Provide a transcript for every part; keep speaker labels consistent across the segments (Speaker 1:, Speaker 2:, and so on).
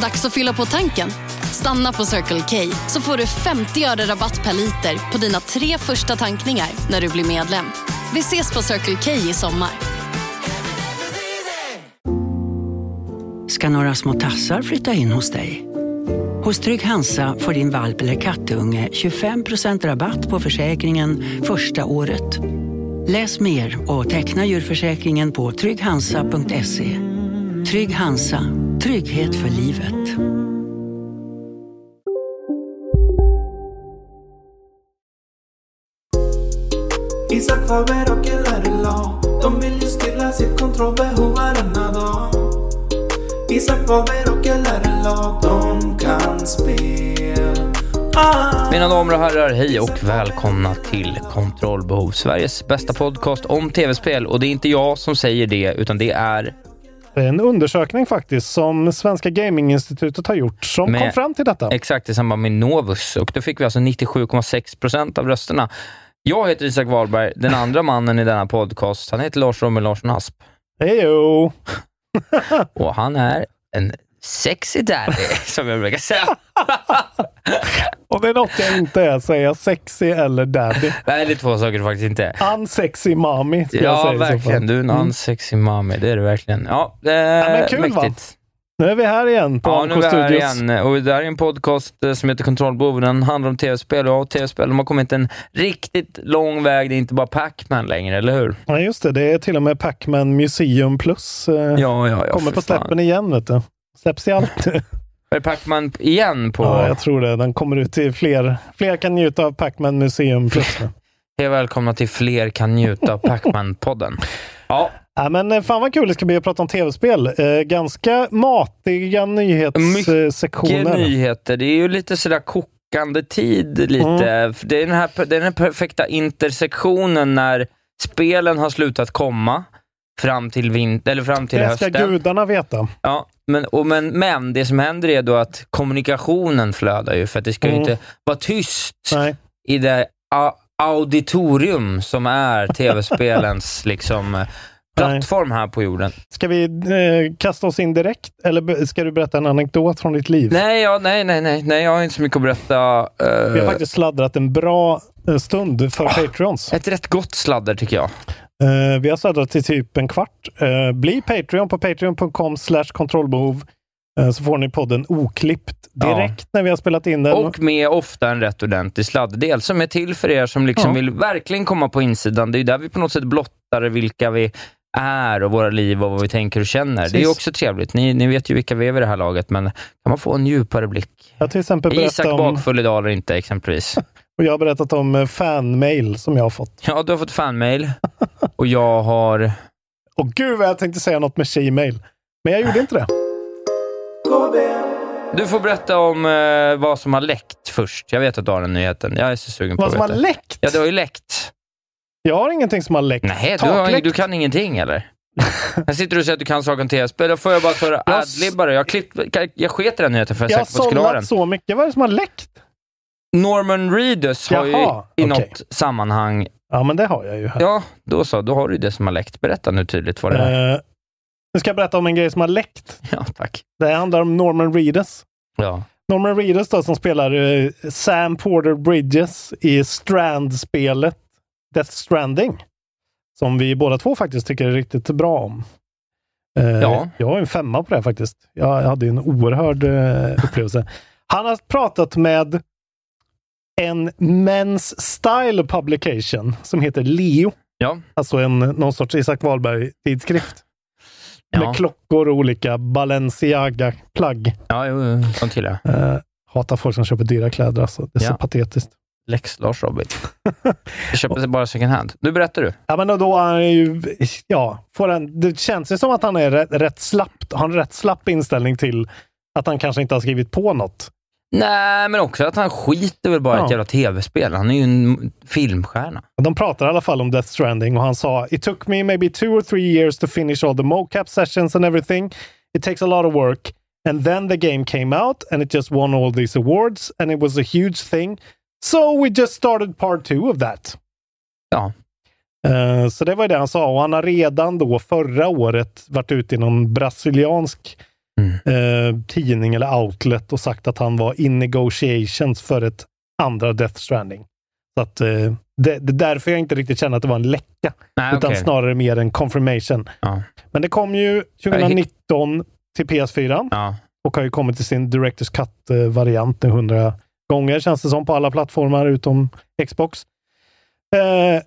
Speaker 1: Dags att fylla på tanken. Stanna på Circle K så får du 50 öre rabatt per liter på dina tre första tankningar när du blir medlem. Vi ses på Circle K i sommar.
Speaker 2: ska några små tassar flytta in hos dig. Hos Trygg Hansa får din valp eller kattunge 25% rabatt på försäkringen första året. Läs mer och teckna djurförsäkringen på trygghansa.se. Trygg Hansa, trygghet för livet.
Speaker 3: Isaac Faber och Killer Law. De vill ju stilla sitt kontrollbehov varenda dag. Isak Faber och Killer Law. De kan spel. Ah.
Speaker 4: Mina damer och herrar, hej och välkomna till Kontrollbehov, Sveriges bästa podcast om tv-spel. Och det är inte jag som säger det, utan det är
Speaker 5: Det är en undersökning faktiskt som Svenska Gaminginstitutet har gjort som
Speaker 4: Med-
Speaker 5: kom fram till detta.
Speaker 4: exakt i samband med Novus. Och då fick vi alltså 97,6 procent av rösterna. Jag heter Isak Wahlberg, den andra mannen i denna podcast, han heter Lars Rommel Larsson Asp.
Speaker 5: Hejo!
Speaker 4: Och han är en sexy daddy, som jag brukar säga.
Speaker 5: Om det är något jag inte är så är jag sexy eller daddy.
Speaker 4: Nej, det är två saker du faktiskt inte är.
Speaker 5: Unsexy mommy, ska jag
Speaker 4: Ja,
Speaker 5: säga i så fall. Mm.
Speaker 4: verkligen. Du är en unsexy mommy, det är du verkligen. Ja, eh,
Speaker 5: men kul, va?
Speaker 4: mäktigt.
Speaker 5: Nu är vi här igen på
Speaker 4: Ja, nu är vi
Speaker 5: Anko
Speaker 4: här
Speaker 5: Studios.
Speaker 4: igen. Och det här är en podcast eh, som heter Kontrollbov. Den handlar om tv-spel. Ja, och tv-spel de har kommit en riktigt lång väg. Det är inte bara Pac-Man längre, eller hur?
Speaker 5: Ja, just det. Det är till och med Pac-Man Museum Plus. eh,
Speaker 4: Ja, ja, ja.
Speaker 5: kommer
Speaker 4: för
Speaker 5: på
Speaker 4: fan.
Speaker 5: släppen igen, vet du. Släpps i allt.
Speaker 4: Är det Pac-Man igen på
Speaker 5: Ja, jag tror det. Den kommer ut till fler. Fler kan njuta av Pac-Man Museum Plus. nu.
Speaker 4: Hej och välkomna till Fler kan njuta av Pac-Man-podden. Ja,
Speaker 5: Ja, men eh, fan vad kul det ska bli att prata om tv-spel. Eh, ganska matiga
Speaker 4: mycket
Speaker 5: nyhetssektioner.
Speaker 4: nyheter. Det är ju lite sådär kokande tid lite. För Det, är den här, det är den perfekta intersektionen när spelen har slutat komma fram till, vint- eller fram till
Speaker 5: det ska
Speaker 4: hösten.
Speaker 5: gudarna veta.
Speaker 4: Ja, men, och men, men det som händer är då att kommunikationen flödar ju, för att det ska ju
Speaker 5: Mm.
Speaker 4: inte vara tyst
Speaker 5: Nej.
Speaker 4: i det a- auditorium som är tv-spelens liksom, eh, plattform här på jorden.
Speaker 5: Ska vi eh, kasta oss in direkt eller be- ska du berätta en anekdot från ditt liv?
Speaker 4: Nej, ja, nej, nej, nej, nej, jag har inte så mycket att berätta. eh,
Speaker 5: Vi har faktiskt sladdrat en bra eh, stund för Patreons.
Speaker 4: Ah. ett rätt gott sladder tycker jag.
Speaker 5: Eh, vi har sladdrat till typ en kvart. Eh, bli Patreon på patreon.com slash kontrollbehov eh, så får ni podden oklippt
Speaker 4: Ja.
Speaker 5: direkt när vi har spelat in den.
Speaker 4: Och med ofta en rätt ordentlig sladdel som är till för er som liksom
Speaker 5: Ja.
Speaker 4: vill verkligen komma på insidan. Det är ju där vi på något sätt blottar vilka vi är och våra liv och vad vi tänker och känner. Det är ju
Speaker 5: Precis.
Speaker 4: också trevligt. Ni, ni vet ju vilka vi är vid det här laget, men kan man få en djupare blick?
Speaker 5: jag har till exempel
Speaker 4: Är Isak
Speaker 5: berättat om,
Speaker 4: bakfull idag eller inte, exempelvis?
Speaker 5: och jag har berättat om eh, fanmail som jag har fått.
Speaker 4: Ja, du har fått fanmail och jag har...
Speaker 5: Och gud vad jag tänkte säga något med Gmail. Men jag gjorde inte det.
Speaker 4: Du får berätta om eh, vad som har läckt först. Jag vet att du har den nyheten. Jag är så sugen på
Speaker 5: Vad som har
Speaker 4: att veta.
Speaker 5: läckt?
Speaker 4: Ja, det har ju läckt.
Speaker 5: Jag har ingenting som har läckt.
Speaker 4: Nej, du, har,
Speaker 5: Takläckt.
Speaker 4: du kan ingenting eller? Här sitter du och säger att du kan saker om tv-spel. Då får jag bara ta det
Speaker 5: Jag
Speaker 4: adlibbare. Jag, klippt- jag- jag sket i den nyheten för jag
Speaker 5: Jag
Speaker 4: är
Speaker 5: har
Speaker 4: säker på att du skulle ha den.
Speaker 5: sållat så mycket. Vad är det som har läckt?
Speaker 4: Norman Reedus har
Speaker 5: Jaha,
Speaker 4: ju i
Speaker 5: okej.
Speaker 4: något sammanhang...
Speaker 5: Ja, men det har jag ju här.
Speaker 4: Ja, då så. Då har du det som har läckt. Berätta nu tydligt vad det är.
Speaker 5: Eh, nu ska jag berätta om en grej som har läckt.
Speaker 4: Ja, tack.
Speaker 5: Det handlar om Norman Reedus.
Speaker 4: Ja.
Speaker 5: Norman Reedus då, som spelar eh, Sam Porter Bridges i Strand-spelet Death Stranding. Som vi båda två faktiskt tycker är riktigt bra om. Eh,
Speaker 4: Ja.
Speaker 5: Jag har en femma på det här faktiskt. Jag hade en oerhörd eh, upplevelse. Han har pratat med en Men's Style Publication som heter Leo.
Speaker 4: Ja.
Speaker 5: Alltså en, någon sorts Isak Wahlberg-tidskrift.
Speaker 4: Ja.
Speaker 5: Med klockor och olika Balenciaga-plagg.
Speaker 4: ja, jo, jo, sånt gillar jag.
Speaker 5: Eh, hatar folk som köper dyra kläder alltså. Det är
Speaker 4: Ja.
Speaker 5: så patetiskt.
Speaker 4: Lex Lars Robin. Jag köper bara second hand. Nu berättar du.
Speaker 5: Ja, men då- då är han ju, ja, får han, det känns ju som att han är rätt, rätt slappt, har en rätt slapp inställning till att han kanske inte har skrivit på något.
Speaker 4: Nej, men också att han skiter väl bara i
Speaker 5: Ja.
Speaker 4: ett jävla tv-spel. Han är ju en filmstjärna.
Speaker 5: De pratar i alla fall om Death Stranding och han sa It took me maybe two or three years to finish all the mocap sessions and everything. It takes a lot of work. And then the game came out and it just won all these awards and it was a huge thing. So we just started part two of that.
Speaker 4: Ja.
Speaker 5: Eh, Så det var det han sa och han har redan då förra året varit ute i någon brasiliansk eh, tidning eller outlet och sagt att han var in negotiations för ett andra Death Stranding. Så att, eh, det, det är därför jag inte riktigt känner att det var en läcka,
Speaker 4: Nej,
Speaker 5: utan
Speaker 4: Ah, okej.
Speaker 5: snarare mer en confirmation.
Speaker 4: Ja.
Speaker 5: Men det kom ju 2019 till PS4
Speaker 4: Ja.
Speaker 5: och har ju kommit till sin Directors Cut-variant nu hundra gånger känns det som på alla plattformar utom Xbox. Eh,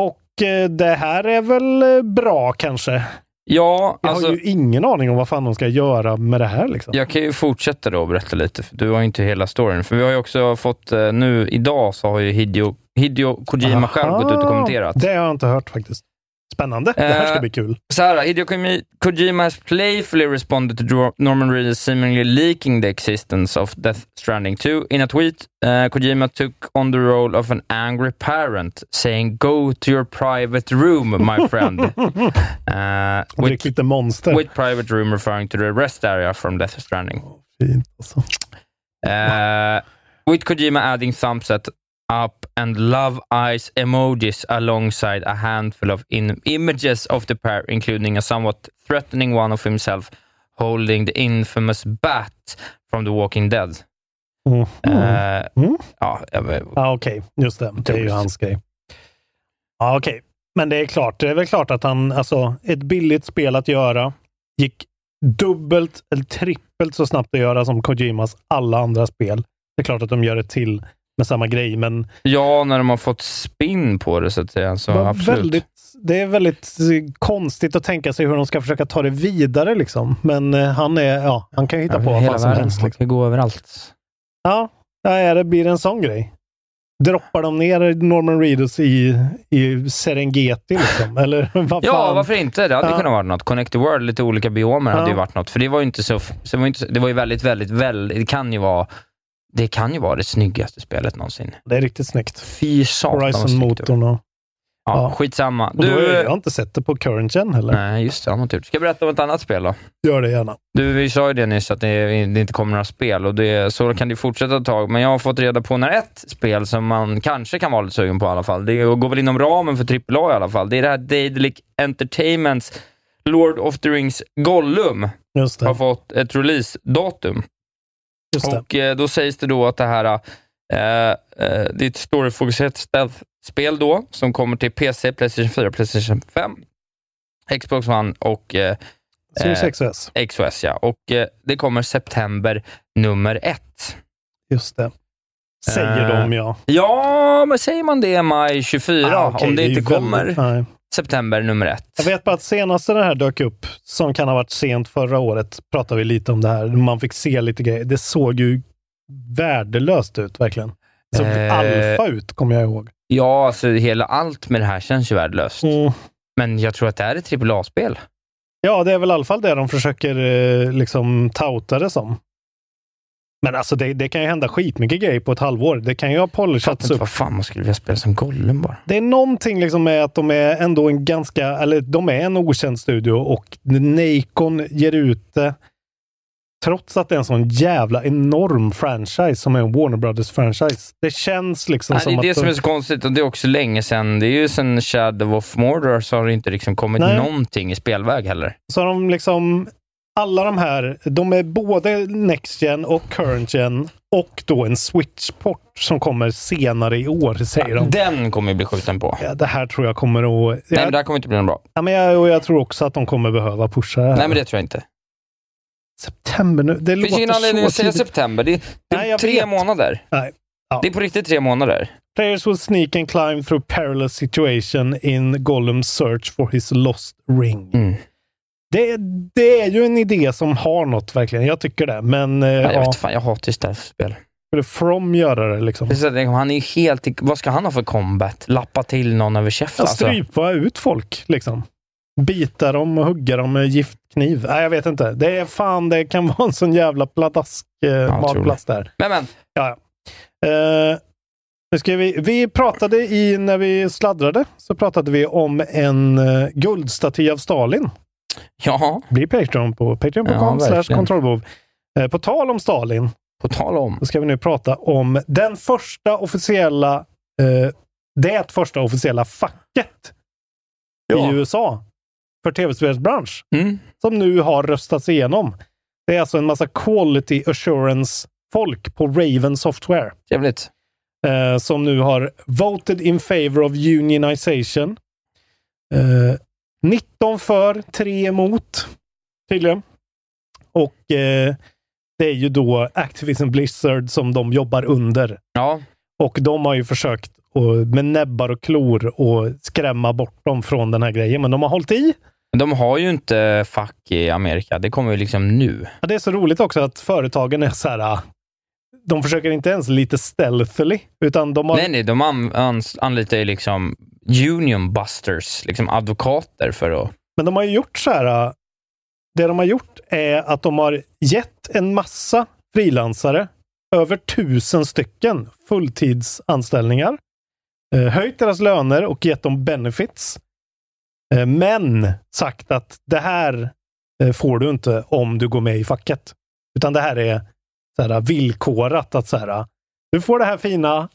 Speaker 5: och eh, det här är väl eh, bra kanske.
Speaker 4: Ja,
Speaker 5: Jag
Speaker 4: alltså,
Speaker 5: har ju ingen aning om vad fan de ska göra med det här. Liksom.
Speaker 4: jag kan ju fortsätta då och berätta lite. för Du har ju inte hela storyn. För vi har ju också fått, eh, nu idag så har ju Hideo, Hideo Kojima själv gått ut och
Speaker 5: Aha,
Speaker 4: kommenterat.
Speaker 5: Det har jag inte hört faktiskt. Spännande. Det här ska
Speaker 4: Eh,
Speaker 5: bli kul.
Speaker 4: Så här, Hideo Kojima- Kojima has playfully responded to Dro- Norman Reedus seemingly leaking the existence of Death Stranding 2. In a tweet, uh, Kojima took on the role of an angry parent, saying “Go to your private room, my friend”. uh,
Speaker 5: Drick
Speaker 4: with,
Speaker 5: lite monster.
Speaker 4: with private room referring to the rest area from Death Stranding.
Speaker 5: Fint, alltså.
Speaker 4: Uh, with Kojima adding thumbs at- up and love eyes emojis alongside a handful of in- images of the pair, including a somewhat threatening one of himself holding the infamous bat from The Walking Dead.
Speaker 5: Mhm.
Speaker 4: Uh,
Speaker 5: Mm.
Speaker 4: ja, jag vet-
Speaker 5: Ja, okej. Just det. Det är ju hans grej. Ja, okej. Men det är klart. Det är väl klart att han, alltså, ett billigt spel att göra gick dubbelt eller trippelt så snabbt att göra som Kojimas alla andra spel. Det är klart att de gör ett till med samma grej, men
Speaker 4: ja, när de har fått spinn på det så att säga. Så
Speaker 5: det var
Speaker 4: absolut.
Speaker 5: väldigt, det är väldigt eh, konstigt att tänka sig hur de ska försöka ta det vidare. Liksom. Men eh, han, är, ja, han kan ju hitta på vad
Speaker 4: Hela
Speaker 5: fan som
Speaker 4: världen
Speaker 5: helst.
Speaker 4: liksom.
Speaker 5: Liksom.
Speaker 4: kan gå överallt.
Speaker 5: Ja, ja, ja, det blir en sån grej. Droppar de ner Norman Reedus i, i Serengeti liksom? Eller vad fan?
Speaker 4: Ja, varför inte? Det hade
Speaker 5: Ja.
Speaker 4: kunnat vara något. Connect the World, lite olika biomer hade
Speaker 5: Ja.
Speaker 4: ju varit något. För det var ju inte så... så det, var ju inte, så- det var ju väldigt, väldigt, väldigt... Det kan ju vara... Det kan ju vara det snyggaste spelet någonsin.
Speaker 5: Det är riktigt snyggt.
Speaker 4: Fy satan vad snyggt det var.
Speaker 5: Horizon-motorn och...
Speaker 4: Ja,
Speaker 5: Ja.
Speaker 4: skitsamma.
Speaker 5: och då har
Speaker 4: Du... eh,
Speaker 5: jag inte sett det på Current Gen heller.
Speaker 4: Nej, just det. Han har inte gjort. Ska jag berätta om ett annat spel då?
Speaker 5: Gör det gärna.
Speaker 4: Du, vi sa ju det nyss att det, det inte kommer några spel och det, så kan det fortsätta ett tag. Men jag har fått reda på när ett spel som man kanske kan vara lite sugen på i alla fall, det går väl inom ramen för AAA i alla fall, det är det här Daedalic Entertainments Lord of the Rings Gollum
Speaker 5: Just
Speaker 4: har
Speaker 5: det.
Speaker 4: fått ett release-datum.
Speaker 5: Just det.
Speaker 4: Och eh, då sägs det då att det här, eh, eh, det är ett storyfokuserat stealth-spel då, som kommer till PC, Playstation 4, Playstation 5, Xbox One och eh,
Speaker 5: Series X och S.
Speaker 4: XOS. Ja. Och eh, det kommer september nummer ett.
Speaker 5: Just det. Säger
Speaker 4: Eh,
Speaker 5: de, ja.
Speaker 4: Ja, men säger man det maj 24,
Speaker 5: Ah, okej,
Speaker 4: om det,
Speaker 5: är
Speaker 4: inte
Speaker 5: ju väldigt-
Speaker 4: kommer
Speaker 5: Nej.
Speaker 4: september nummer ett.
Speaker 5: Jag vet bara att senaste det här dök upp, som kan ha varit sent förra året, pratade vi lite om det här. Man fick se lite grejer. Det såg ju värdelöst ut, verkligen. Det såg
Speaker 4: Eh.
Speaker 5: alfa ut, kommer jag ihåg.
Speaker 4: Ja, alltså hela allt med det här känns ju värdelöst.
Speaker 5: Mm.
Speaker 4: Men jag tror att det här är ett AAA-spel.
Speaker 5: Ja, det är väl i alla fall det de försöker eh, liksom touta det som. Men alltså, det, det kan ju hända skitmycket grejer på ett halvår. Det kan ju ha
Speaker 4: Fattar
Speaker 5: polishats
Speaker 4: inte
Speaker 5: upp.
Speaker 4: vad fan man skulle vilja spela som Gollum bara.
Speaker 5: Det är någonting liksom med att de är ändå en ganska, eller de är en okänd studio och Nacon ger ut det trots att det är en sån jävla enorm franchise som är en Warner Brothers-franchise. Det känns liksom
Speaker 4: Nej,
Speaker 5: som
Speaker 4: det är det
Speaker 5: att...
Speaker 4: som är så konstigt och det är också länge sedan. Det är ju sedan Shadow of Mordor så har det inte liksom kommit
Speaker 5: Nej.
Speaker 4: någonting i spelväg heller.
Speaker 5: Så har de liksom, alla de här, de är både Next Gen och Current Gen och då en Switch-port som kommer senare i år, säger de.
Speaker 4: Den kommer ju bli skjuten på.
Speaker 5: Ja, det här tror jag kommer att...
Speaker 4: Nej, men det
Speaker 5: Jag,
Speaker 4: här kommer inte bli något bra.
Speaker 5: ja, men jag, och jag tror också att de kommer behöva pusha det här.
Speaker 4: Nej, men det tror jag inte.
Speaker 5: September nu. Det
Speaker 4: Det finns ju ingen
Speaker 5: låter
Speaker 4: anledning
Speaker 5: så
Speaker 4: att säga
Speaker 5: tidigt.
Speaker 4: september. Det är, det är
Speaker 5: Nej, jag
Speaker 4: tre
Speaker 5: vet.
Speaker 4: månader.
Speaker 5: Nej. Ja.
Speaker 4: Det är på riktigt tre månader.
Speaker 5: Players will sneak and climb through perilous situation in Gollum's search for his lost ring.
Speaker 4: Mm.
Speaker 5: Det, det är ju en idé som har något verkligen. Jag tycker det. Men eh,
Speaker 4: Nej, jag
Speaker 5: ja,
Speaker 4: vet fan, jag hatar ju stealth-spel.
Speaker 5: Skulle From göra det liksom?
Speaker 4: Precis, jag tänker, Han är ju helt... i- Vad ska han ha för combat? Lappa till någon över käften?
Speaker 5: Ja,
Speaker 4: Alltså.
Speaker 5: strypa ut folk liksom. Bita dem och hugga dem med giftkniv. Nej, jag vet inte. Det är fan, det kan vara en sån jävla pladask eh,
Speaker 4: otroligt.
Speaker 5: matplats där.
Speaker 4: Men, men.
Speaker 5: Ja, ja. Eh, nu ska vi, vi pratade i, när vi sladdrade, så pratade vi om en eh, guldstaty av Stalin.
Speaker 4: Ja,
Speaker 5: Bli Patreon på
Speaker 4: Ja,
Speaker 5: patreon.com
Speaker 4: verkligen.
Speaker 5: slash kontrollbehov. Eh, på tal om Stalin,
Speaker 4: på tal om.
Speaker 5: så ska vi nu prata om den första officiella, eh, det första officiella facket
Speaker 4: Ja.
Speaker 5: i USA för tv-spelsbransch
Speaker 4: Mm.
Speaker 5: som nu har röstats igenom. Det är alltså en massa quality assurance-folk på Raven Software
Speaker 4: Trevligt.
Speaker 5: eh, som nu har voted in favor of unionization. Eh, 19 för, 3 emot, tydligen. Och eh, det är ju då Activision Blizzard som de jobbar under.
Speaker 4: Ja,
Speaker 5: Och de har ju försökt att, med näbbar och klor och skrämma bort dem från den här grejen, men de har hållit i.
Speaker 4: de har ju inte fack i Amerika. Det kommer ju liksom nu.
Speaker 5: Ja, det är så roligt också att företagen är så här. ah, De försöker inte ens lite stealthily, utan de har
Speaker 4: Nej, nej, de an, ans- anlitar ju liksom union busters, liksom advokater för att...
Speaker 5: Men de har ju gjort så här. äh, Det de har gjort är att de har gett en massa frilansare, över tusen stycken fulltidsanställningar, eh, höjt deras löner och gett dem benefits. Eh, Men sagt att det här eh, får du inte om du går med i facket. Utan det här är så här äh, villkorat att så här, äh, du får det här fina,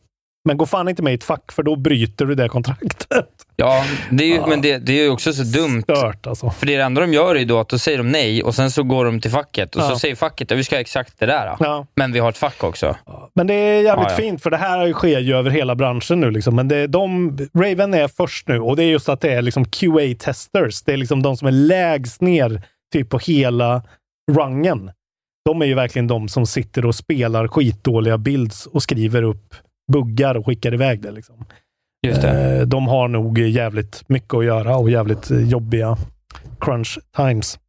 Speaker 5: men gå fan inte med i ett fack för då bryter du det kontraktet.
Speaker 4: Ja, det är ju,
Speaker 5: Ja.
Speaker 4: men det, det är ju också så dumt.
Speaker 5: Stört alltså.
Speaker 4: För det enda de gör är ju då att då säger de nej och sen så går de till facket och
Speaker 5: Ja.
Speaker 4: så säger facket att vi ska ha exakt det där.
Speaker 5: Ja.
Speaker 4: Men vi har ett fack också.
Speaker 5: Men det är jävligt
Speaker 4: Ja, ja.
Speaker 5: fint, för det här sker ju över hela branschen nu. Liksom. Men det är de, Raven är först nu och det är just att det är liksom QA-testers. Det är liksom de som är lägst ner typ på hela rangen. De är ju verkligen de som sitter och spelar skitdåliga builds och skriver upp buggar och skickar iväg det. Liksom.
Speaker 4: Just det.
Speaker 5: Eh, De har nog jävligt mycket att göra och jävligt eh, jobbiga crunch times.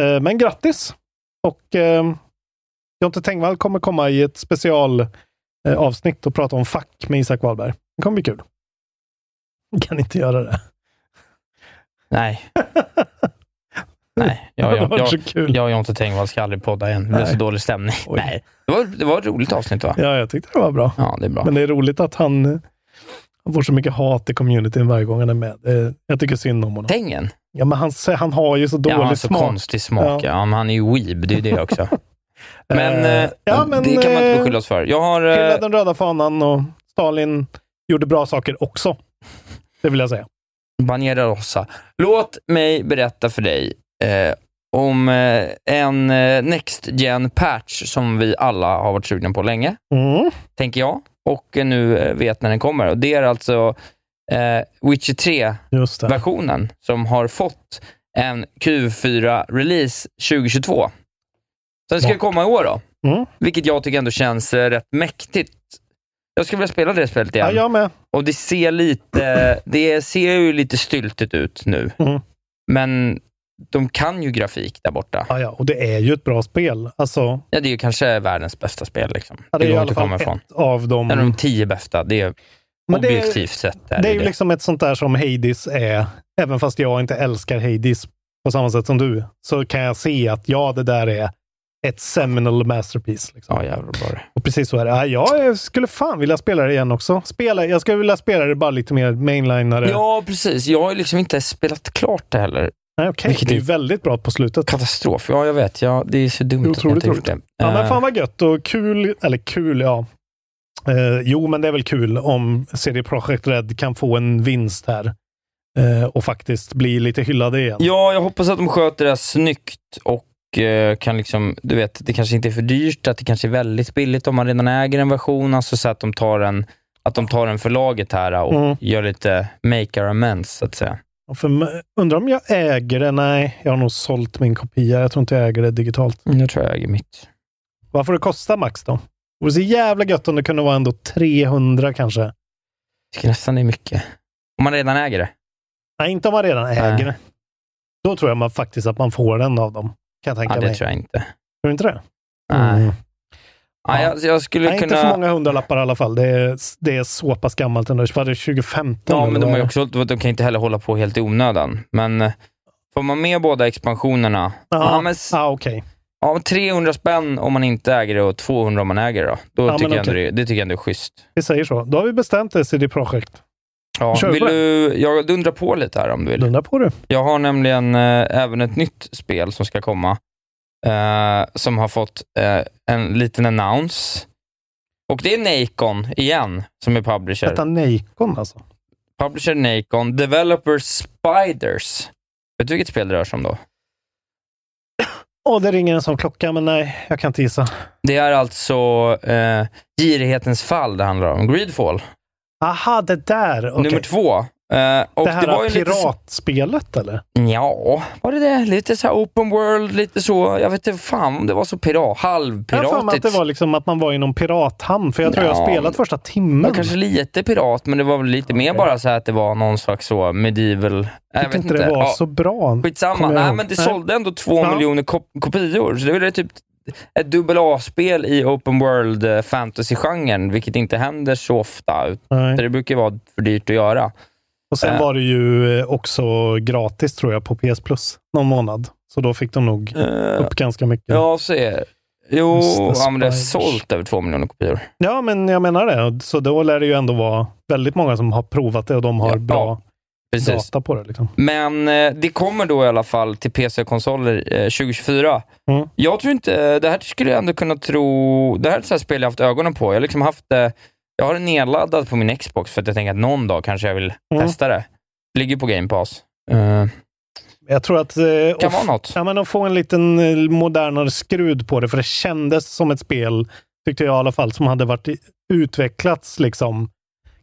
Speaker 5: Eh, Men grattis! Och eh, Jonte Tengvall kommer komma i ett special eh, avsnitt och prata om fack med Isak Wahlberg. Det kommer bli kul. Kan inte göra det.
Speaker 4: Nej. nej.
Speaker 5: det
Speaker 4: Jag,
Speaker 5: hade
Speaker 4: jag,
Speaker 5: varit
Speaker 4: jag,
Speaker 5: så kul.
Speaker 4: jag och Jonte Tengvall ska aldrig podda igen. Det blev
Speaker 5: Nej.
Speaker 4: så dålig stämning.
Speaker 5: Oj.
Speaker 4: Nej. Det var, det var ett roligt avsnitt va?
Speaker 5: Ja, jag tyckte det var bra.
Speaker 4: Ja, det är bra.
Speaker 5: Men det är roligt att han, eh, han får så mycket hat i communityn varje gång han är med. Eh, Jag tycker synd om honom.
Speaker 4: Tängen?
Speaker 5: Ja, men han, sä- han har ju så
Speaker 4: Ja,
Speaker 5: dålig
Speaker 4: han har så
Speaker 5: smak.
Speaker 4: konstig smak. Ja.
Speaker 5: Ja.
Speaker 4: men han är ju weeb, det är ju det också. Men,
Speaker 5: Eh,
Speaker 4: eh,
Speaker 5: ja, men,
Speaker 4: det kan man inte
Speaker 5: eh,
Speaker 4: beskylla oss för. Jag har... eh,
Speaker 5: Hylla den röda fanan och Stalin gjorde bra saker också. Det vill jag säga.
Speaker 4: Banera Rossa. Låt mig berätta för dig eh, om eh, en eh, Next Gen patch som vi alla har varit sugna på länge,
Speaker 5: Mm.
Speaker 4: tänker jag. Och eh, nu eh, vet när den kommer. Och Det är alltså eh, Witcher 3-versionen
Speaker 5: Just det.
Speaker 4: som har fått en Q4-release 2022. Så den ska
Speaker 5: Smart.
Speaker 4: komma i år då,
Speaker 5: Mm.
Speaker 4: vilket jag tycker ändå känns eh, rätt mäktigt. Jag skulle vilja spela det spelet igen.
Speaker 5: Ja, jag med.
Speaker 4: Och det ser lite, det ser ju lite styltigt ut nu.
Speaker 5: Mm.
Speaker 4: Men de kan ju grafik där borta.
Speaker 5: Ja, ja. Och det är ju ett bra spel. Alltså,
Speaker 4: Ja, det är ju kanske världens bästa spel. Liksom.
Speaker 5: ja, det är
Speaker 4: går
Speaker 5: ju
Speaker 4: inte
Speaker 5: i alla
Speaker 4: att komma
Speaker 5: fall
Speaker 4: ifrån.
Speaker 5: ett av dem.
Speaker 4: En av de tio bästa. Det är
Speaker 5: Men det är-
Speaker 4: objektivt sett.
Speaker 5: det är ju
Speaker 4: det.
Speaker 5: liksom ett sånt där som Hades är. Även fast jag inte älskar Hades på samma sätt som du, så kan jag se att ja, det där är ett seminal masterpiece. Liksom.
Speaker 4: Ja, jävlar vad bra det är.
Speaker 5: Och precis så är det. Ja, jag skulle fan vilja spela det igen också. Spela, jag skulle vilja spela det bara lite mer mainlinare.
Speaker 4: Ja, precis. Jag har ju liksom inte spelat klart det heller.
Speaker 5: Nej, okej.
Speaker 4: Vilket
Speaker 5: Det är ju
Speaker 4: är-
Speaker 5: väldigt bra på slutet.
Speaker 4: Katastrof. Ja, jag vet. Ja, det är så dumt att jag
Speaker 5: Otroligt
Speaker 4: inte gjort det.
Speaker 5: roligt. Ja, men
Speaker 4: Eh,
Speaker 5: fan vad gött och kul. Eller kul, ja. Eh, jo, men det är väl kul om CD Projekt Red kan få en vinst här eh, och faktiskt bli lite hyllade igen.
Speaker 4: Ja, jag hoppas att de sköter det här snyggt och eh, kan liksom, du vet, det kanske inte är för dyrt, att det kanske är väldigt billigt om man redan äger en version, alltså så att de tar en att de tar en förlaget här och
Speaker 5: Mm.
Speaker 4: gör lite make our amends, så att säga.
Speaker 5: Och För, m- undrar om jag äger det? Nej, jag har nog sålt min kopia. Jag tror inte jag äger det digitalt.
Speaker 4: Nu tror jag jag äger mitt.
Speaker 5: Vad får det kosta max då? Det vore så jävla gött om det kunde vara ändå 300 kanske.
Speaker 4: Jag tycker nästan det är mycket. Om man redan äger det.
Speaker 5: Nej, inte om man redan äger
Speaker 4: Nej.
Speaker 5: det. Då tror jag man faktiskt att man får den av dem. Kan jag tänka
Speaker 4: Ja, det
Speaker 5: mig.
Speaker 4: tror jag inte.
Speaker 5: Tror du inte det?
Speaker 4: Nej.
Speaker 5: Mm.
Speaker 4: Ja, jag, jag skulle
Speaker 5: Nej, inte för
Speaker 4: kunna...
Speaker 5: många hundralappar i alla fall. Det är, det är så pass gammalt ändå. Var det 2015?
Speaker 4: Ja, men
Speaker 5: eller
Speaker 4: de,
Speaker 5: vad
Speaker 4: har ju
Speaker 5: är det?
Speaker 4: också, de kan inte heller hålla på helt i onödan. Men eh, får man med båda expansionerna?
Speaker 5: Ja,
Speaker 4: Ja, men, s-
Speaker 5: ah, okej.
Speaker 4: ja, men 300 spänn om man inte äger det och 200 om man äger det. Då
Speaker 5: Ja,
Speaker 4: tycker
Speaker 5: men
Speaker 4: jag ändå
Speaker 5: okej.
Speaker 4: det, det tycker jag ändå är schysst.
Speaker 5: Vi säger så. Då har vi bestämt det, CD Projekt.
Speaker 4: Ja,
Speaker 5: Kör vi
Speaker 4: vill
Speaker 5: på det?
Speaker 4: du, jag dundrar på lite här om du vill.
Speaker 5: Blunda på du.
Speaker 4: Jag har nämligen eh, även ett nytt spel som ska komma, eh, som har fått eh, en liten announce. Och det är Nacon igen, som är publisher.
Speaker 5: Detta Nikon alltså.
Speaker 4: Publisher Nacon, developer Spiders. Vet du vilket spel det rör sig om då?
Speaker 5: Åh, det ringer en sån klocka, men nej, jag kan inte gissa.
Speaker 4: Det är alltså eh, Girighetens fall det handlar om, Greedfall.
Speaker 5: Aha, det där. okej.
Speaker 4: Nummer två. Eh, och
Speaker 5: det här
Speaker 4: var ju lite så-
Speaker 5: piratspelet eller?
Speaker 4: Ja, var det det? Lite så här open world, lite så. Jag vet inte fan om det var så pirat,
Speaker 5: Jag har för mig att
Speaker 4: halvpiratigt.
Speaker 5: det var liksom att man var i någon pirathamn, för jag tror jag
Speaker 4: Ja,
Speaker 5: har spelat
Speaker 4: men-
Speaker 5: första timmen.
Speaker 4: Det var kanske lite pirat, men det var väl lite mer bara så här att det var någon slags så medieval... Jag,
Speaker 5: jag
Speaker 4: vet
Speaker 5: tyckte inte det var
Speaker 4: Ja,
Speaker 5: så bra.
Speaker 4: Skitsamma.
Speaker 5: kommer jag
Speaker 4: Nej,
Speaker 5: ihåg.
Speaker 4: men det
Speaker 5: Nej.
Speaker 4: sålde ändå två
Speaker 5: Ja.
Speaker 4: miljoner kop kopior, så det var det typ ett dubbel A-spel i open world eh, fantasy-genren, vilket inte händer så ofta. utan
Speaker 5: Nej.
Speaker 4: Det brukar ju vara för dyrt att göra.
Speaker 5: Och sen
Speaker 4: Eh.
Speaker 5: var det ju eh, också gratis tror jag på PS Plus någon månad. Så då fick de nog
Speaker 4: Eh,
Speaker 5: upp ganska mycket. Ja.
Speaker 4: ja, så är det. Jo,
Speaker 5: Just det,
Speaker 4: ja, men det har
Speaker 5: Spiders.
Speaker 4: sålt över två miljoner kopior.
Speaker 5: men jag menar det. Så då lär det ju ändå vara väldigt många som har provat det och de har
Speaker 4: Ja,
Speaker 5: bra
Speaker 4: Precis.
Speaker 5: data på det. Liksom.
Speaker 4: Men eh, det kommer då i alla fall till PC-konsoler eh, 2024.
Speaker 5: Mm.
Speaker 4: Jag tror inte, eh, det här skulle jag ändå kunna tro, det här är ett sånt här spel jag haft ögonen på. Jag har liksom haft det, jag har det nedladdat på min Xbox för att jag tänker att någon dag kanske jag vill
Speaker 5: Mm.
Speaker 4: testa det. Det ligger på Game Pass. Eh,
Speaker 5: Jag tror att... eh,
Speaker 4: kan
Speaker 5: och-
Speaker 4: vara något.
Speaker 5: Ja, men de får en liten eh, modernare skrud på det, för det kändes som ett spel, tyckte jag i alla fall, som hade varit i- utvecklats liksom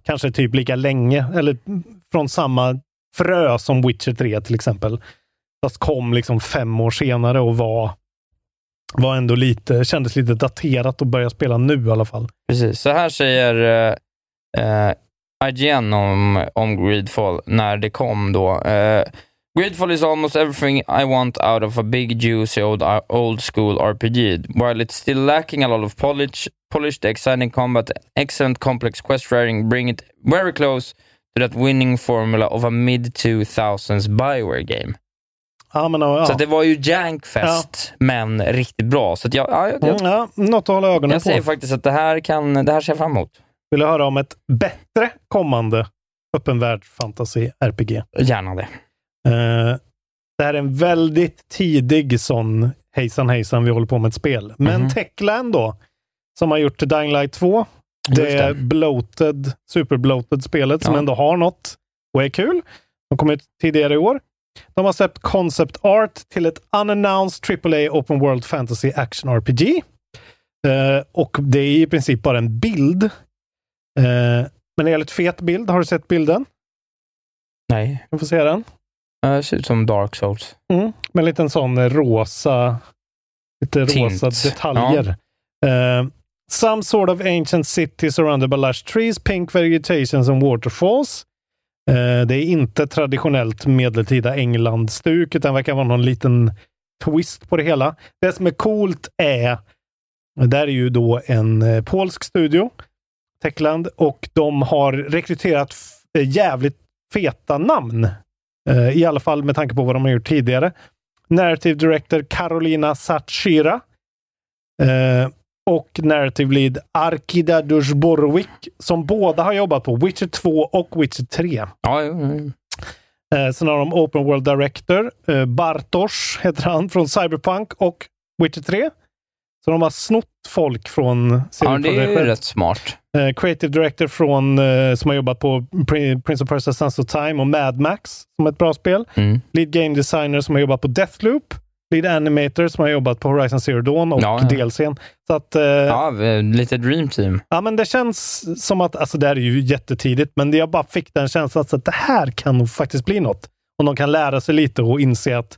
Speaker 5: kanske typ lika länge, eller mm, från samma frö som Witcher 3 till exempel. Fast kom liksom fem år senare och var, var ändå lite, kändes lite daterat att börja spela nu i alla fall.
Speaker 4: Precis. Så här säger eh, eh, IGN om, om Greedfall när det kom då. Eh, Greedfall is almost everything I want out of a big juicy old, uh, old school RPG. While it's still lacking a lot of polish, polish the exciting combat, excellent complex quest writing bring it very close to that winning formula of a mid-2000s Bioware game.
Speaker 5: Ja, men, ja,
Speaker 4: Så att det var ju jankfest, men riktigt bra. Så att jag, ja, jag,
Speaker 5: Mm,
Speaker 4: jag,
Speaker 5: ja, något att hålla ögonen
Speaker 4: jag
Speaker 5: på.
Speaker 4: säger faktiskt att det här, kan, det här ser jag fram emot.
Speaker 5: Vill du höra om ett bättre kommande öppen värld fantasy RPG?
Speaker 4: Gärna det.
Speaker 5: Eh, det här är en väldigt tidig sån hejsan hejsan, vi håller på med ett spel. Men
Speaker 4: Mhm.
Speaker 5: Techland då, som har gjort Dying Light 2,
Speaker 4: Just
Speaker 5: det är bloated, superbloated spelet som
Speaker 4: Ja.
Speaker 5: ändå har något och är kul. De kom ut tidigare i år. De har släppt concept art till ett unannounced AAA Open World Fantasy Action RPG. Eh, och det är i princip bara en bild. Eh, men en jävligt fet bild. Har du sett bilden?
Speaker 4: Nej,
Speaker 5: Kan få se den?
Speaker 4: Ja, det ser ut som Dark Souls.
Speaker 5: Mm. Med en liten sån eh, rosa, lite
Speaker 4: Tint.
Speaker 5: rosa detaljer. Eh, some sort of ancient city surrounded by lush trees, pink vegetations and waterfalls. Eh, det är inte traditionellt medeltida England-stuk, utan verkar vara någon liten twist på det hela. Det som är coolt är, det här är ju då en eh, polsk studio, Techland, och de har rekryterat f- eh, jävligt feta namn. Eh, I alla fall med tanke på vad de har gjort tidigare. Narrative Director Carolina Satshira. Eh, och Narrative Lead Arkida Dursborwick, som båda har jobbat på Witcher 2 och Witcher 3.
Speaker 4: Ja, jo, jo.
Speaker 5: Eh, sen har de Open World Director, eh, Bartosz heter han, från Cyberpunk och Witcher 3. Så de har snott folk från CD
Speaker 4: ja det är
Speaker 5: Projekt
Speaker 4: ju
Speaker 5: Red.
Speaker 4: rätt smart.
Speaker 5: Eh, creative Director från, eh, som har jobbat på Pri- Prince of Persia Sense of Time och Mad Max, som är ett bra spel.
Speaker 4: Mm.
Speaker 5: Lead Game Designer som har jobbat på Deathloop. Lead Animator som har jobbat på Horizon Zero Dawn och
Speaker 4: Ja, ja.
Speaker 5: DLCn. Så att, eh, ja.
Speaker 4: Ja, eh, lite Dream Team.
Speaker 5: men det känns som att, alltså det här är ju jättetidigt, men jag bara fick den känslan att så att det här kan nog faktiskt bli något. Om de kan lära sig lite och inse att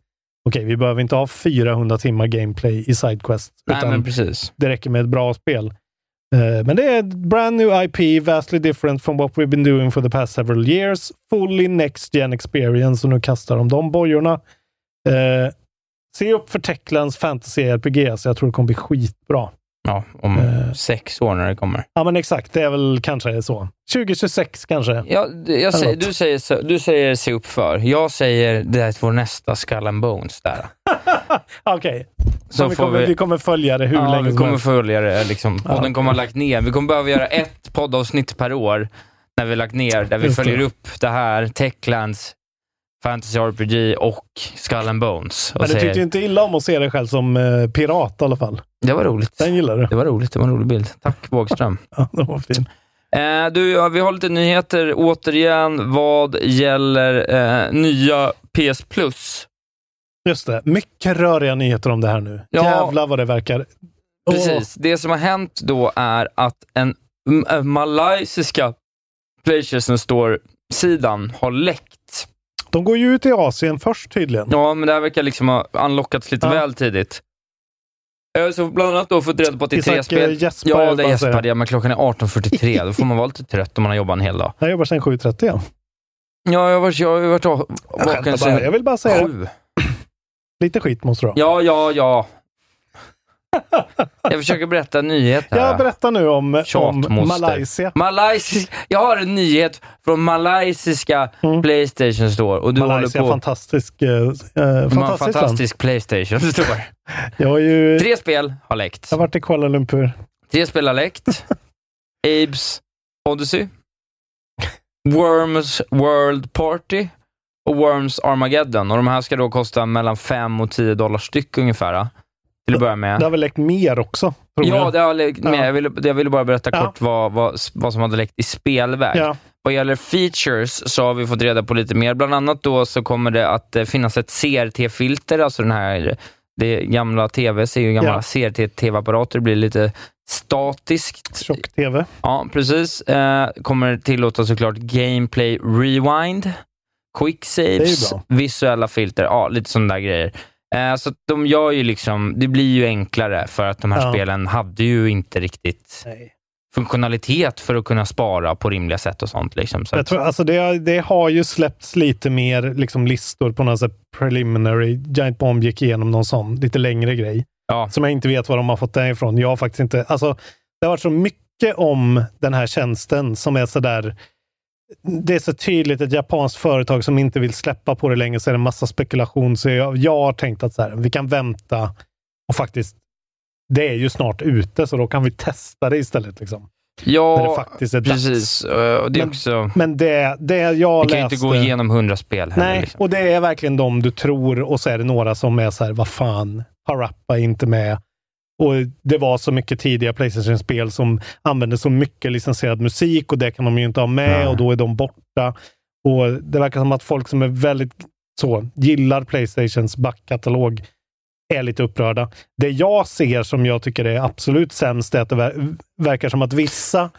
Speaker 5: okej, vi behöver inte ha 400 timmar gameplay i SideQuest.
Speaker 4: Nej, men precis.
Speaker 5: det räcker med ett bra spel. Eh, Men det är ett brand new IP, vastly different from what we've been doing for the past several years. Fully next gen experience och nu kastar de de bojorna. Eh, se upp för Techlands fantasy RPG, så jag tror det kommer bli skitbra.
Speaker 4: Ja, om
Speaker 5: Eh.
Speaker 4: sex år när det kommer.
Speaker 5: Ja, men exakt. Det är väl kanske så. 2026 kanske.
Speaker 4: Ja, d- jag säger,
Speaker 5: något.
Speaker 4: du, säger, så- du säger se upp för. Jag säger det är vår nästa Skull and Bones där.
Speaker 5: Okej.
Speaker 4: Så
Speaker 5: vi,
Speaker 4: får
Speaker 5: kommer, vi...
Speaker 4: vi,
Speaker 5: kommer följa det hur
Speaker 4: ja,
Speaker 5: länge
Speaker 4: vi
Speaker 5: som
Speaker 4: kommer
Speaker 5: helst.
Speaker 4: följa det. Liksom.
Speaker 5: Ja.
Speaker 4: Podden kommer ha lagt ner. Vi kommer behöva göra ett poddavsnitt per år när vi har lagt ner, där vi
Speaker 5: Just det.
Speaker 4: följer upp det här, Techlands, Fantasy RPG och Skull and Bones. Och
Speaker 5: Men du
Speaker 4: säger,
Speaker 5: tyckte ju inte illa om att se dig själv som eh, pirat i alla fall.
Speaker 4: Det var roligt.
Speaker 5: Den gillar du.
Speaker 4: Det var roligt. Det var en rolig bild. Tack Bågström.
Speaker 5: Ja, den var fin.
Speaker 4: Eh, du, ja, vi har lite nyheter återigen vad gäller eh, nya PS Plus.
Speaker 5: Just det. Mycket röriga nyheter om det här nu.
Speaker 4: Ja.
Speaker 5: Jävlar vad det verkar. Åh,
Speaker 4: Precis. Det som har hänt då är att en m- eh, malaysiska Playstation Store-sidan har läckt.
Speaker 5: De går ju ut i Asien först tydligen.
Speaker 4: Ja, men det här verkar liksom ha unlockats lite
Speaker 5: Ja.
Speaker 4: väl tidigt. Eh, Så bland annat då fått reda på att det är tre
Speaker 5: Isak eh,
Speaker 4: spel.
Speaker 5: gäspar.
Speaker 4: Ja,
Speaker 5: jag
Speaker 4: det
Speaker 5: bara säger.
Speaker 4: gäspade jag, men klockan är 18.43. Då får man vara lite trött om man har jobbat en hel dag.
Speaker 5: Jag jobbar sedan 7.30. igen.
Speaker 4: Ja, jag har varit, jag har varit av-
Speaker 5: Jag skämtar
Speaker 4: vaken
Speaker 5: bara.
Speaker 4: sedan
Speaker 5: Jag vill bara säga det.
Speaker 4: sju.
Speaker 5: lite skit måste du ha.
Speaker 4: Ja, ja, ja. Jag försöker berätta en nyhet här.
Speaker 5: Jag berättar nu om, om
Speaker 4: Tjatmoster.
Speaker 5: Malaysia.
Speaker 4: Malaysisk, jag har en nyhet från malaysiska
Speaker 5: Mm.
Speaker 4: Playstation Store. Och du
Speaker 5: Malaysia,
Speaker 4: håller på
Speaker 5: fantastisk, eh, eh,
Speaker 4: Man,
Speaker 5: fantastiskt land.
Speaker 4: fantastisk Playstation Store.
Speaker 5: Jag har ju
Speaker 4: Tre spel har läckt.
Speaker 5: jag har varit i Kuala Lumpur.
Speaker 4: Tre spel har läckt. Abe's Odyssey, Worms World Party och Worms Armageddon. Och de här ska då kosta mellan 5 och 10 dollar styck ungefär. eh, Till att börja med.
Speaker 5: Det har väl läckt mer också? Tror
Speaker 4: Ja,
Speaker 5: jag.
Speaker 4: det har läckt med.
Speaker 5: Ja.
Speaker 4: Jag, ville, jag ville bara berätta
Speaker 5: Ja.
Speaker 4: kort vad, vad, vad som hade läckt i spelväg.
Speaker 5: Ja.
Speaker 4: Vad gäller features så har vi fått reda på lite mer. Bland annat då så kommer det att eh, finnas ett CRT-filter, alltså den här det gamla TVs är ju gamla
Speaker 5: Ja.
Speaker 4: CRT-TV-apparater, blir lite statiskt.
Speaker 5: Tjock-tv.
Speaker 4: Ja, precis. Eh, kommer tillåta såklart gameplay rewind, quick saves,
Speaker 5: Det är ju
Speaker 4: visuella filter, ja, lite sådana där grejer. Eh, så att de gör ju liksom, det blir ju enklare för att de här
Speaker 5: Ja.
Speaker 4: spelen hade ju inte riktigt funktionalitet för att kunna spara på rimliga sätt och sånt. Liksom. Så
Speaker 5: Jag
Speaker 4: att-
Speaker 5: tror, alltså det, det har ju släppts lite mer liksom listor på något sätt preliminary. Giant Bomb gick igenom någon sån lite längre grej.
Speaker 4: Ja.
Speaker 5: Som jag inte vet var de har fått den ifrån. Jag har faktiskt inte... Alltså, det har varit så mycket om den här tjänsten som är sådär... Det är så tydligt ett japanskt företag som inte vill släppa på det längre, så är det en massa spekulation. Så jag, jag har tänkt att så här, vi kan vänta och faktiskt... Det är ju snart ute, så då kan vi testa det istället. Liksom.
Speaker 4: Ja,
Speaker 5: När det faktiskt är dags.
Speaker 4: precis. Eh, Och det är
Speaker 5: Men
Speaker 4: också,
Speaker 5: Men det, det jag
Speaker 4: vi kan ju
Speaker 5: läste...
Speaker 4: inte gå igenom hundra spel heller.
Speaker 5: Nej,
Speaker 4: liksom.
Speaker 5: och det är verkligen de du tror och så är det några som är så här, vad fan, Harappa är inte med. Och det var så mycket tidiga Playstation-spel som använde så mycket licensierad musik och det kan de ju inte ha med
Speaker 4: Nej.
Speaker 5: och då är de borta. Och det verkar som att folk som är väldigt så, gillar Playstations backkatalog är lite upprörda. Det jag ser som jag tycker är absolut sämst är att det ver- verkar som att vissa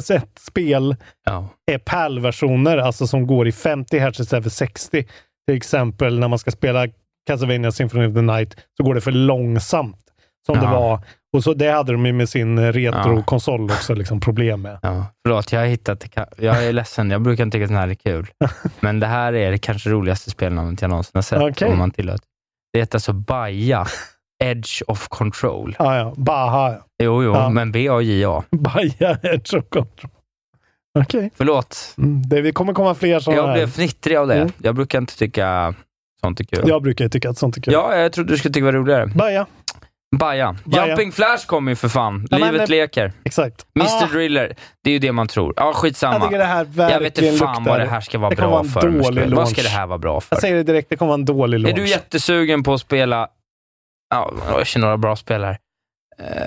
Speaker 5: PS1-spel
Speaker 4: Ja.
Speaker 5: är PAL-versioner, alltså som går i 50 hertz istället för 60. Till exempel när man ska spela Castlevania Symphony of the Night så går det för långsamt. Som det
Speaker 4: Ja.
Speaker 5: var. Och så, det hade de ju med sin eh, retrokonsol också liksom problem med.
Speaker 4: Ja. Förlåt, jag har hittat det. ka- Jag är ledsen, jag brukar inte tycka att den här är kul. Men det här är det kanske roligaste spelnamnet jag någonsin har sett.
Speaker 5: Okej.
Speaker 4: Om man tillåter. Det heter alltså Baja, Edge of Control.
Speaker 5: Ah, ja. Baha.
Speaker 4: Jo, jo,
Speaker 5: Ja.
Speaker 4: men B-A-J-A.
Speaker 5: Baja Edge of Control. Okej.
Speaker 4: Förlåt,
Speaker 5: Mm, det, vi kommer komma fler sådana
Speaker 4: jag
Speaker 5: här.
Speaker 4: blev fnittrig av det.
Speaker 5: Mm.
Speaker 4: Jag brukar inte tycka sånt är kul. Ja,
Speaker 5: Jag brukar ju tycka att sånt är kul.
Speaker 4: jag trodde du skulle tycka det var roligare.
Speaker 5: Baja.
Speaker 4: Baja.
Speaker 5: Baja.
Speaker 4: Jumping Flash kommer ju för fan.
Speaker 5: Ja, men-
Speaker 4: Livet leker.
Speaker 5: Exakt.
Speaker 4: Mr
Speaker 5: Ah,
Speaker 4: Driller, det är ju det man tror. Ja,
Speaker 5: jag tycker
Speaker 4: skitsamma.
Speaker 5: det här
Speaker 4: Jag,
Speaker 5: verkligen
Speaker 4: vet inte fan
Speaker 5: luktar.
Speaker 4: vad det här ska vara
Speaker 5: Det kommer
Speaker 4: bra
Speaker 5: vara en
Speaker 4: för. om jag ska-
Speaker 5: dålig
Speaker 4: Vad ska det
Speaker 5: launch. Alltså,
Speaker 4: här vara bra
Speaker 5: Jag
Speaker 4: för?
Speaker 5: säger det direkt, det kommer vara en dålig
Speaker 4: Är
Speaker 5: launch.
Speaker 4: du jättesugen på att spela... Ja, jag känner några bra spel här.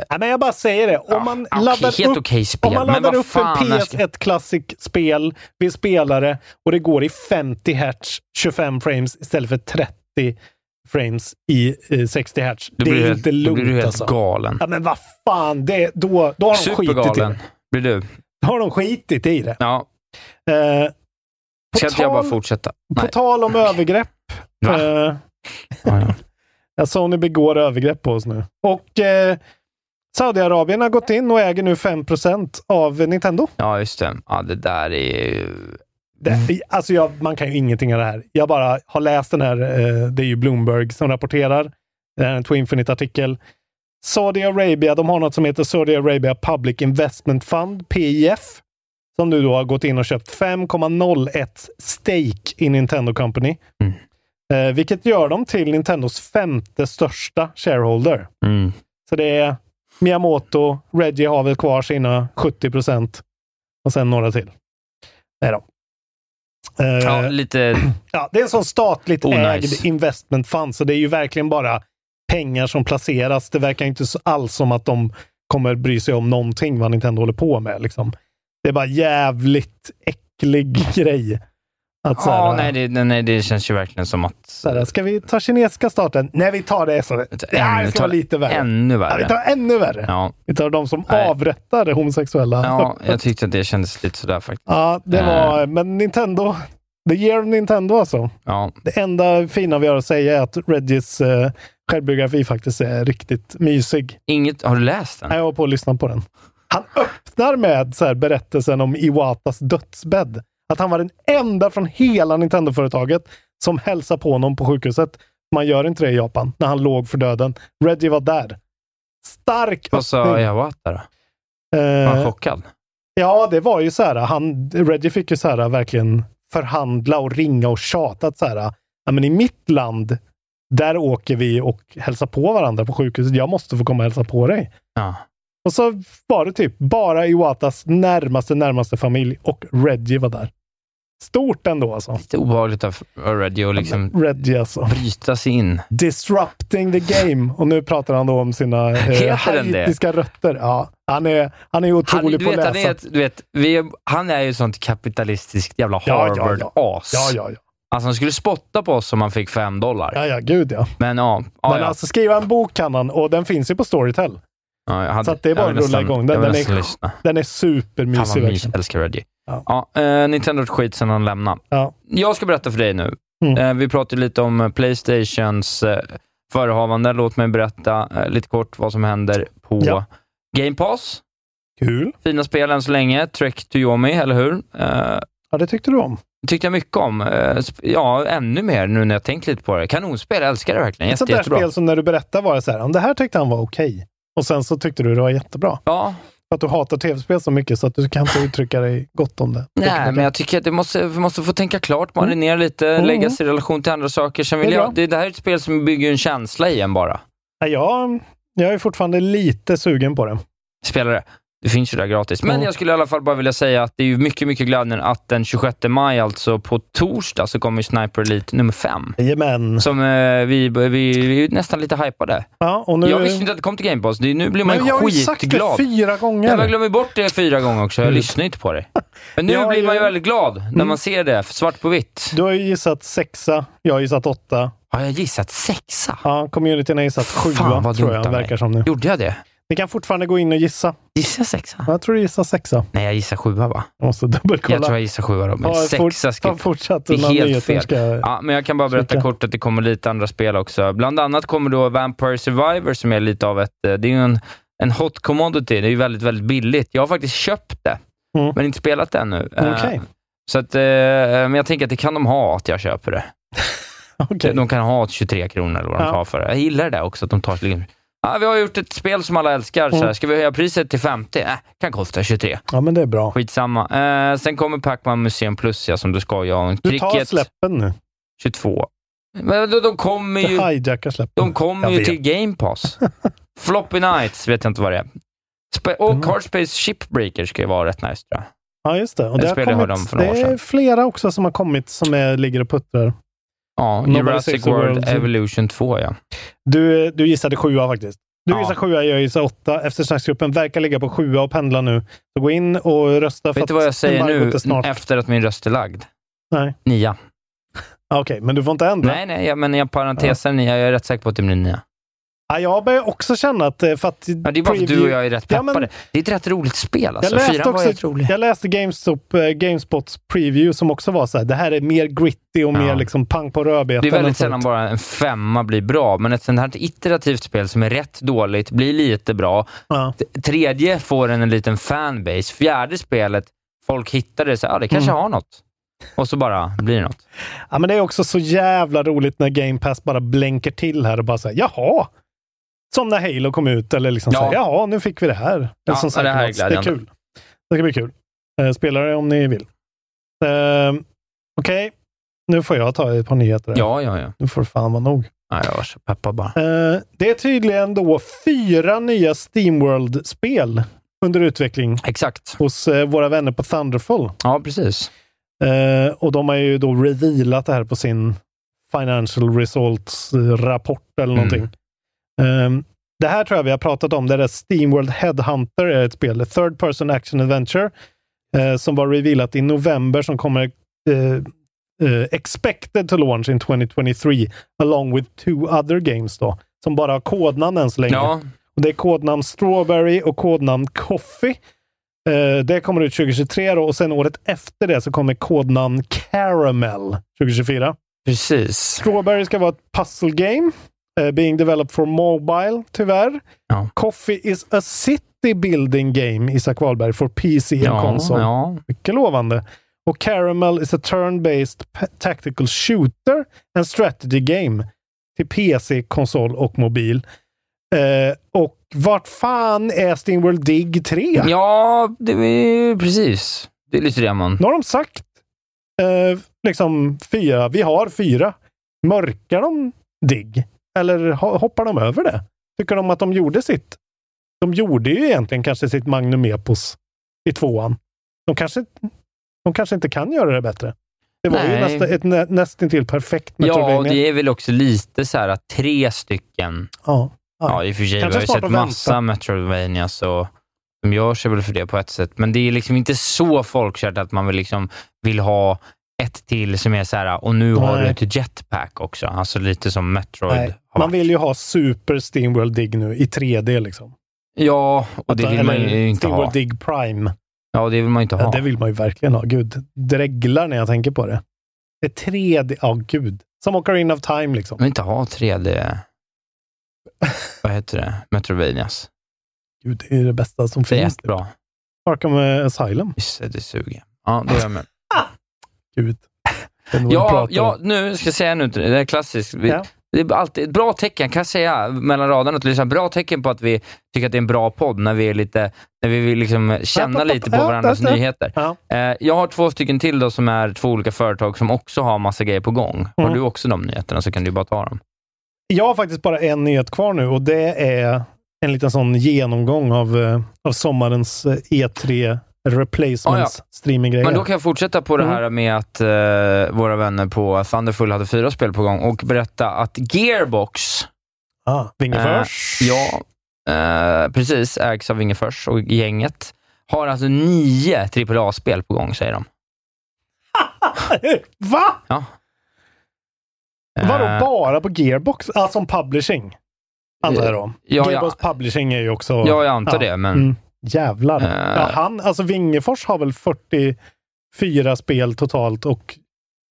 Speaker 5: Nej, men jag bara säger det. Om
Speaker 4: Ja,
Speaker 5: man
Speaker 4: okej,
Speaker 5: laddar
Speaker 4: helt
Speaker 5: upp
Speaker 4: okej spel,
Speaker 5: Om man
Speaker 4: men
Speaker 5: laddar
Speaker 4: vad
Speaker 5: upp en
Speaker 4: fan, alltså. jag ska-
Speaker 5: PS1 Classic spel vid spelare och det går i 50 hertz, 25 frames istället för 30 frames i eh, 60 hertz.
Speaker 4: Då
Speaker 5: det
Speaker 4: blir
Speaker 5: är
Speaker 4: du helt-
Speaker 5: inte
Speaker 4: Då blir du
Speaker 5: lugnt
Speaker 4: helt
Speaker 5: alltså.
Speaker 4: galen.
Speaker 5: Ja, men vad fan, det, då, då, har de skitit i
Speaker 4: Supergalen
Speaker 5: det.
Speaker 4: blir du.
Speaker 5: då har de skitit i det.
Speaker 4: Ja,
Speaker 5: Eh, på,
Speaker 4: ska inte jag bara
Speaker 5: tal,
Speaker 4: fortsätta?
Speaker 5: på
Speaker 4: Nej.
Speaker 5: tal om övergrepp.
Speaker 4: Va?
Speaker 5: Eh,
Speaker 4: Ja, ja.
Speaker 5: Ja, Sony begår övergrepp på oss nu. Och eh, Saudiarabien har gått in och äger nu 5 av Nintendo.
Speaker 4: Ja, just det. Ja, det där är ju...
Speaker 5: Det, Alltså jag, man kan ju ingenting av det här. Jag bara har läst den här, eh, det är ju Bloomberg som rapporterar. Det här är en Twinfinite-artikel. Saudiarabia, de har något som heter Saudi Arabia Public Investment Fund, PIF, som nu då har gått in och köpt 5,01 stake i Nintendo Company.
Speaker 4: Mm.
Speaker 5: Eh, vilket gör dem till Nintendos femte största shareholder.
Speaker 4: Mm.
Speaker 5: Så det är Miyamoto, Reggie har väl kvar sina 70 procent och sen några till. Nej då. Eh,
Speaker 4: Ja, lite...
Speaker 5: Ja, det är en sån statligt
Speaker 4: Oh,
Speaker 5: ägd
Speaker 4: nice.
Speaker 5: investment fund, så det är ju verkligen bara pengar som placeras. Det verkar inte så- alls som att de kommer bry sig om någonting vad Nintendo håller på med. Liksom. Det är bara jävligt äcklig grej. Att så här,
Speaker 4: Ja, nej, det, nej, nej, det känns ju verkligen som att...
Speaker 5: så här, ska vi ta kinesiska staten? Nej, vi tar det. Så. Det här
Speaker 4: Ännu-
Speaker 5: ska vara lite värre.
Speaker 4: Ännu
Speaker 5: Ja, vi
Speaker 4: värre.
Speaker 5: tar ännu värre.
Speaker 4: Ja,
Speaker 5: Vi tar de som
Speaker 4: Nej.
Speaker 5: avrättar homosexuella.
Speaker 4: ja, jag tyckte att det kändes lite sådär faktiskt.
Speaker 5: Ja, det var... Men Nintendo... The year of Nintendo alltså.
Speaker 4: Ja,
Speaker 5: Det enda fina vi har att säga är att Reggies eh, självbiografi faktiskt är riktigt mysig.
Speaker 4: inget... Har du läst den?
Speaker 5: Jag var på att lyssna på den. Han öppnar med så här, berättelsen om Iwatas dödsbädd. Att han var den enda från hela Nintendo-företaget som hälsade på honom på sjukhuset. Man gör inte det i Japan, när han låg för döden. Reggie var där. Stark
Speaker 4: Vad sa
Speaker 5: öppning.
Speaker 4: Iwata då? Var han
Speaker 5: Mm. Eh,
Speaker 4: chockad?
Speaker 5: Ja, det var ju så här. Han, Reggie fick ju så här verkligen förhandla och ringa och tjata. att Så här, ja, men I mitt land, där åker vi och hälsar på varandra på sjukhuset. Jag måste få komma och hälsa på dig.
Speaker 4: Ja.
Speaker 5: Och så var det typ bara Iwatas närmaste, närmaste familj och Reggie var där. Stort ändå alltså.
Speaker 4: Lite obehagligt av av Reggie att liksom
Speaker 5: Reggie alltså.
Speaker 4: bryta sig in.
Speaker 5: Disrupting the game. Och nu pratar han då om sina eh,
Speaker 4: Heter den det?
Speaker 5: haitiska rötter. Ja, han är, han är
Speaker 4: Han, du,
Speaker 5: otrolig på
Speaker 4: vet,
Speaker 5: att
Speaker 4: han, är
Speaker 5: läsa.
Speaker 4: ett, du vet, vi, han är ju ett sånt kapitalistiskt jävla
Speaker 5: Ja, ja, ja.
Speaker 4: Harvard-as.
Speaker 5: Ja, ja, ja.
Speaker 4: Alltså han skulle spotta på oss om han fick fem dollar.
Speaker 5: Ja, ja, gud ja.
Speaker 4: Men ja, ja,
Speaker 5: Men
Speaker 4: ja.
Speaker 5: alltså skriva en bok kan han och den finns ju på Storytel.
Speaker 4: ja jag hade,
Speaker 5: så att det är bara
Speaker 4: jag vill
Speaker 5: att rulla
Speaker 4: nästan-
Speaker 5: igång den.
Speaker 4: jag vill
Speaker 5: Den är
Speaker 4: nästan lyssna.
Speaker 5: Den är
Speaker 4: Fan
Speaker 5: supermysig
Speaker 4: vad mys,
Speaker 5: verkligen.
Speaker 4: jag älskar Reggie.
Speaker 5: Ja.
Speaker 4: Ja. eh, Nintendo skit sen han lämnade.
Speaker 5: Ja.
Speaker 4: Jag ska berätta för dig nu.
Speaker 5: Mm.
Speaker 4: Eh, vi pratade lite om eh, Playstations eh, förehavande. Låt mig berätta eh, lite kort vad som händer på
Speaker 5: Ja.
Speaker 4: Game Pass.
Speaker 5: Kul.
Speaker 4: Fina spel än så länge. Trek to Yomi, eller hur? Eh,
Speaker 5: Ja, det tyckte du om.
Speaker 4: tyckte jag mycket om. Eh, sp- Ja, ännu mer nu när jag tänkt lite på det. Kanonspel, jag älskar det verkligen.
Speaker 5: Ett
Speaker 4: Jätte,
Speaker 5: sånt där
Speaker 4: jättebra.
Speaker 5: spel som när du berättar var det så här, "Om det här tyckte han var okej. Och sen så tyckte du det var jättebra.
Speaker 4: Ja,
Speaker 5: För att du hatar tv-spel så mycket så att du kan inte uttrycka dig gott om det.
Speaker 4: Nej, men jag tycker att det måste, vi måste få tänka klart, marinera lite,
Speaker 5: Mm.
Speaker 4: lägga sig i relation till andra saker. Sen
Speaker 5: Det är
Speaker 4: vill
Speaker 5: bra.
Speaker 4: jag, det, det här är ett spel som bygger en känsla i en bara.
Speaker 5: Nej, jag, jag är fortfarande lite sugen på det.
Speaker 4: Spela det. Det finns ju där gratis. Men
Speaker 5: Mm.
Speaker 4: jag skulle i alla fall bara vilja säga att det är ju mycket, mycket glädjande att den 26 maj, alltså på torsdag, så kommer ju Sniper Elite nummer 5.
Speaker 5: Jajamän.
Speaker 4: Som eh, vi, vi, vi är ju nästan lite hypade.
Speaker 5: Ja, och nu...
Speaker 4: Jag visste inte att det kom till Game Pass. Det, nu blir man
Speaker 5: men jag
Speaker 4: ju
Speaker 5: har ju sagt det
Speaker 4: skitglad.
Speaker 5: fyra gånger.
Speaker 4: Jag har glömt bort det fyra gånger också. Jag
Speaker 5: Mm.
Speaker 4: lyssnar inte på det. Men nu
Speaker 5: Ja,
Speaker 4: blir man ju
Speaker 5: jag-
Speaker 4: väldigt glad när man ser det, svart på vitt.
Speaker 5: Du har ju gissat sexa, jag har gissat åtta.
Speaker 4: Har jag gissat sexa?
Speaker 5: Ja, communityn har gissat
Speaker 4: Fan,
Speaker 5: sjua,
Speaker 4: vad
Speaker 5: tror
Speaker 4: dumt
Speaker 5: jag,
Speaker 4: av mig.
Speaker 5: verkar som nu.
Speaker 4: Gjorde jag det?
Speaker 5: Ni kan fortfarande gå in och gissa.
Speaker 4: Gissade jag sexa?
Speaker 5: Ja, Jag tror du gissar sexa.
Speaker 4: Nej, jag gissar sjua va?
Speaker 5: Jag måste
Speaker 4: Jag tror
Speaker 5: dubbelkolla.
Speaker 4: jag gissar sjua då, men
Speaker 5: Ta fort-
Speaker 4: sexa
Speaker 5: Ta
Speaker 4: ska...
Speaker 5: fortsatt
Speaker 4: Det är
Speaker 5: innan
Speaker 4: helt
Speaker 5: nyheten
Speaker 4: fel.
Speaker 5: ska...
Speaker 4: Ja, men jag kan bara berätta
Speaker 5: Kika.
Speaker 4: kort att det kommer lite andra spel också. Bland annat kommer då Vampire Survivor som är lite av ett... eh, Det är ju en, en hot commodity. Det är ju väldigt, väldigt billigt. Jag har faktiskt köpt det,
Speaker 5: Mm.
Speaker 4: men inte spelat det ännu. Eh,
Speaker 5: Okej.
Speaker 4: Så att, eh, men jag tänker att det kan de ha, att jag köper det.
Speaker 5: Okej.
Speaker 4: Typ, De kan ha 23 kronor eller vad de
Speaker 5: Ja.
Speaker 4: tar för det. Jag gillar det där också, att de tar till... Ja, vi har gjort ett spel som alla älskar. Så
Speaker 5: Mm.
Speaker 4: här, ska vi höja priset till 50? Äh, kan kosta 23.
Speaker 5: Ja, men det är bra.
Speaker 4: Skitsamma. Eh, sen kommer Pac-Man Museum Plus, ja, som du ska göra.
Speaker 5: Du tar
Speaker 4: Cricket
Speaker 5: släppen nu.
Speaker 4: 22. Men de, de kommer
Speaker 5: Du
Speaker 4: ju,
Speaker 5: hijackar släppen.
Speaker 4: de kommer
Speaker 5: Jag
Speaker 4: ju
Speaker 5: vet.
Speaker 4: till Game Pass. Floppy Nights vet jag inte vad det är. Sp- och
Speaker 5: Mm.
Speaker 4: Carspace Shipbreaker ska ju vara rätt nice tror jag.
Speaker 5: Ja, just det. Och
Speaker 4: Jag
Speaker 5: det har
Speaker 4: spelade
Speaker 5: kommit,
Speaker 4: dem för några
Speaker 5: det
Speaker 4: år
Speaker 5: är
Speaker 4: sedan.
Speaker 5: flera också som har kommit som är, ligger och puttrar.
Speaker 4: Ja,
Speaker 5: Nobody Saves
Speaker 4: Jurassic
Speaker 5: the
Speaker 4: World
Speaker 5: World.
Speaker 4: Evolution 2 ja.
Speaker 5: Du, du gissade sjua faktiskt. Du
Speaker 4: Ja.
Speaker 5: gissar sjua, jag gissar åtta. Eftersnacksgruppen verkar ligga på sjua och pendla nu. Så gå in och rösta. för
Speaker 4: Vet du
Speaker 5: att
Speaker 4: vad jag säger
Speaker 5: embargot
Speaker 4: nu
Speaker 5: är Snart.
Speaker 4: efter att min röst är lagd?
Speaker 5: Nej.
Speaker 4: Nia.
Speaker 5: Ja, Okej, men du får inte ändra.
Speaker 4: Nej, nej, jag, men jag parenteser nia. Jag är rätt säker på att det blir nia.
Speaker 5: Ja, jag börjar också känna att... eh, För att
Speaker 4: Ja, det är bara för att du och jag är rätt
Speaker 5: Ja, men-
Speaker 4: peppade. det är ett rätt roligt spel
Speaker 5: Jag
Speaker 4: alltså.
Speaker 5: läste,
Speaker 4: Fyran var rätt
Speaker 5: också,
Speaker 4: rolig.
Speaker 5: jag läste GameStop, eh, GameSpots preview som också var så här, det här är mer gritty och mer
Speaker 4: Ja.
Speaker 5: liksom pang på rödbetan.
Speaker 4: Det är
Speaker 5: än
Speaker 4: väldigt
Speaker 5: förut.
Speaker 4: sällan bara en femma blir bra, men ett sånt här iterativt spel som är rätt dåligt blir lite bra.
Speaker 5: Ja.
Speaker 4: T- Tredje får en, en liten fanbase. Fjärde spelet, folk hittar det så ja ah, det kanske har något. Och så bara blir det något.
Speaker 5: ja, men det är också så jävla roligt när Game Pass bara blänker till här och bara säger jaha, Som när Halo kom ut, eller liksom
Speaker 4: Ja.
Speaker 5: ja. ja, nu fick vi det här. Men
Speaker 4: Ja,
Speaker 5: som sagt,
Speaker 4: det här är
Speaker 5: Mats, det är
Speaker 4: glädjande.
Speaker 5: kul. Det ska bli kul. Eh, Spela det om ni vill. Eh, Okej, nu får jag ta ett par nyheter. här.
Speaker 4: Ja, ja, ja.
Speaker 5: Nu får det fan vara nog.
Speaker 4: Nej, jag var så peppad bara.
Speaker 5: Eh, det är tydligen då fyra nya Steamworld-spel under utveckling
Speaker 4: Exakt.
Speaker 5: hos eh, våra vänner på Thunderful.
Speaker 4: Ja, precis.
Speaker 5: Eh, och de har ju då revealat det här på sin Financial Results-rapport eller någonting. Eh, det här tror jag vi har pratat om. Det där Steamworld Headhunter är ett spel. ett Third Person Action Adventure. eh, som var revealat i november som kommer eh, eh, expected to launch in 2023 along with two other games då. Som bara har kodnamn än så länge.
Speaker 4: Ja,
Speaker 5: Och det är kodnamn Strawberry och kodnamn Coffee. Eh, det kommer ut 2023 då, och sen året efter det så kommer kodnamn Caramel 2024.
Speaker 4: precis.
Speaker 5: Strawberry ska vara ett puzzle game. eh, being developed for mobile, tyvärr.
Speaker 4: Ja.
Speaker 5: Coffee is a city building game, Isak Wahlberg, for PC and
Speaker 4: Ja,
Speaker 5: console.
Speaker 4: ja.
Speaker 5: Mycket lovande. Och Caramel is a turn-based pa- tactical shooter and strategy game till PC, konsol och mobil. Eh, och vart fan är Steamworld Dig 3?
Speaker 4: ja det är precis. Det är lite det man...
Speaker 5: Nu har de sagt eh, liksom fyra. Vi har fyra. Mörkar de Dig? Eller ho- hoppar de över det? Tycker de att de gjorde sitt? De gjorde ju egentligen kanske sitt Magnum Epos i tvåan. De kanske, de kanske inte kan göra det bättre. Det var
Speaker 4: Nej.
Speaker 5: ju nästa, ett nä, nästintill perfekt
Speaker 4: Ja, och
Speaker 5: Metroidvania.
Speaker 4: det är väl också lite så här att tre stycken
Speaker 5: ja. Ja.
Speaker 4: Ja, i och för sig. Vi
Speaker 5: Kanske
Speaker 4: har ju
Speaker 5: smart
Speaker 4: sett
Speaker 5: att vänta.
Speaker 4: massa Metroidvanias och de gör sig väl för det på ett sätt. Men det är liksom inte så folkkärt att man vill, liksom, vill ha ett till som är så här, och nu har du
Speaker 5: Nej.
Speaker 4: ett jetpack också. Alltså lite som Metroid.
Speaker 5: Nej.
Speaker 4: har
Speaker 5: Man
Speaker 4: varit.
Speaker 5: vill ju ha Super Steamworld Dig nu i 3D liksom.
Speaker 4: Ja, och det
Speaker 5: Att-
Speaker 4: vill man
Speaker 5: eller
Speaker 4: ju inte
Speaker 5: Steamworld
Speaker 4: ha.
Speaker 5: Dig Prime.
Speaker 4: Ja, det vill man ju inte
Speaker 5: Ja.
Speaker 4: ha.
Speaker 5: Det vill man ju verkligen ha. Gud, det reglar när jag tänker på det. Det är 3D. Ja, gud. Som Ocarina of Time liksom.
Speaker 4: Man vill inte ha 3D... Vad heter det? Metroidvanias.
Speaker 5: Gud, det är det bästa som
Speaker 4: Det är
Speaker 5: finns.
Speaker 4: jättebra.
Speaker 5: Arkham eh, Asylum.
Speaker 4: Just det, det suger. Ja, det är jag med.
Speaker 5: Gud. Den var
Speaker 4: Ja,
Speaker 5: pratar
Speaker 4: ja,
Speaker 5: om.
Speaker 4: nu ska jag säga nu, det är klassiskt. Vi,
Speaker 5: Ja.
Speaker 4: Det är alltid ett bra tecken, kan jag säga mellan raderna, att det är liksom bra tecken på att vi tycker att det är en bra podd när vi är lite, när vi vill liksom känna
Speaker 5: Ja,
Speaker 4: lite på
Speaker 5: ja,
Speaker 4: varandras
Speaker 5: ja, ja.
Speaker 4: nyheter.
Speaker 5: Ja.
Speaker 4: Eh, Jag har två stycken till då som är två olika företag som också har massa grejer på gång. Har
Speaker 5: Mm.
Speaker 4: du också de nyheterna så kan du bara ta dem.
Speaker 5: Jag har faktiskt bara en nyhet kvar nu och det är en liten sån genomgång av, eh, av sommarens eh, E3 replacements
Speaker 4: Ah, ja.
Speaker 5: streaminggrejer.
Speaker 4: Men då kan jag fortsätta på det
Speaker 5: Mm.
Speaker 4: här med att eh, våra vänner på Thunderful hade fyra spel på gång och berätta att Gearbox
Speaker 5: ah, Vingefors.
Speaker 4: Eh, ja, eh, precis. Ägs av Vingefors och gänget. Har alltså nio AAA-spel på gång, säger de.
Speaker 5: Va?
Speaker 4: Ja. Eh,
Speaker 5: Vadå bara på Gearbox? Ah, som publishing? Antar jag då.
Speaker 4: ja,
Speaker 5: Gearbox
Speaker 4: ja,
Speaker 5: Publishing är ju också...
Speaker 4: ja, jag antar
Speaker 5: Ja.
Speaker 4: det, men
Speaker 5: Mm. Jävlar.
Speaker 4: Eh.
Speaker 5: Ja, han, alltså Wingefors har väl 44 spel totalt och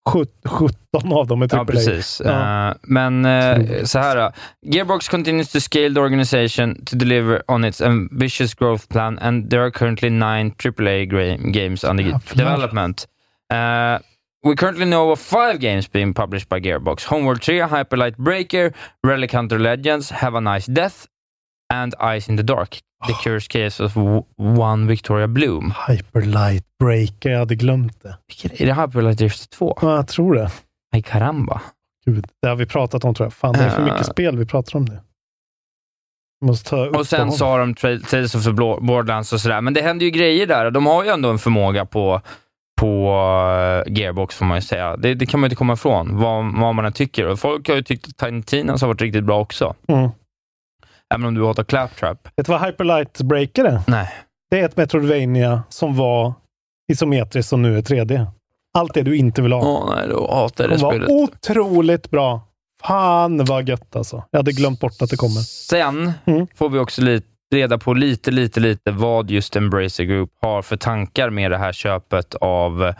Speaker 5: sjut- 17 av dem är
Speaker 4: Ja,
Speaker 5: AAA.
Speaker 4: precis.
Speaker 5: Ja.
Speaker 4: Eh, men uh,
Speaker 5: Otroligt.
Speaker 4: så här då. Gearbox continues to scale the organization to deliver on its ambitious growth plan and there are currently nine AAA gra- games under
Speaker 5: Jävlar.
Speaker 4: development. Eh, we currently know of five games being published by Gearbox. Homeworld 3, Hyperlight Breaker, Relic Hunter Legends, Have a Nice Death and Eyes in the Dark. The
Speaker 5: Ah.
Speaker 4: Curious Case of W- One Victoria Bloom.
Speaker 5: Hyperlight Breaker, jag hade glömt det.
Speaker 4: Vilken- Är det Hyperlight Drift 2?
Speaker 5: Ja, jag tror det.
Speaker 4: Ay caramba.
Speaker 5: Gud, det har vi pratat om tror jag. Fan, det är för
Speaker 4: Eh.
Speaker 5: mycket spel vi pratar om nu. Vi Måste ta upp
Speaker 4: Och sen
Speaker 5: dem.
Speaker 4: så har de Tra- Tales of the Blo- Borderlands och sådär. Men det händer ju grejer där. De har ju ändå en förmåga på, på eh, Gearbox, får man ju säga. Det, det kan man ju inte komma ifrån, vad, vad man än tycker. Och folk har ju tyckt att Titaninas har varit riktigt bra också.
Speaker 5: Mm.
Speaker 4: Även om du hatar Claptrap.
Speaker 5: Vet du vad Hyperlight Breaker är?
Speaker 4: Nej.
Speaker 5: Det är ett Metroidvania som var isometriskt som nu är 3D. Allt det du inte vill ha.
Speaker 4: Åh nej, då hatar jag det
Speaker 5: Det var
Speaker 4: spelet.
Speaker 5: otroligt bra. Fan vad gött alltså. Jag hade glömt bort att det kommer.
Speaker 4: Sen
Speaker 5: Mm.
Speaker 4: får vi också lite reda på lite, lite, lite vad just Embracer Group har för tankar med det här köpet av eh,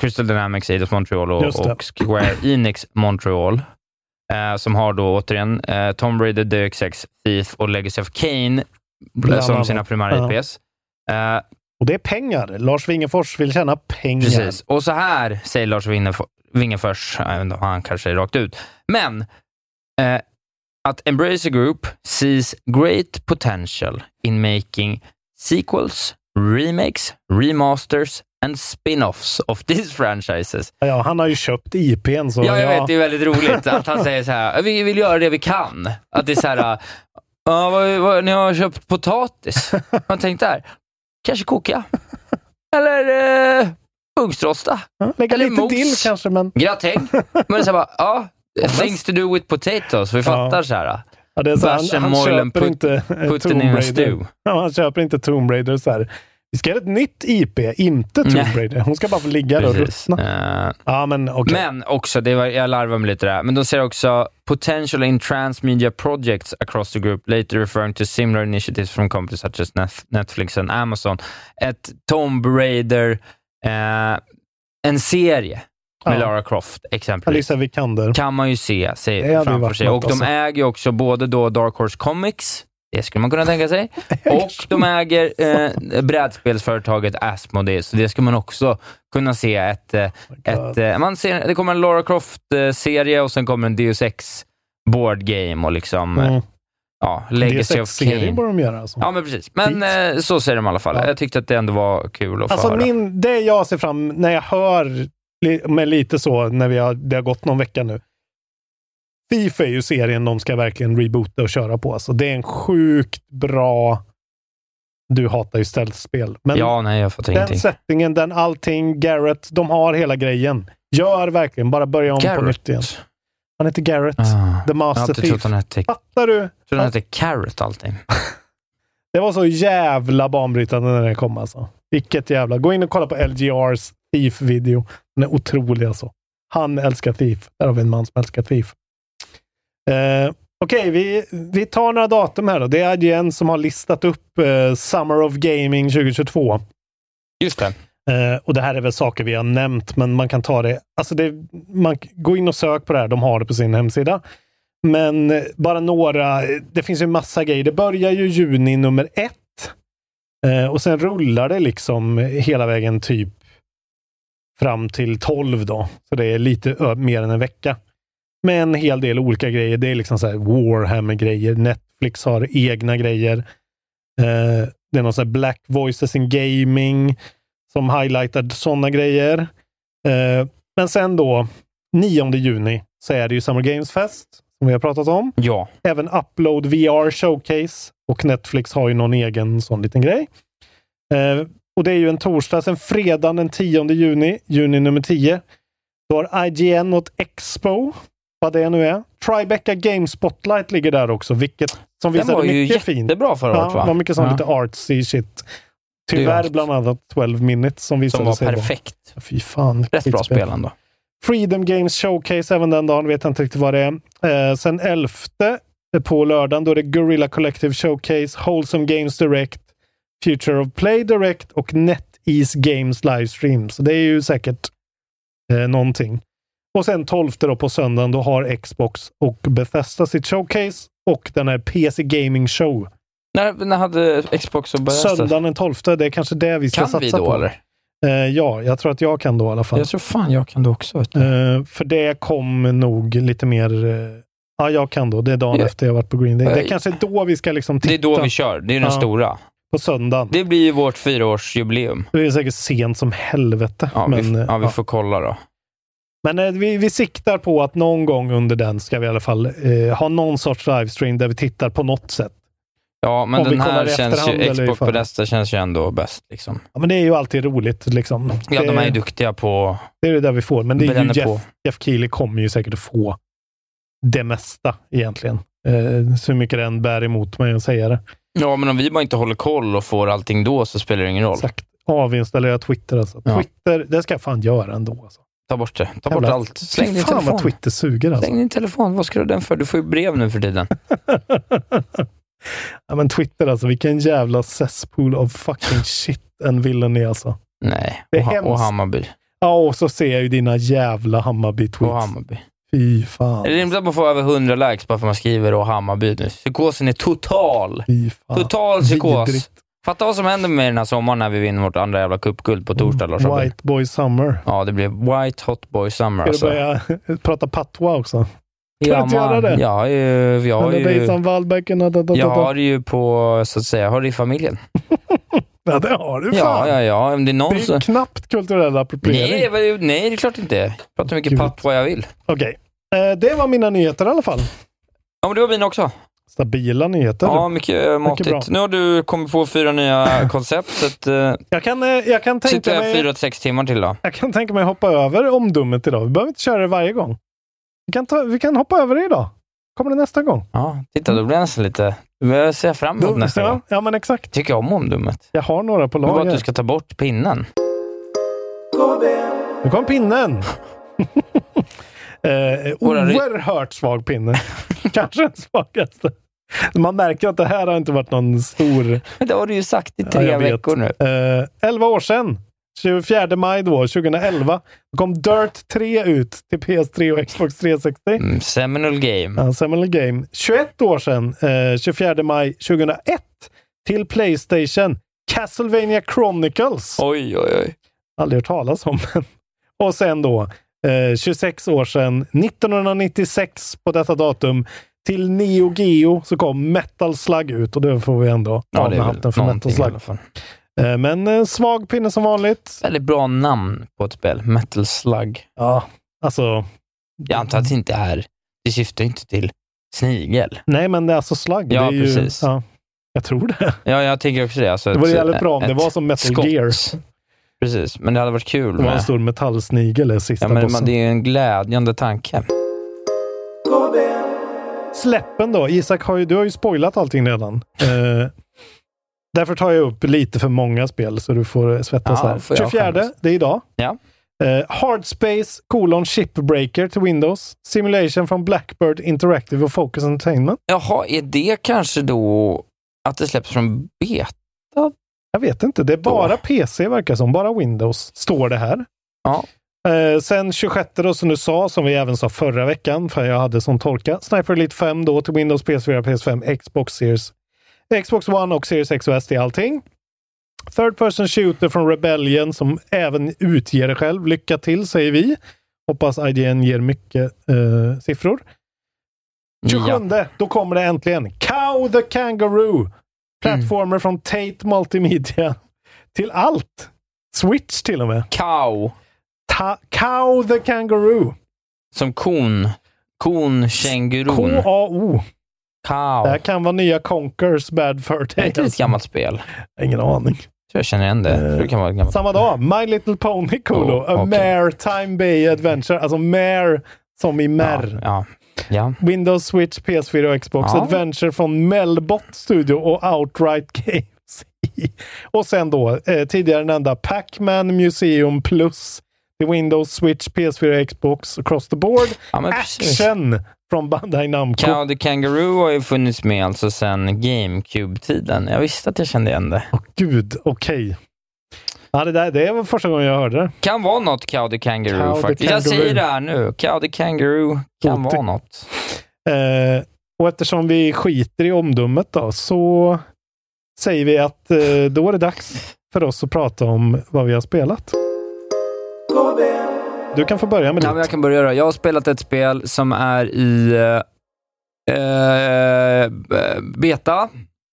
Speaker 4: Crystal Dynamics, Eidos Montreal och,
Speaker 5: Just det.
Speaker 4: och Square Enix Montreal, eh, som har då återigen eh, Tomb Raider, The XX, Thief och Legacy of Kane
Speaker 5: Bland
Speaker 4: som
Speaker 5: annat.
Speaker 4: sina primära
Speaker 5: Ja.
Speaker 4: IPs. Eh,
Speaker 5: Och det är pengar. Lars Wingefors vill tjäna pengar.
Speaker 4: Precis. Och så här säger Lars Wingefors, Wingefors jag vet inte om han kanske är rakt ut, men eh, att Embracer Group sees great potential in making sequels, remakes, remasters and spin-offs of these franchises.
Speaker 5: Ja, han har ju köpt IPn. Så
Speaker 4: Ja, jag vet, det är väldigt roligt att han säger så här, vi vill göra det vi kan. Att det är så här, ja, vad, vad, ni har köpt potatis. Man tänkte där, kanske koka. Eller eh, ugnsrosta.
Speaker 5: Lägga
Speaker 4: eller
Speaker 5: lite
Speaker 4: mos.
Speaker 5: dill kanske, men
Speaker 4: Gratäng. Men så här bara, ja, things to do with potatoes. Vi fattar så här.
Speaker 5: ja, det är så,
Speaker 4: Bärsen,
Speaker 5: han, han
Speaker 4: mollen,
Speaker 5: köper
Speaker 4: put-
Speaker 5: inte eh,
Speaker 4: Putten
Speaker 5: Tomb
Speaker 4: in a
Speaker 5: Raider.
Speaker 4: stew.
Speaker 5: Ja, han köper inte Tomb Raider så här. Vi ska göra ett nytt IP, inte Tomb
Speaker 4: Nej.
Speaker 5: Raider. Hon ska bara få ligga där och
Speaker 4: Precis.
Speaker 5: ruttna.
Speaker 4: Eh,
Speaker 5: Ja, men okej.
Speaker 4: Men också, det var, jag larvar mig lite där, men de säger också “potential in transmedia projects across the group, later referring to similar initiatives from companies such as Nef- Netflix and Amazon”. Ett Tomb Raider, eh, en serie med
Speaker 5: Ja.
Speaker 4: Lara Croft exempelvis,
Speaker 5: Alicia Vikander.
Speaker 4: kan man ju se sig
Speaker 5: Det hade ju
Speaker 4: framför
Speaker 5: varit
Speaker 4: sig.
Speaker 5: något
Speaker 4: Och de
Speaker 5: alltså.
Speaker 4: äger ju också både då Dark Horse Comics, det skulle man kunna tänka sig, och de äger eh, brädspelsföretaget Asmodee, så det ska man också kunna se ett eh, ett, eh, man ser, det kommer en Lara Croft-serie eh, och sen kommer en Deus Ex board game och liksom, eh,
Speaker 5: Mm.
Speaker 4: ja, Legacy of
Speaker 5: DSX-serien
Speaker 4: Kane.
Speaker 5: borde de göra. Alltså.
Speaker 4: Ja, men precis. Men eh, så säger de i alla fall.
Speaker 5: Ja.
Speaker 4: Jag tyckte att det ändå var kul att få
Speaker 5: Alltså
Speaker 4: höra.
Speaker 5: min, det jag ser fram när jag hör, li- men lite så, när vi har, det har gått någon vecka nu. Fifa är ju serien de ska verkligen reboota och köra på. Alltså, det är en sjukt bra... Du hatar ju ställspel. Men
Speaker 4: ja, nej, jag fattar
Speaker 5: den
Speaker 4: ingenting.
Speaker 5: settingen, den allting, Garrett, de har hela grejen. Gör verkligen, bara börja om på nytt igen.
Speaker 4: Carrot.
Speaker 5: Han heter Garrett,
Speaker 4: Ah.
Speaker 5: the
Speaker 4: Jag har
Speaker 5: master
Speaker 4: alltid trott
Speaker 5: thief.
Speaker 4: han hette, trott
Speaker 5: Fattar du?
Speaker 4: han hette Carrot allting.
Speaker 5: Det var så jävla banbrytande när den kom alltså. Vilket jävla... Gå in och kolla på LGRs Thief-video. Den är otrolig alltså. Han älskar Thief. Där har vi en man som älskar Thief. Eh, Okej, vi, vi tar några datum här då. Det är IGN som har listat upp eh, Summer of Gaming 2022.
Speaker 4: Just det.
Speaker 5: Eh, och det här är väl saker vi har nämnt, men man kan ta det... Alltså det man, gå in och sök på det här. De har det på sin hemsida. Men eh, bara några... eh, Det finns ju massa grejer. Det börjar ju juni nummer ett. Eh, och sen rullar det liksom hela vägen typ fram till 12 då. Så det är lite ö- mer än en vecka. Med en hel del olika grejer. Det är liksom så här Warhammer-grejer. Netflix har egna grejer. Eh, det är någon sån här Black Voices in Gaming som highlightar sådana grejer. Eh, men sen då, 9 juni, så är det ju Summer Games Fest, som vi har pratat om.
Speaker 4: Ja.
Speaker 5: Även Upload VR Showcase och Netflix har ju någon egen sån liten grej. Eh, och det är ju en torsdag. Sen fredagen den 10 juni, juni nummer 10, då har IGN något Expo, vad det nu är. Tribeca Game Spotlight ligger där också, vilket
Speaker 4: Den
Speaker 5: som
Speaker 4: var
Speaker 5: visade
Speaker 4: ju
Speaker 5: mycket fint.
Speaker 4: jättebra förra året,
Speaker 5: Ja,
Speaker 4: va?
Speaker 5: det var mycket sån
Speaker 4: Ja.
Speaker 5: lite artsy shit.
Speaker 4: är ju
Speaker 5: Tyvärr
Speaker 4: allt.
Speaker 5: bland annat 12 minutes som visade
Speaker 4: Som var
Speaker 5: sig då.
Speaker 4: perfekt.
Speaker 5: Fy fan.
Speaker 4: Rätt bra spel ändå.
Speaker 5: Freedom Games Showcase även den dagen. Vet jag inte riktigt vad det är. Eh, sen 11 på lördagen, då är det Gorilla Collective Showcase, Wholesome Games Direct, Future of Play Direct och NetEase Games Livestream. Så det är ju säkert eh, någonting. Och sen 12 då på söndagen, då har Xbox och Bethesda sitt showcase och den här PC Gaming Show.
Speaker 4: När, när hade Xbox och Bethesda?
Speaker 5: Söndagen den 12, det är kanske det vi ska
Speaker 4: Kan
Speaker 5: satsa
Speaker 4: vi då,
Speaker 5: på.
Speaker 4: eller?
Speaker 5: Eh, ja, jag tror att jag kan då i alla fall.
Speaker 4: Jag tror fan jag kan det också. Vet du.
Speaker 5: Eh, för det kom nog lite mer... eh, ja, jag kan då. Det är dagen
Speaker 4: Ja.
Speaker 5: efter jag varit på Green Day. Det är
Speaker 4: Eh,
Speaker 5: kanske då vi ska liksom
Speaker 4: Det
Speaker 5: titta
Speaker 4: är då vi kör. Det är den
Speaker 5: Ja.
Speaker 4: stora.
Speaker 5: på söndagen.
Speaker 4: Det blir ju vårt fyraårsjubileum.
Speaker 5: Det är säkert sent som helvete.
Speaker 4: Ja,
Speaker 5: men,
Speaker 4: vi, f-
Speaker 5: eh,
Speaker 4: ja, vi
Speaker 5: ja.
Speaker 4: får kolla då.
Speaker 5: Men eh, vi, vi siktar på att någon gång under den ska vi i alla fall eh, ha någon sorts livestream där vi tittar på något sätt.
Speaker 4: Ja, men
Speaker 5: Om vi
Speaker 4: den
Speaker 5: kollar
Speaker 4: här
Speaker 5: i
Speaker 4: känns
Speaker 5: efterhand
Speaker 4: ju,
Speaker 5: eller i
Speaker 4: Xbox på
Speaker 5: förhand.
Speaker 4: nästa känns ju ändå bäst. Liksom.
Speaker 5: Ja, men det är ju alltid roligt. Liksom.
Speaker 4: Ja,
Speaker 5: det,
Speaker 4: de är ju duktiga på...
Speaker 5: det är det där vi får. Men det är ju
Speaker 4: bränner på.
Speaker 5: Jeff, Jeff Keely kommer ju säkert få det mesta egentligen. Eh, så mycket den bär emot mig att säga det.
Speaker 4: Ja, men om vi bara inte håller koll och får allting då så spelar det ingen roll.
Speaker 5: Exakt. Avinstallera Twitter alltså.
Speaker 4: Ja.
Speaker 5: Twitter, det ska jag fan göra ändå. Alltså.
Speaker 4: Ta bort det. Ta bort
Speaker 5: Jävlar.
Speaker 4: allt. Släng
Speaker 5: Fy
Speaker 4: din
Speaker 5: fan
Speaker 4: telefon.
Speaker 5: vad Twitter suger alltså.
Speaker 4: Släng din telefon. Vad ska du ha den för? Du får ju brev nu för tiden.
Speaker 5: ja, men Twitter alltså, vilken jävla cesspool of fucking shit en villen är alltså.
Speaker 4: Nej.
Speaker 5: Det är
Speaker 4: och, ha- och
Speaker 5: hemskt.
Speaker 4: Hammarby.
Speaker 5: Ja, och så ser jag ju dina jävla
Speaker 4: Och
Speaker 5: Hammarby-tweets.
Speaker 4: Hammarby.
Speaker 5: Fy
Speaker 4: Är det
Speaker 5: fan.
Speaker 4: rimligt att man får över 100 likes bara för att man skriver och Hammarby nu? Psykosen är total.
Speaker 5: Fy fan.
Speaker 4: Total psykos.
Speaker 5: Vidrigt.
Speaker 4: Fatta vad som händer med mig den här sommaren när vi vinner vårt andra jävla cupguld på torsdag, Lars Abbe.
Speaker 5: White boy summer.
Speaker 4: Ja, det blir White Hot Boy Summer
Speaker 5: Ska du
Speaker 4: alltså.
Speaker 5: börja prata patwa också? För att göra det?
Speaker 4: Jag har ju, jag har
Speaker 5: Eller
Speaker 4: ju,
Speaker 5: Bejsan Wallbäcken. da, da, da,
Speaker 4: jag
Speaker 5: da, da.
Speaker 4: har ju på, så att säga, jag har det i familjen.
Speaker 5: Ja, det har du
Speaker 4: Ja,
Speaker 5: fan.
Speaker 4: ja, ja. Om det är någon
Speaker 5: Det är
Speaker 4: som...
Speaker 5: knappt kulturell appropriering.
Speaker 4: Nej, det var ju- nej, det är klart inte. Jag pratar mycket
Speaker 5: Gud.
Speaker 4: papp vad jag vill.
Speaker 5: Okej. Eh, det var mina nyheter i alla fall.
Speaker 4: Ja, men det var mina också.
Speaker 5: Stabila nyheter.
Speaker 4: Ja, mycket eh,
Speaker 5: bra.
Speaker 4: matigt. Nu har du kommit på fyra nya koncept, så att, eh,
Speaker 5: Jag kan, eh, jag kan tänka
Speaker 4: sitter jag
Speaker 5: mig...
Speaker 4: fyra till sex timmar till då.
Speaker 5: Jag kan tänka mig hoppa över omdummet idag. Vi behöver inte köra det varje gång. Vi kan, ta, vi kan hoppa över det idag. Kommer det nästa gång?
Speaker 4: Ja, titta, då blir jag nästan lite... Du börjar se fram emot nästa
Speaker 5: Mm. ja,
Speaker 4: gång.
Speaker 5: ja, men exakt.
Speaker 4: tycker om omdummet.
Speaker 5: Jag har några på
Speaker 4: Det är bara att
Speaker 5: lager.
Speaker 4: du ska ta bort pinnen.
Speaker 5: Nu kom pinnen! eh,
Speaker 4: Våra ry-
Speaker 5: oerhört svag pinne. Kanske den svagaste. Man märker att det här har inte varit någon stor...
Speaker 4: Men det har du ju sagt i
Speaker 5: Ja,
Speaker 4: tre
Speaker 5: jag vet.
Speaker 4: veckor nu.
Speaker 5: Eh, 11 år sedan, 24 maj då, 2011, kom Dirt 3 ut till PS3 och Xbox 360.
Speaker 4: Mm, seminal game.
Speaker 5: Ja, Seminal Game. 21 år sedan, eh, 24 maj 2001, till Playstation, Castlevania Chronicles.
Speaker 4: Oj, oj, oj.
Speaker 5: Aldrig hört talas om. men- Och sen då, eh, 26 år sedan, 1996 på detta datum, till Neo Geo så kom Metal Slug ut och det får vi ändå ta
Speaker 4: Ja, det
Speaker 5: med
Speaker 4: är
Speaker 5: hatten
Speaker 4: väl
Speaker 5: för Metal
Speaker 4: någonting i
Speaker 5: Slug.
Speaker 4: alla fall.
Speaker 5: Eh, men eh, svag pinne som vanligt.
Speaker 4: Väldigt bra namn på ett spel. Metal Slug.
Speaker 5: Ja, alltså.
Speaker 4: Jag antar att det inte är... Det syftar ju inte till snigel.
Speaker 5: Nej, men det är alltså slagg.
Speaker 4: Ja,
Speaker 5: det är ju,
Speaker 4: precis.
Speaker 5: Ja, jag tror det.
Speaker 4: Ja, jag tänker också det. Alltså
Speaker 5: Det vore
Speaker 4: ett-
Speaker 5: jävligt bra om det
Speaker 4: ett
Speaker 5: var som Metal
Speaker 4: skott.
Speaker 5: Gear.
Speaker 4: Precis, men det hade varit kul
Speaker 5: Det var en
Speaker 4: med...
Speaker 5: stor metallsnigel, är sista
Speaker 4: Ja, men
Speaker 5: bossen.
Speaker 4: man, det är ju en glädjande tanke.
Speaker 5: Släppen då. Isak, har ju, du har ju spoilat allting redan. Eh, därför tar jag upp lite för många spel, så du får eh, svettas
Speaker 4: Ja,
Speaker 5: här.
Speaker 4: får jag
Speaker 5: 24,
Speaker 4: skämmas.
Speaker 5: det är idag.
Speaker 4: Ja.
Speaker 5: Eh, Hard Space, colon Shipbreaker till Windows. Simulation från Blackbird Interactive och Focus Entertainment.
Speaker 4: Jaha, är det kanske då att det släpps från beta?
Speaker 5: Jag vet inte. Det är bara PC verkar som. Bara Windows står det här.
Speaker 4: Ja.
Speaker 5: Eh, sen 26 då, som du sa, som vi även sa förra veckan, för jag hade sån torka. Sniper Elite 5 då till Windows, PS4, PS5, Xbox Series, Xbox One och Series X och S. Det är allting. Third Person Shooter från Rebellion som även utger det själv. Lycka till säger vi. Hoppas IGN ger mycket eh, siffror. 27, då kommer det äntligen. Cow the
Speaker 4: Mm.
Speaker 5: Kangaroo! Plattformer från Tate Multimedia. Till allt! Switch till och med.
Speaker 4: Cow,
Speaker 5: Ta- Cow the Kangaroo.
Speaker 4: som kon. Kon, kängurun.
Speaker 5: K-A-O. Det här
Speaker 4: Cow.
Speaker 5: kan vara nya Conkers Bad Fur
Speaker 4: Det är inte det ett
Speaker 5: Tales.
Speaker 4: gammalt spel. Jag
Speaker 5: Ingen aning.
Speaker 4: tror jag känner igen det. Jag tror det kan vara ett gammalt.
Speaker 5: Eh, Samma dag, My Little Pony Kolo.
Speaker 4: Oh,
Speaker 5: A
Speaker 4: okej.
Speaker 5: Maritime Bay Adventure. Alltså Mare som i
Speaker 4: Ja,
Speaker 5: Mer.
Speaker 4: ja. ja.
Speaker 5: Windows, Switch, PS4 och Xbox.
Speaker 4: Ja.
Speaker 5: Adventure från Melbot Studio och Outright Games. och sen då, eh, tidigare nämnda Pac-Man Museum Plus. till Windows, Switch, PS4 och Xbox across the board.
Speaker 4: ja men precis.
Speaker 5: Action från Bandai Namco.
Speaker 4: Cow the Kangaroo har ju funnits med alltså sedan GameCube-tiden. Jag visste att jag kände igen det.
Speaker 5: Åh, Gud, okej. Ja, det, där, det var första gången jag hörde det.
Speaker 4: Kan vara något Cow the Kangaroo
Speaker 5: Cow the
Speaker 4: faktiskt. Jag
Speaker 5: Kangaroo.
Speaker 4: säger det här nu. Cow the Kangaroo kan
Speaker 5: Otäckt.
Speaker 4: vara något.
Speaker 5: Eh, och eftersom vi skiter i omdömet då, så säger vi att eh, då är det dags för oss att prata om vad vi har spelat. Du kan få börja med
Speaker 4: Ja, men
Speaker 5: ditt.
Speaker 4: jag kan börja då. Jag har spelat ett spel som är i eh, eh, beta,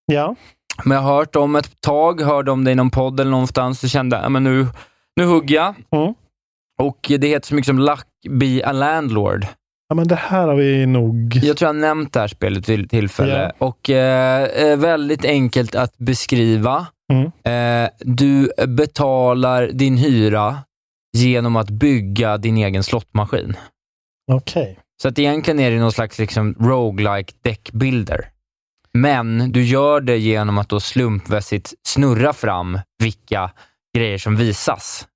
Speaker 5: Ja,
Speaker 4: men jag har hört om ett tag, hörde om det i någon podd eller någonstans och kände att nu, nu hugger jag.
Speaker 5: Mm.
Speaker 4: Och det heter så mycket som Luck Be A Landlord.
Speaker 5: ja men det här har vi nog...
Speaker 4: Jag tror jag har nämnt det här spelet till tillfälle. Och eh, eh, väldigt enkelt att beskriva.
Speaker 5: Mm.
Speaker 4: Eh, du betalar din hyra genom att bygga din egen slottmaskin.
Speaker 5: Okej.
Speaker 4: Så att egentligen är det någon slags liksom roguelike deckbilder. Men du gör det genom att då slumpmässigt snurra fram vilka grejer som visas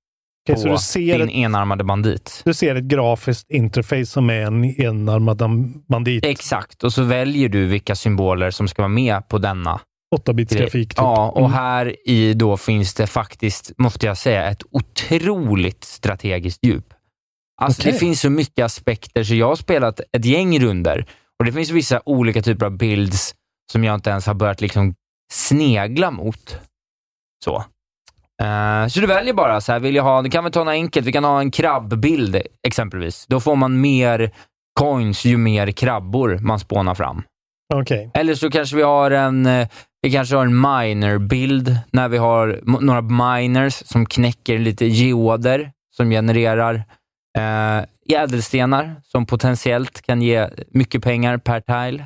Speaker 5: Okej, så
Speaker 4: på
Speaker 5: du ser,
Speaker 4: din
Speaker 5: ett,
Speaker 4: enarmade bandit.
Speaker 5: du ser ett grafiskt interface som är en enarmad bandit.
Speaker 4: Exakt, och så väljer du vilka symboler som ska vara med på denna.
Speaker 5: 8-bits grafik. Typ.
Speaker 4: Ja, och
Speaker 5: Mm.
Speaker 4: här i då finns det faktiskt, måste jag säga, ett otroligt strategiskt djup. Alltså
Speaker 5: Okej.
Speaker 4: Det finns så mycket aspekter, så jag har spelat ett gäng runder och det finns vissa olika typer av builds som jag inte ens har börjat liksom snegla mot. Så. Eh, så du väljer bara, så här, vill jag ha, det kan vi ta något enkelt, vi kan ha en krabbbild exempelvis. Då får man mer coins ju mer krabbor man spånar fram.
Speaker 5: Okej.
Speaker 4: Eller så kanske vi har en, eh, vi kanske har en miner-bild när vi har m- några miners som knäcker lite geoder som genererar eh, ädelstenar som potentiellt kan ge mycket pengar per tile.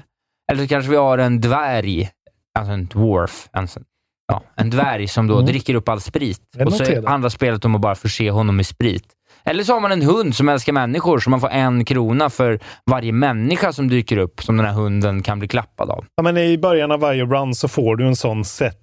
Speaker 4: Eller så kanske vi har en dvärg, alltså en dwarf, en, sån- ja, en dvärg som då
Speaker 5: Mm.
Speaker 4: dricker upp all sprit.
Speaker 5: Det
Speaker 4: Och så
Speaker 5: noterar jag.
Speaker 4: handlar spelet om att bara förse honom med sprit. Eller så har man en hund som älskar människor, så man får en krona för varje människa som dyker upp, som den här hunden kan bli klappad av.
Speaker 5: Ja, men I början av varje run så får du en sån set.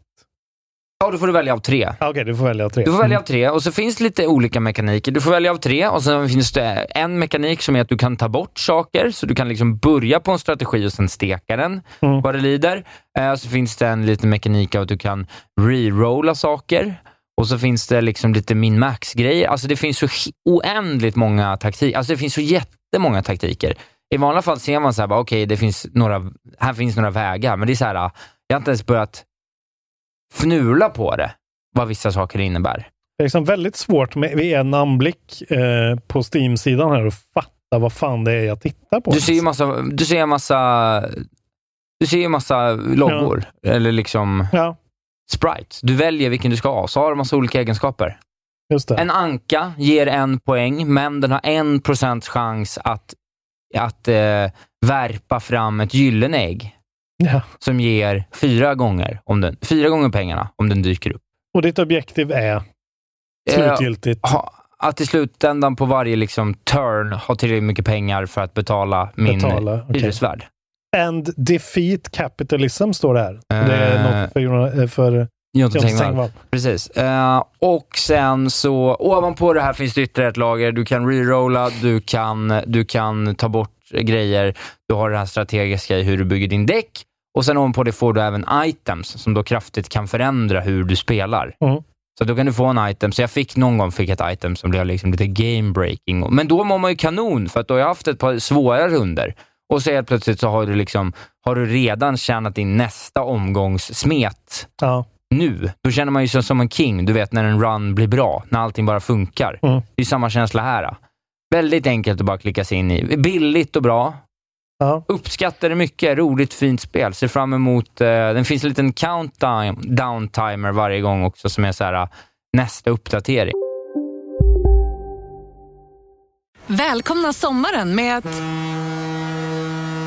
Speaker 4: Ja, då får du välja av tre.
Speaker 5: Ah, Okej, du får välja tre. Mm.
Speaker 4: Du får välja av tre och så finns lite olika mekaniker. Du får välja av tre och sen finns det en mekanik som är att du kan ta bort saker, så du kan liksom börja på en strategi och sen steka den
Speaker 5: Mm.
Speaker 4: vad det lider. Eh, så finns det en liten mekanik av att du kan rerolla saker och så finns det liksom lite min max-grejer. Alltså det finns så hi- oändligt många taktiker. Alltså det finns så jättemånga taktiker. I vanliga fall ser man så här, bara, okej, det finns några, här finns några vägar, men det är så här, ah, jag har inte ens börjat fnula på det, vad vissa saker innebär.
Speaker 5: Det är liksom väldigt svårt med, vid en anblick eh, på Steam-sidan här att fatta vad fan det är jag tittar på.
Speaker 4: Du ser ju massa, du ser massa, du ser ju massa loggor, eller liksom
Speaker 5: Ja,
Speaker 4: sprites. Du väljer vilken du ska ha, så har du massa olika egenskaper.
Speaker 5: just det.
Speaker 4: En anka ger en poäng, men den har en procents chans att, att eh, värpa fram ett gyllene ägg
Speaker 5: Ja.
Speaker 4: som ger fyra gånger, om den, fyra gånger pengarna om den dyker upp.
Speaker 5: Och ditt objektiv är slutgiltigt.
Speaker 4: Eh, ha, att i slutändan på varje liksom, turn ha tillräckligt mycket pengar för att betala min
Speaker 5: Betala, okej.
Speaker 4: hyresvärd.
Speaker 5: And defeat capitalism står det här. Det är
Speaker 4: Eh.
Speaker 5: något för, Jona- eh, för
Speaker 4: Jonte
Speaker 5: Jonte
Speaker 4: Tengvall.
Speaker 5: Tengvall.
Speaker 4: Precis. Eh, och sen så, ovanpå det här finns det ytterligare ett lager. Du kan rerolla, du kan, du kan ta bort grejer. Du har det här strategiska i hur du bygger din däck. Och sen ovanpå det får du även items som då kraftigt kan förändra hur du spelar.
Speaker 5: Mm.
Speaker 4: Så då kan du få en item. Så jag fick någon gång fick ett item som blev liksom lite game breaking. Men då mår man ju kanon, för att då har jag haft ett par svåra runder. Och så helt plötsligt så har du, liksom, har du redan tjänat in nästa omgångs smet
Speaker 5: Ja.
Speaker 4: nu, då känner man ju sig som en king. Du vet när en run blir bra, när allting bara funkar.
Speaker 5: Mm.
Speaker 4: Det är samma känsla här. Väldigt enkelt att bara klicka sig in i. Billigt och bra.
Speaker 5: Ja.
Speaker 4: Uppskattar det mycket. Roligt, fint spel. Ser fram emot... Eh, den finns en liten countdown down timer varje gång också som är så här eh, nästa uppdatering.
Speaker 6: Välkomna sommaren med att...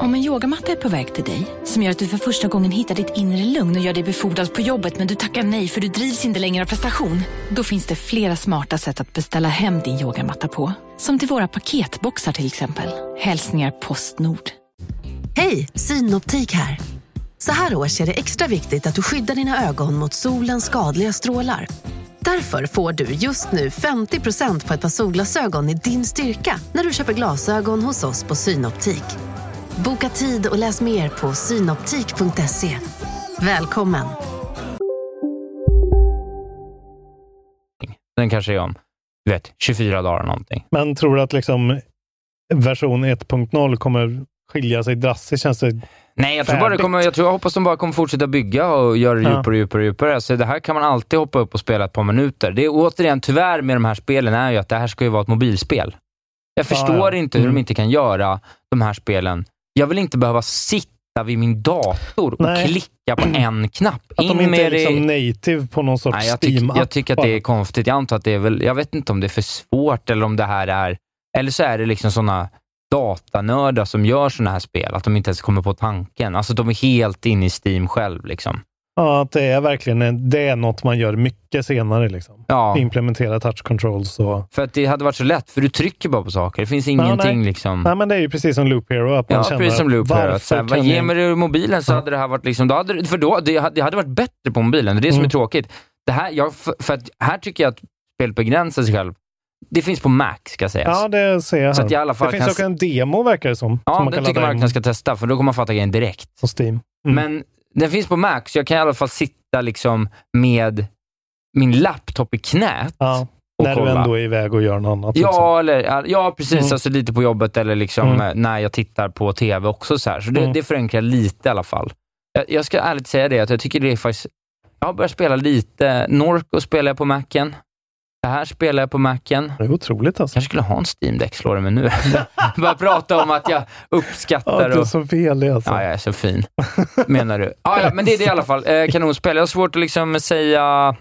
Speaker 7: Om en yogamatta är på väg till dig, som gör att du för första gången hittar ditt inre lugn och gör dig befordrad på jobbet men du tackar nej för du drivs inte längre av prestation. Då finns det flera smarta sätt att beställa hem din yogamatta på. Som till våra paketboxar till exempel. Hälsningar Postnord.
Speaker 8: Hej, Synoptik här. Så här års är det extra viktigt att du skyddar dina ögon mot solens skadliga strålar. Därför får du just nu 50% på ett par solglasögon i din styrka när du köper glasögon hos oss på Synoptik. Boka tid och läs mer på synoptik.se. Välkommen!
Speaker 4: Den kanske är om du vet, 24 dagar eller någonting.
Speaker 5: Men tror du att liksom version 1.0 kommer skilja sig drastiskt? Känns det...
Speaker 4: Nej, jag tror bara det
Speaker 5: Färdigt.
Speaker 4: kommer, jag, tror, jag hoppas de bara kommer fortsätta bygga och göra det
Speaker 5: Ja.
Speaker 4: djupare och djupare, och djupare. Så det här kan man alltid hoppa upp och spela ett par minuter. Det är återigen, tyvärr med de här spelen är ju att det här ska ju vara ett mobilspel. Jag
Speaker 5: Ja,
Speaker 4: förstår
Speaker 5: ja.
Speaker 4: inte hur
Speaker 5: Mm.
Speaker 4: de inte kan göra de här spelen. Jag vill inte behöva sitta vid min dator och
Speaker 5: Nej.
Speaker 4: klicka på en knapp.
Speaker 5: Att de inte är liksom native på någon sorts
Speaker 4: Nej, jag, tyck,
Speaker 5: Steam-app?
Speaker 4: jag tycker att det är
Speaker 5: bara.
Speaker 4: konstigt. Jag antar att det är väl, jag vet inte om det är för svårt eller om det här är, eller så är det liksom sådana datanördar som gör sådana här spel, att de inte ens kommer på tanken. Alltså de är helt inne i Steam själv. Liksom.
Speaker 5: Ja, att det är verkligen en, det är något man gör mycket senare. Liksom.
Speaker 4: Ja,
Speaker 5: Implementera touch controls och...
Speaker 4: för att det hade varit så lätt, för du trycker bara på saker. Det finns ingenting
Speaker 5: nej.
Speaker 4: liksom.
Speaker 5: Nej, men det är ju precis som Loop Hero. Att man
Speaker 4: Ja,
Speaker 5: känner
Speaker 4: precis som Loop här. att så här,
Speaker 5: varför
Speaker 4: vad
Speaker 5: kan
Speaker 4: Ge
Speaker 5: jag-
Speaker 4: mig det ur mobilen så
Speaker 5: Ja.
Speaker 4: hade det här varit liksom, då hade, det- för då, det, hade- det hade varit bättre på mobilen. Det är det som
Speaker 5: Mm.
Speaker 4: är tråkigt. Det här, jag, för, för att, här tycker jag att spelet begränsar sig själv. Det finns på Mac, ska sägas.
Speaker 5: Ja, det ser jag här.
Speaker 4: Så att jag i alla fall
Speaker 5: det
Speaker 4: kan
Speaker 5: finns också en demo, verkar det som.
Speaker 4: Ja,
Speaker 5: som
Speaker 4: den tycker jag verkligen ska testa, för då kommer man fatta grejen direkt.
Speaker 5: på Steam. Mm.
Speaker 4: Men den finns på Mac, så jag kan i alla fall sitta liksom med min laptop i knät
Speaker 5: Ja.
Speaker 4: och
Speaker 5: när
Speaker 4: kolla.
Speaker 5: du ändå är iväg och gör något annat. liksom.
Speaker 4: Ja, eller, ja precis.
Speaker 5: Mm.
Speaker 4: Alltså lite på jobbet eller liksom
Speaker 5: Mm.
Speaker 4: eh, när jag tittar på TV också. Så, här. så det,
Speaker 5: Mm.
Speaker 4: det förenklar lite i alla fall. Jag, jag ska ärligt säga det, att jag tycker det är faktiskt... Jag har börjat spela lite. Norco spelar jag på Macen. Det här spelar jag på Macen.
Speaker 5: Det är otroligt alltså.
Speaker 4: kanske skulle ha en Steam Deck, slår det mig nu. Bara prata om att jag
Speaker 5: Ja,
Speaker 4: uppskattar
Speaker 5: du är
Speaker 4: och...
Speaker 5: så velig alltså.
Speaker 4: Ja, jag är så fin, menar du. Ja, ja, men det är det i alla fall. Eh, kanonspel. Jag har svårt att liksom säga...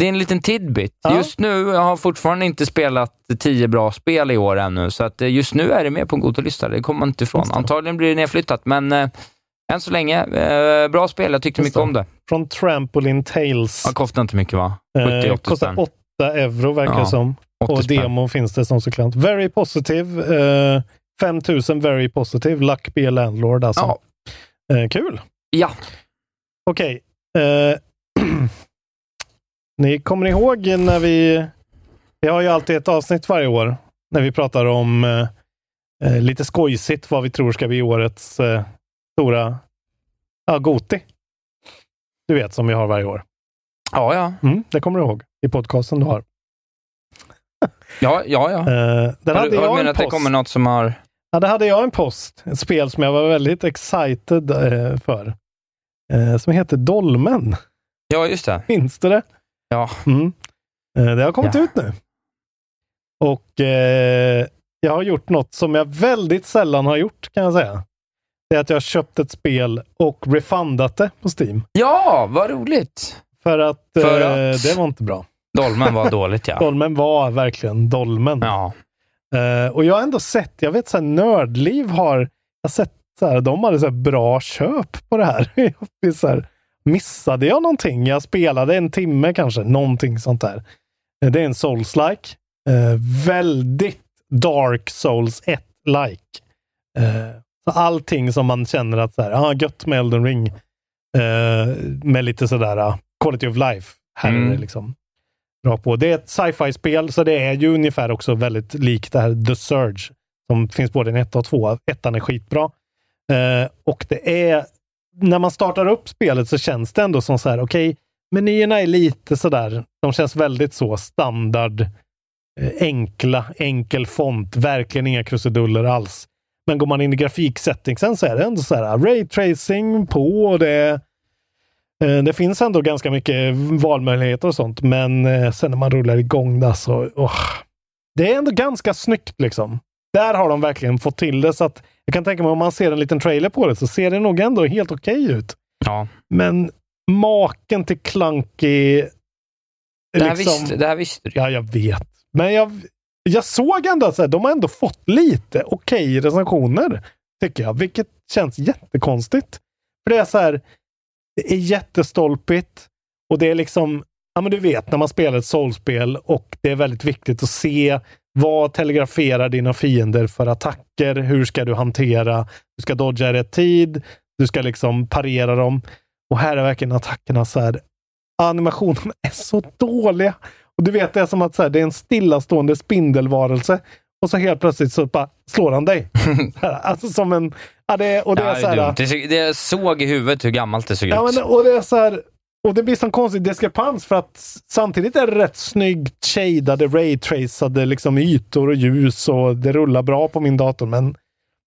Speaker 4: Det är en liten tidbit.
Speaker 5: Ja.
Speaker 4: Just nu, jag har fortfarande inte spelat tio bra spel i år ännu, så att eh, just nu är det med på en Gotelista. Det kommer man inte ifrån.
Speaker 5: Just det.
Speaker 4: Antagligen blir det nedflyttat, men eh, än så länge, eh, bra spel. Jag tyckte
Speaker 5: Just
Speaker 4: mycket
Speaker 5: det.
Speaker 4: om det.
Speaker 5: Från Trampoline Tales.
Speaker 4: Ja, kostar inte mycket va?
Speaker 5: Eh,
Speaker 4: 70-80
Speaker 5: kostar
Speaker 4: spänn.
Speaker 5: 8 euro verkar
Speaker 4: Ja,
Speaker 5: det som.
Speaker 4: 80
Speaker 5: Och
Speaker 4: spänn.
Speaker 5: demon finns det som såklart. Very positive. Eh, 5000 very positive. Luck be a landlord alltså.
Speaker 4: Ja.
Speaker 5: Eh, kul.
Speaker 4: Ja.
Speaker 5: Okej. Eh, ni kommer ihåg när vi... Vi har ju alltid ett avsnitt varje år när vi pratar om eh, eh, lite skojsigt vad vi tror ska bli årets eh, stora... Ja, Goti. Du vet, som vi har varje år.
Speaker 4: Ja, ja.
Speaker 5: Mm, det kommer du ihåg i podcasten du har.
Speaker 4: Ja, ja, ja.
Speaker 5: Eh,
Speaker 4: Har
Speaker 5: där hade
Speaker 4: du, har du
Speaker 5: jag
Speaker 4: menat
Speaker 5: en
Speaker 4: att det
Speaker 5: post.
Speaker 4: kommer något som har...
Speaker 5: Ja, där hade jag en post. Ett spel som jag var väldigt excited eh, för. Eh, som heter Dolmen.
Speaker 4: Ja, just det.
Speaker 5: Minns du det?
Speaker 4: Ja.
Speaker 5: Mm. Eh, det har kommit
Speaker 4: Ja.
Speaker 5: ut nu. Och eh, jag har gjort något som jag väldigt sällan har gjort, kan jag säga. Det är att jag har köpt ett spel och refundat det på Steam.
Speaker 4: Ja, vad roligt!
Speaker 5: För att,
Speaker 4: För
Speaker 5: eh,
Speaker 4: att-
Speaker 5: det var inte bra.
Speaker 4: Dolmen var dåligt, ja.
Speaker 5: Dolmen var verkligen Dolmen.
Speaker 4: Ja.
Speaker 5: Eh, och jag har ändå sett, jag vet så här, Nördliv har, jag har sett så här, de hade så här bra köp på det här. Jag blir så här, missade jag någonting? Jag spelade en timme kanske, någonting sånt där. Eh, det är en Souls-like. Eh, väldigt Dark Souls 1-like. Eh, så allting som man känner att, så här, ah, gött med Elden Ring. Eh, med lite sådär, ah, quality of life. Här är det
Speaker 4: Mm.
Speaker 5: liksom bra på. Det är ett sci-fi-spel, så det är ju ungefär också väldigt likt det här The Surge, som finns både i en etta och tvåa. Ettan är skitbra. Eh, och det är... När man startar upp spelet så känns det ändå som så här, okej, menyerna är lite sådär, de känns väldigt så standard, eh, enkla, enkel font, verkligen inga krusiduller alls. Men går man in i grafiksettingsen så är det ändå så här, ray tracing på och det är Eh, Det finns ändå ganska mycket valmöjligheter och sånt, men eh, sen när man rullar igång det så... åh. det är ändå ganska snyggt liksom. Där har de verkligen fått till det, så att jag kan tänka mig om man ser en liten trailer på det så ser det nog ändå helt okej ut.
Speaker 4: Ja,
Speaker 5: Men maken till clunky...
Speaker 4: det här,
Speaker 5: liksom-
Speaker 4: visste, det här visste du.
Speaker 5: Ja, jag vet. Men jag, jag såg ändå att så här, de har ändå fått lite okej recensioner, tycker jag. Vilket känns jättekonstigt. För det är så här, det är jättestolpigt och det är liksom, ja men du vet när man spelar ett soulspel och det är väldigt viktigt att se vad telegraferar dina fiender för attacker? Hur ska du hantera? Du ska dodga i rätt tid. Du ska liksom parera dem. Och här är verkligen attackerna så här. Animationerna är så dåliga. Och du vet, det är som att så här, det är en stillastående spindelvarelse och så helt plötsligt så bara slår han dig. Så här, alltså som en... Ja, det, är- och det
Speaker 4: Det,
Speaker 5: är så här,
Speaker 4: dumt. det, så- det jag såg i huvudet hur gammalt det såg
Speaker 5: Ja,
Speaker 4: ut.
Speaker 5: men, och det är så här, och det blir sån konstig diskrepans för att s- samtidigt är det rätt snyggt shadade, raytracade liksom ytor och ljus och det rullar bra på min dator. Men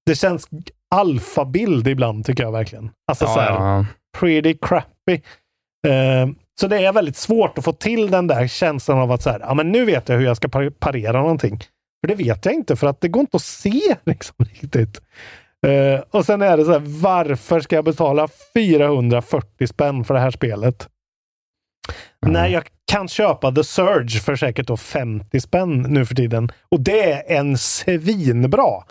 Speaker 5: det känns g- alfabild ibland tycker jag verkligen. Alltså så
Speaker 4: ja,
Speaker 5: här,
Speaker 4: ja.
Speaker 5: pretty crappy. Eh, så det är väldigt svårt att få till den där känslan av att så här, ja men nu vet jag hur jag ska par- parera någonting. För det vet jag inte, för att det går inte att se liksom, riktigt. Eh, och sen är det så här, varför ska jag betala 440 spänn för det här spelet? När jag kan köpa The Surge för säkert då 50 spänn nu för tiden. Och det är en svinbra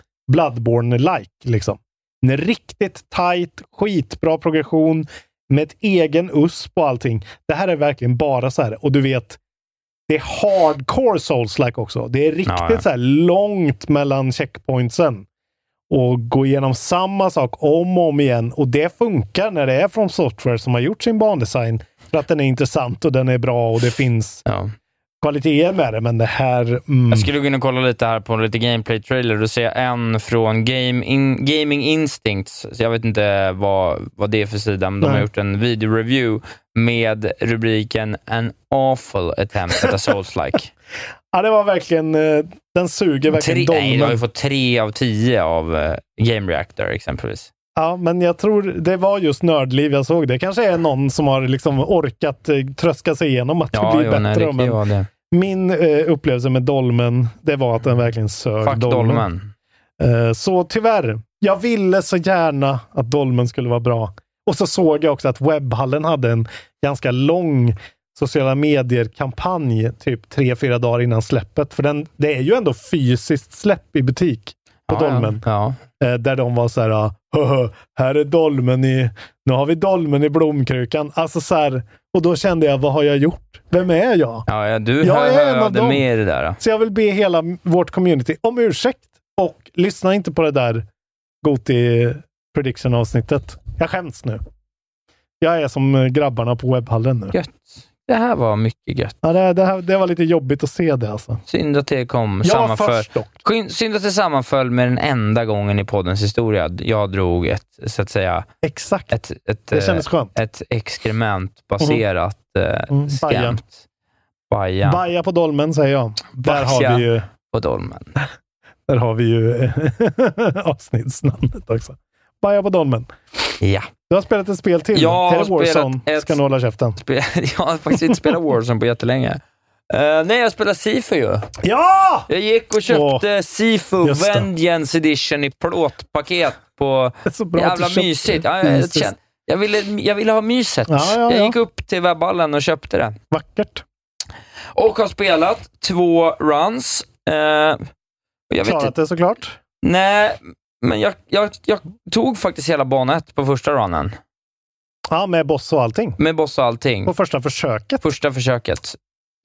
Speaker 5: Bloodborne-like. Liksom. En riktigt tight, skitbra progression med ett egen USP och allting. Det här är verkligen bara så här, och du vet, det är hardcore souls-like också. Det är riktigt
Speaker 4: Ja, ja.
Speaker 5: så här långt mellan checkpointsen och gå igenom samma sak om och om igen. Och det funkar när det är från Software som har gjort sin bandesign. För att den är intressant och den är bra och det finns
Speaker 4: Ja.
Speaker 5: kvaliteter med det, men det här... Mm.
Speaker 4: Jag skulle gå in och kolla lite här på lite gameplay-trailer. Då ser jag en från Game in, Gaming Instincts. Så jag vet inte vad, vad det är för sida, men de har
Speaker 5: Nej.
Speaker 4: gjort en video-review med rubriken “An awful attempt at a Souls-like”.
Speaker 5: Ja, det var verkligen... eh, Den suger verkligen
Speaker 4: Tre- Nej,
Speaker 5: dolmen.
Speaker 4: de har ju fått tre av tio av eh, Game Reactor exempelvis.
Speaker 5: Ja, men jag tror det var just nördliv jag såg. Det kanske är någon som har liksom orkat eh, tröska sig igenom att det
Speaker 4: Ja,
Speaker 5: blir
Speaker 4: jo,
Speaker 5: bättre.
Speaker 4: nej, det kan ju
Speaker 5: men
Speaker 4: vara det.
Speaker 5: Min eh, upplevelse med Dolmen, det var att den verkligen sög
Speaker 4: Fuck
Speaker 5: dolmen.
Speaker 4: Dolmen.
Speaker 5: Eh, så tyvärr, jag ville så gärna att Dolmen skulle vara bra. Och så såg jag också att Webbhallen hade en ganska lång sociala medier-kampanj, typ tre, fyra dagar innan släppet. För den, det är ju ändå fysiskt släpp i butik på
Speaker 4: Ja, ja.
Speaker 5: Dolmen.
Speaker 4: Ja.
Speaker 5: Eh, där de var så här, ah, "Haha, här är dolmen i, nu har vi dolmen i blomkrukan. Alltså så här, och då kände jag, vad har jag gjort? Vem är jag?
Speaker 4: Ja, ja, du
Speaker 5: Jag
Speaker 4: hör,
Speaker 5: är
Speaker 4: hör
Speaker 5: en av
Speaker 4: av dig
Speaker 5: dem.
Speaker 4: med i det där. då.
Speaker 5: Så jag vill be hela vårt community om ursäkt och lyssna inte på det där Goti prediction avsnittet. Jag skäms nu. Jag är som eh, grabbarna på webbhallen nu.
Speaker 4: Gött. Det här var mycket gött.
Speaker 5: Ja, det, det, här, det var lite jobbigt att se det alltså.
Speaker 4: Synd att det kom
Speaker 5: Jag
Speaker 4: sammanföll.
Speaker 5: först dock.
Speaker 4: Skyn- Synd att det sammanföll med den enda gången i poddens historia jag drog ett, så att säga,
Speaker 5: Exakt.
Speaker 4: ett, ett,
Speaker 5: Det kändes
Speaker 4: eh,
Speaker 5: skönt.
Speaker 4: ett exkrementbaserat mm.
Speaker 5: Mm, baja.
Speaker 4: skämt. Baja
Speaker 5: Baja på dolmen säger jag. Där
Speaker 4: Baja.
Speaker 5: har vi ju
Speaker 4: på dolmen.
Speaker 5: Där har vi ju eh, avsnittsnamnet också. Baja på dolmen.
Speaker 4: Ja.
Speaker 5: Du har spelat ett spel till.
Speaker 4: Jag har
Speaker 5: är det Warzone?
Speaker 4: spelat ett-
Speaker 5: Ska du hålla käften?
Speaker 4: Spe- Jag har faktiskt inte spelat Warzone på jättelänge. Eh, nej, jag spelar Sifu ju.
Speaker 5: Ja!
Speaker 4: Jag gick och köpte Sifu
Speaker 5: just det.
Speaker 4: Vengeance Edition i plåtpaket på
Speaker 5: Det är så bra att du
Speaker 4: Jävla
Speaker 5: köpte.
Speaker 4: mysigt. Ja, jag, jag,
Speaker 5: Jesus.
Speaker 4: kände- jag, ville, jag ville ha myset.
Speaker 5: Ja, ja, ja.
Speaker 4: Jag gick upp till webbhallen och köpte det.
Speaker 5: Vackert.
Speaker 4: Och har spelat två runs. Eh, och jag vet
Speaker 5: Klarat
Speaker 4: inte,
Speaker 5: det såklart.
Speaker 4: nej, men jag, jag, jag tog faktiskt hela bana ett på första runnen.
Speaker 5: Ja, med boss och allting.
Speaker 4: Med boss och allting.
Speaker 5: På första försöket.
Speaker 4: Första försöket.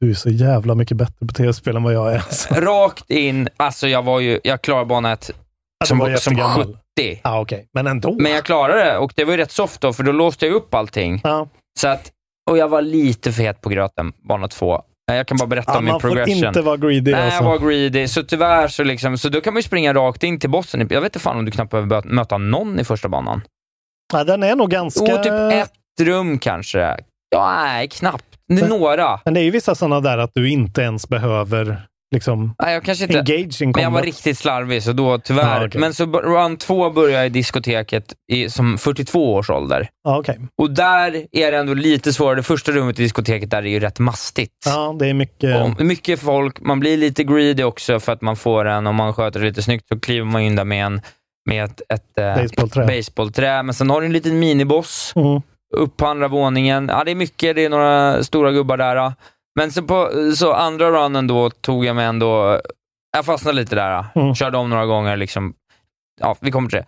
Speaker 5: Du är så jävla mycket bättre på tv-spel än vad jag är. Alltså.
Speaker 4: Rakt in. Alltså jag var ju, jag klarade bana ett
Speaker 5: Ja, du var
Speaker 4: som, som
Speaker 5: jättegammal.
Speaker 4: 70.
Speaker 5: Ja, okej. Men ändå.
Speaker 4: Men jag klarade det och det var ju rätt soft då, för då låste jag upp allting.
Speaker 5: Ja.
Speaker 4: Så att, och jag var lite för het på gröten, bana två. Eh, Jag kan bara berätta
Speaker 5: Ja,
Speaker 4: om min
Speaker 5: Ah, man får
Speaker 4: progression.
Speaker 5: inte vara greedy
Speaker 4: Nej,
Speaker 5: alltså.
Speaker 4: jag var greedy, så tyvärr så liksom, så då kan man ju springa rakt in till bossen. Jag vet inte fan om du knappt behöver bö- möta någon i första banan.
Speaker 5: Ja, den är nog ganska...
Speaker 4: Jo, typ ett rum kanske. Ja, nej, knappt. N-
Speaker 5: Men-
Speaker 4: Några.
Speaker 5: Men det är ju vissa sådana där att du inte ens behöver liksom
Speaker 4: Nej, jag kanske inte...
Speaker 5: engage in
Speaker 4: Men jag var
Speaker 5: combat.
Speaker 4: riktigt slarvig, så då tyvärr.
Speaker 5: Ja, Ah, okej.
Speaker 4: Men så b- run två började jag i diskoteket i, som 42 års ålder.
Speaker 5: Ja, okej.
Speaker 4: Och där är det ändå lite svårare. Det första rummet i diskoteket där är ju rätt mastigt.
Speaker 5: Ja, det är mycket...
Speaker 4: Om- Mycket folk, man blir lite greedy också för att man får en, om man sköter det lite snyggt, så kliver man in där med, en, med ett, ett eh,
Speaker 5: Baseballträ.
Speaker 4: baseballträ. Men sen har du en liten miniboss
Speaker 5: Mm.
Speaker 4: upp på andra våningen. Ja, det är mycket, det är några stora gubbar där. ja. Men så, på, så andra runnen då tog jag mig ändå, jag fastnade lite där. ja.
Speaker 5: Mm.
Speaker 4: Körde om några gånger. Liksom. Ja, vi kommer till det.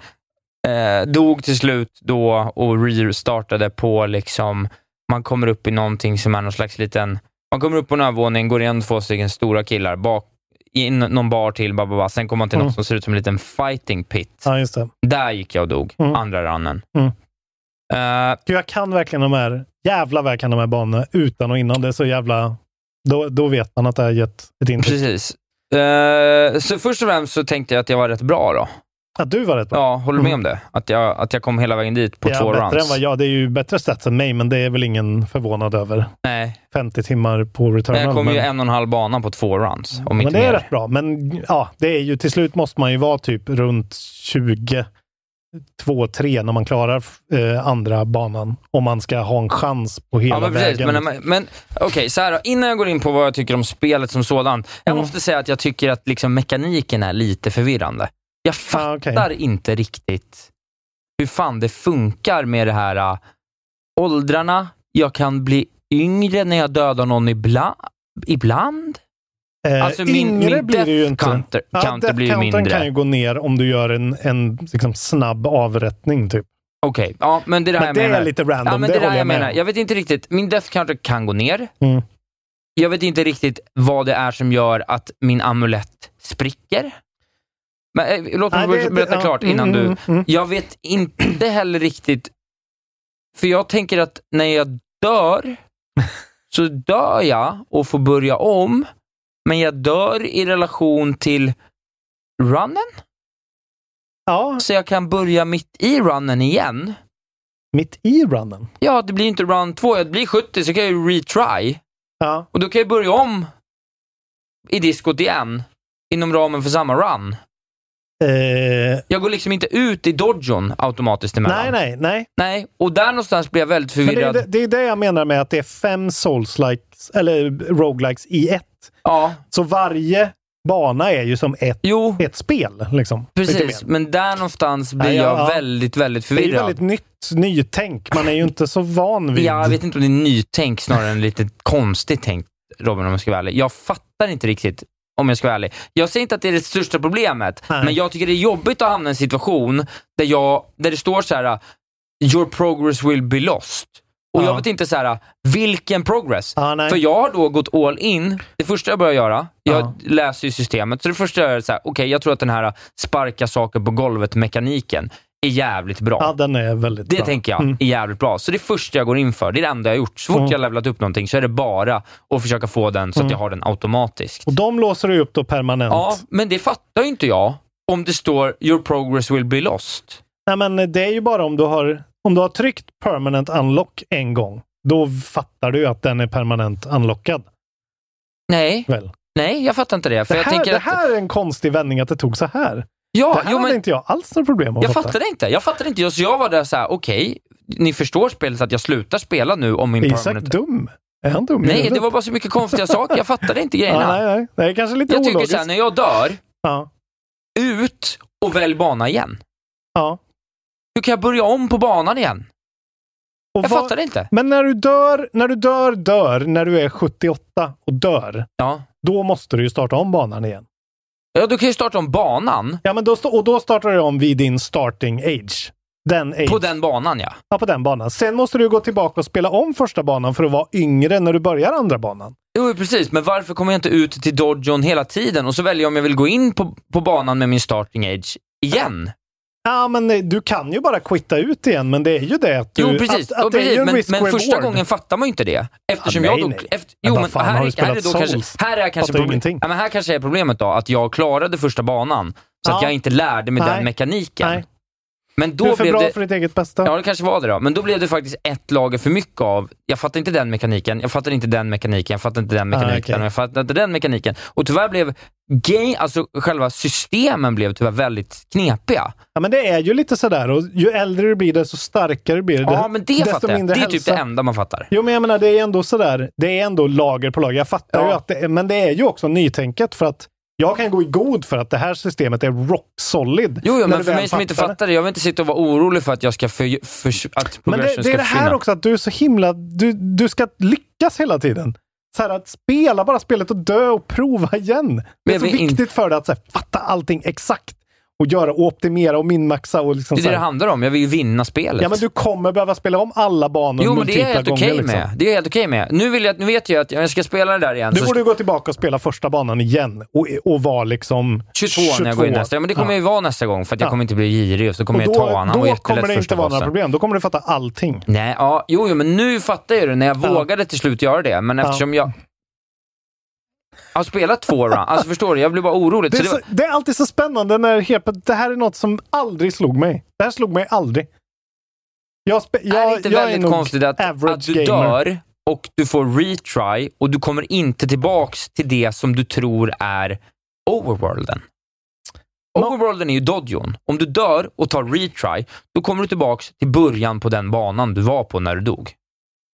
Speaker 4: Eh, dog till slut då och restartade på, liksom, man kommer upp i någonting som är någon slags liten, man kommer upp på en övervåning, går igen två stycken stora killar, bak, in någon bar till, ba, ba, ba. sen kommer man till
Speaker 5: Mm.
Speaker 4: något som ser ut som en liten fighting pit.
Speaker 5: Ja, just det.
Speaker 4: Där gick jag och dog,
Speaker 5: Mm.
Speaker 4: andra runnen.
Speaker 5: Mm.
Speaker 4: Eh,
Speaker 5: Gud, jag kan verkligen de här, jävla väl kan de här banorna utan och innan. Det är så jävla... Då, då vet man att det har gett ett intryck.
Speaker 4: Precis. Eh, så först och främst så tänkte jag att jag var rätt bra då.
Speaker 5: Att du var rätt bra. Mm.
Speaker 4: Ja, håller du med om det? Att jag, att jag kom hela vägen dit på
Speaker 5: Ja,
Speaker 4: två
Speaker 5: bättre
Speaker 4: runs.
Speaker 5: Än vad jag, det är ju bättre stats än mig, men det är väl ingen förvånad över.
Speaker 4: Nej,
Speaker 5: 50 timmar på return.
Speaker 4: men jag kom
Speaker 5: men,
Speaker 4: ju en och en halv bana på två runs. Om
Speaker 5: men
Speaker 4: inte
Speaker 5: det är
Speaker 4: mer.
Speaker 5: rätt bra. Men ja, det är ju, till slut måste man ju vara typ runt 20, 2, 3 när man klarar eh, andra banan. Om man ska ha en chans på hela
Speaker 4: Ja, men precis.
Speaker 5: vägen.
Speaker 4: Men, men, men okej, så här då. Innan jag går in på vad jag tycker om spelet som sådant. Jag måste säga att jag tycker att liksom mekaniken är lite förvirrande. Jag fattar
Speaker 5: Ah, okej.
Speaker 4: inte riktigt hur fan det funkar med det här äh, åldrarna. Jag kan bli yngre när jag dödar någon ibland. ibland.
Speaker 5: Eh,
Speaker 4: Alltså, min-
Speaker 5: yngre
Speaker 4: min
Speaker 5: blir det ju
Speaker 4: death
Speaker 5: inte.
Speaker 4: counter- counter
Speaker 5: death
Speaker 4: blir ju
Speaker 5: countern
Speaker 4: mindre.
Speaker 5: kan ju gå ner om du gör en, en liksom snabb avrättning. Typ.
Speaker 4: Okej, ja, men det är det här
Speaker 5: Men det
Speaker 4: jag menar.
Speaker 5: är lite random.
Speaker 4: Ja, men
Speaker 5: det
Speaker 4: det är det
Speaker 5: håller
Speaker 4: här jag
Speaker 5: med
Speaker 4: menar.
Speaker 5: om.
Speaker 4: Jag vet inte riktigt. Min death counter kan gå ner.
Speaker 5: Mm.
Speaker 4: Jag vet inte riktigt vad det är som gör att min amulett spricker. Men, eh, låt mig
Speaker 5: Nej, det-
Speaker 4: be-
Speaker 5: det-
Speaker 4: berätta
Speaker 5: ja,
Speaker 4: klart
Speaker 5: mm,
Speaker 4: innan
Speaker 5: mm,
Speaker 4: du...
Speaker 5: mm, mm.
Speaker 4: Jag vet inte heller riktigt... För jag tänker att när jag dör så dör jag och får börja om, men jag dör i relation till runnen.
Speaker 5: Ja.
Speaker 4: Så jag kan börja mitt i runnen igen.
Speaker 5: Mitt i runnen?
Speaker 4: Ja, det blir inte run 2. Det blir 70, så kan jag ju retry.
Speaker 5: Ja.
Speaker 4: Och då kan jag börja om i diskot igen, inom ramen för samma run.
Speaker 5: Eh,
Speaker 4: Jag går liksom inte ut i dodgen automatiskt emellan.
Speaker 5: nej, nej, nej.
Speaker 4: Nej, och där någonstans blir jag väldigt
Speaker 5: Men det, är,
Speaker 4: förvirrad.
Speaker 5: det- det är det jag menar med att det är fem souls-likes, eller roguelikes i ett.
Speaker 4: Ja,
Speaker 5: Så varje bana är ju som ett,
Speaker 4: jo,
Speaker 5: ett spel. Liksom.
Speaker 4: precis.
Speaker 5: Lite mer.
Speaker 4: Men där någonstans blir
Speaker 5: Nej, ja,
Speaker 4: jag
Speaker 5: ja.
Speaker 4: väldigt, väldigt
Speaker 5: Det är ju
Speaker 4: förvirrad.
Speaker 5: väldigt nytt, nytänk. Man är ju inte så van vid...
Speaker 4: Ja, jag vet inte om det är nytänk snarare än lite konstigt tänkt, Robin, om jag ska vara ärlig. Jag fattar inte riktigt, om jag ska vara ärlig. Jag säger inte att det är det största problemet,
Speaker 5: Nej.
Speaker 4: men jag tycker det är jobbigt att hamna i en situation där, jag, där det står så här: “Your progress will be lost”. Och
Speaker 5: Ja.
Speaker 4: jag vet inte så här, vilken progress?
Speaker 5: Ja, nej.
Speaker 4: För jag har då gått all in. Det första jag börjar göra, jag
Speaker 5: Ja.
Speaker 4: läser ju systemet, så det första jag gör är så här, okej, jag tror att den här sparka saker på golvet-mekaniken är jävligt bra.
Speaker 5: Ja, den är väldigt
Speaker 4: Det
Speaker 5: bra.
Speaker 4: tänker jag
Speaker 5: Mm.
Speaker 4: är jävligt bra. Så det är första jag går in för. Det är det enda jag har gjort. Så fort
Speaker 5: Mm.
Speaker 4: jag har levlat upp någonting så är det bara att försöka få den så att jag har den automatiskt.
Speaker 5: Och de låser du upp då permanent.
Speaker 4: Ja, men det fattar ju inte jag om det står “Your progress will be lost”.
Speaker 5: Nej, men det är ju bara om du har, om du har tryckt permanent unlock en gång. Då fattar du ju att den är permanent unlockad.
Speaker 4: Nej,
Speaker 5: Väl?
Speaker 4: nej, jag fattar inte det. För
Speaker 5: Det
Speaker 4: jag
Speaker 5: här,
Speaker 4: tänker
Speaker 5: det
Speaker 4: att...
Speaker 5: här är en konstig vändning att det tog så här.
Speaker 4: ja,
Speaker 5: det här
Speaker 4: jo,
Speaker 5: hade
Speaker 4: men
Speaker 5: inte jag alls några problem att
Speaker 4: jag
Speaker 5: fatta.
Speaker 4: fattade inte. Jag fattade inte. Så jag var där så här: okej, ni förstår spelet att jag slutar spela nu om min
Speaker 5: Är Isak
Speaker 4: permanent...
Speaker 5: dum? Är han dum i
Speaker 4: Nej,
Speaker 5: huvudet?
Speaker 4: det var bara så mycket konstiga saker. Jag fattade inte
Speaker 5: ja,
Speaker 4: grejerna.
Speaker 5: nej, nej. Det är kanske lite
Speaker 4: Jag tycker
Speaker 5: ologiskt.
Speaker 4: såhär, när jag dör,
Speaker 5: ja.
Speaker 4: ut och välj bana igen.
Speaker 5: Ja.
Speaker 4: Hur kan jag börja om på banan igen?
Speaker 5: Och
Speaker 4: Jag
Speaker 5: vad-
Speaker 4: fattar inte.
Speaker 5: Men när du dör, när du dör, dör, när du är 78 och dör,
Speaker 4: Ja.
Speaker 5: då måste du ju starta om banan igen.
Speaker 4: ja, du kan ju starta om banan.
Speaker 5: Ja, men då, sta- och då startar du om vid din starting age. Den age.
Speaker 4: På den banan, ja.
Speaker 5: Ja, på den banan. Sen måste du gå tillbaka och spela om första banan för att vara yngre när du börjar andra banan.
Speaker 4: Jo, precis. Men varför kommer jag inte ut till Dodgeon hela tiden och så väljer jag om jag vill gå in på, på banan med min starting age igen?
Speaker 5: Ja, men eh, du kan ju bara quitta ut igen, men det är ju det att du...
Speaker 4: jo, precis.
Speaker 5: Att, att
Speaker 4: Ja,
Speaker 5: det är ju
Speaker 4: precis.
Speaker 5: en
Speaker 4: Men,
Speaker 5: risk
Speaker 4: men första
Speaker 5: reward.
Speaker 4: gången fattar man ju inte det. Eftersom
Speaker 5: Ja,
Speaker 4: jag
Speaker 5: nej,
Speaker 4: då...
Speaker 5: nej.
Speaker 4: Efter,
Speaker 5: Men
Speaker 4: jo,
Speaker 5: vad
Speaker 4: men
Speaker 5: fan, har du
Speaker 4: här, här, är
Speaker 5: spelat
Speaker 4: då kanske,
Speaker 5: Souls?
Speaker 4: här, är kanske
Speaker 5: Fattar ju
Speaker 4: problem,
Speaker 5: ingenting.
Speaker 4: ja, men här kanske är problemet då, att jag klarade första banan, så att
Speaker 5: Ja.
Speaker 4: jag inte lärde mig
Speaker 5: Nej.
Speaker 4: den mekaniken.
Speaker 5: Nej.
Speaker 4: Men
Speaker 5: Du är
Speaker 4: då
Speaker 5: för
Speaker 4: blev
Speaker 5: bra
Speaker 4: det...
Speaker 5: för ditt eget bästa.
Speaker 4: Ja, det kanske var det då. Men då blev det faktiskt ett lager för mycket av, jag fattar inte den mekaniken, jag fattar inte den mekaniken, jag fattar inte den mekaniken,
Speaker 5: Ah, okej.
Speaker 4: och jag fattar inte den mekaniken. Och tyvärr blev game, alltså själva systemen blev tyvärr väldigt knepiga.
Speaker 5: Ja, men det är ju lite sådär. Och ju äldre du blir, desto starkare blir du.
Speaker 4: ja, men det
Speaker 5: desto
Speaker 4: fattar jag. Det
Speaker 5: mindre
Speaker 4: är typ
Speaker 5: hälsa.
Speaker 4: det enda man fattar.
Speaker 5: Jo, men jag menar, det är ändå sådär. Det är ändå lager på lager. Jag fattar
Speaker 4: Ja.
Speaker 5: ju att det är, men det är ju också nytänket för att jag kan gå i god för att det här systemet är rock solid.
Speaker 4: Jo,
Speaker 5: när
Speaker 4: jo
Speaker 5: du
Speaker 4: men för
Speaker 5: väl
Speaker 4: mig som inte
Speaker 5: det.
Speaker 4: fattar det, jag vill inte sitta och vara orolig för att jag ska för, för, att
Speaker 5: Men det,
Speaker 4: progression
Speaker 5: det är
Speaker 4: ska
Speaker 5: det här
Speaker 4: försvinna.
Speaker 5: också att du är så himla... Du, du ska lyckas hela tiden. Så här att spela bara spelet och dö och prova igen. Det är
Speaker 4: jag
Speaker 5: så
Speaker 4: vill in-
Speaker 5: viktigt för dig att så här, fatta allting exakt. Och göra och optimera och minmaxa och liksom
Speaker 4: Det är
Speaker 5: så
Speaker 4: det
Speaker 5: här.
Speaker 4: det handlar om, jag vill ju vinna spelet.
Speaker 5: Ja, men du kommer behöva spela om alla banor
Speaker 4: jo, men det är jag
Speaker 5: multipla
Speaker 4: helt
Speaker 5: gånger.
Speaker 4: okej
Speaker 5: liksom.
Speaker 4: med. Det är jag helt okej med. Nu, vill jag, nu vet jag att jag ska spela det där igen.
Speaker 5: Du
Speaker 4: Alltså, så
Speaker 5: borde gå tillbaka och spela första banan igen och, och vara liksom
Speaker 4: 22, när jag går in nästa. Ja, men det kommer jag ju vara nästa gång för att jag
Speaker 5: Ja.
Speaker 4: kommer inte bli girig och så kommer jag
Speaker 5: Och
Speaker 4: ta
Speaker 5: då,
Speaker 4: honom. Han var
Speaker 5: då
Speaker 4: jättelätt
Speaker 5: kommer det
Speaker 4: första
Speaker 5: inte vara några
Speaker 4: bossen.
Speaker 5: problem. Då kommer du fatta allting.
Speaker 4: Nej, ja, jo, jo, men nu fattar jag det när jag
Speaker 5: Ja.
Speaker 4: vågade till slut göra det. Men
Speaker 5: Ja.
Speaker 4: eftersom jag har spelat två round, alltså förstår du, jag blev bara orolig.
Speaker 5: Det är,
Speaker 4: så det
Speaker 5: så,
Speaker 4: var,
Speaker 5: det är alltid så spännande när helt, plötsligt- det här är något som aldrig slog mig. Det här slog mig aldrig. Jag, spe, jag,
Speaker 4: är det inte
Speaker 5: jag
Speaker 4: väldigt
Speaker 5: nog
Speaker 4: konstigt att,
Speaker 5: average
Speaker 4: att du
Speaker 5: gamer.
Speaker 4: dör och du får retry och du kommer inte tillbaks till det som du tror är overworlden?
Speaker 5: Ma-
Speaker 4: Overworlden är ju dodjon. Om du dör och tar retry, då kommer du tillbaks till början på den banan du var på när du dog.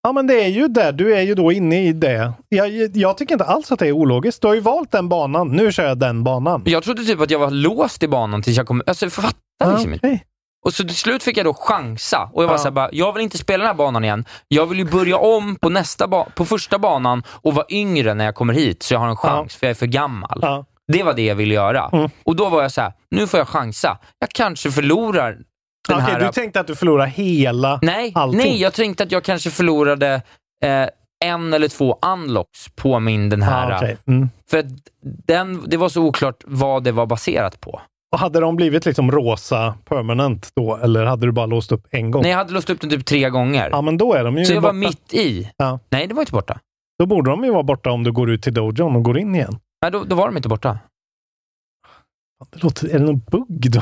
Speaker 5: Ja, men det är ju där. Du är ju då inne i det. Jag, jag tycker inte alls att det är ologiskt. Du har ju valt den banan. Nu kör jag den banan.
Speaker 4: Jag trodde typ att jag var låst i banan tills jag kom... Alltså jag fattar liksom inte.
Speaker 5: Okej.
Speaker 4: Och så till slut fick jag då chansa och jag var
Speaker 5: Ja.
Speaker 4: så här bara, jag vill inte spela den här banan igen. Jag vill ju börja om på, nästa ba- på första banan och vara yngre när jag kommer hit så jag har en chans för jag är för gammal.
Speaker 5: Ja.
Speaker 4: Det var det jag ville göra.
Speaker 5: Mm.
Speaker 4: Och då var jag så här, nu får jag chansa. Jag kanske förlorar den
Speaker 5: Okej,
Speaker 4: här...
Speaker 5: du tänkte att du förlorar hela...
Speaker 4: nej,
Speaker 5: allting.
Speaker 4: nej, jag tänkte att jag kanske förlorade eh, en eller två unlocks på min den här.
Speaker 5: Ah, okej. mm.
Speaker 4: För att den, det var så oklart vad det var baserat på.
Speaker 5: Och hade de blivit liksom rosa permanent då, eller hade du bara låst upp en gång?
Speaker 4: Nej, jag hade låst upp den typ tre gånger.
Speaker 5: Ja, Oh. men då är de ju
Speaker 4: så jag
Speaker 5: borta.
Speaker 4: var mitt i.
Speaker 5: Ja.
Speaker 4: Nej, det var inte borta.
Speaker 5: Då borde de ju vara borta om du går ut till dojon och går in igen.
Speaker 4: Nej, då, då var de inte borta.
Speaker 5: Det låter, är det någon bugg då?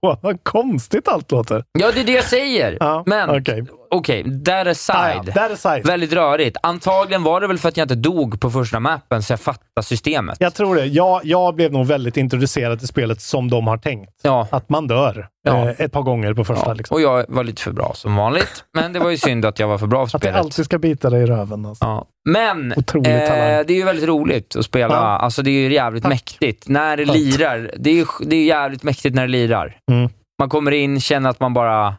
Speaker 5: Vad konstigt allt låter.
Speaker 4: Ja, det är det jag säger.
Speaker 5: Ja,
Speaker 4: Men
Speaker 5: okej.
Speaker 4: okej, that aside.
Speaker 5: Ah, ja, that aside.
Speaker 4: Väldigt rörigt. Antagligen var det väl för att jag inte dog på första mappen, så jag fattade systemet.
Speaker 5: Jag tror det. Jag, jag blev nog väldigt introducerad till spelet som de har tänkt.
Speaker 4: Ja.
Speaker 5: Att man dör
Speaker 4: Ja.
Speaker 5: eh, ett par gånger på första.
Speaker 4: ja.
Speaker 5: Liksom.
Speaker 4: Och jag var lite för bra som vanligt, men det var ju synd att jag var för bra för
Speaker 5: Att det
Speaker 4: spelet.
Speaker 5: alltid ska bita dig i röven. Alltså.
Speaker 4: Ja. Men eh,
Speaker 5: Otrolig
Speaker 4: det
Speaker 5: talang.
Speaker 4: är ju väldigt roligt att spela.
Speaker 5: Ja.
Speaker 4: Alltså Det är ju jävligt
Speaker 5: Tack.
Speaker 4: mäktigt. När det
Speaker 5: Skönt.
Speaker 4: lirar. Det är ju det är ju jävligt mäktigt när det lirar.
Speaker 5: Mm.
Speaker 4: Man kommer in, känner att man bara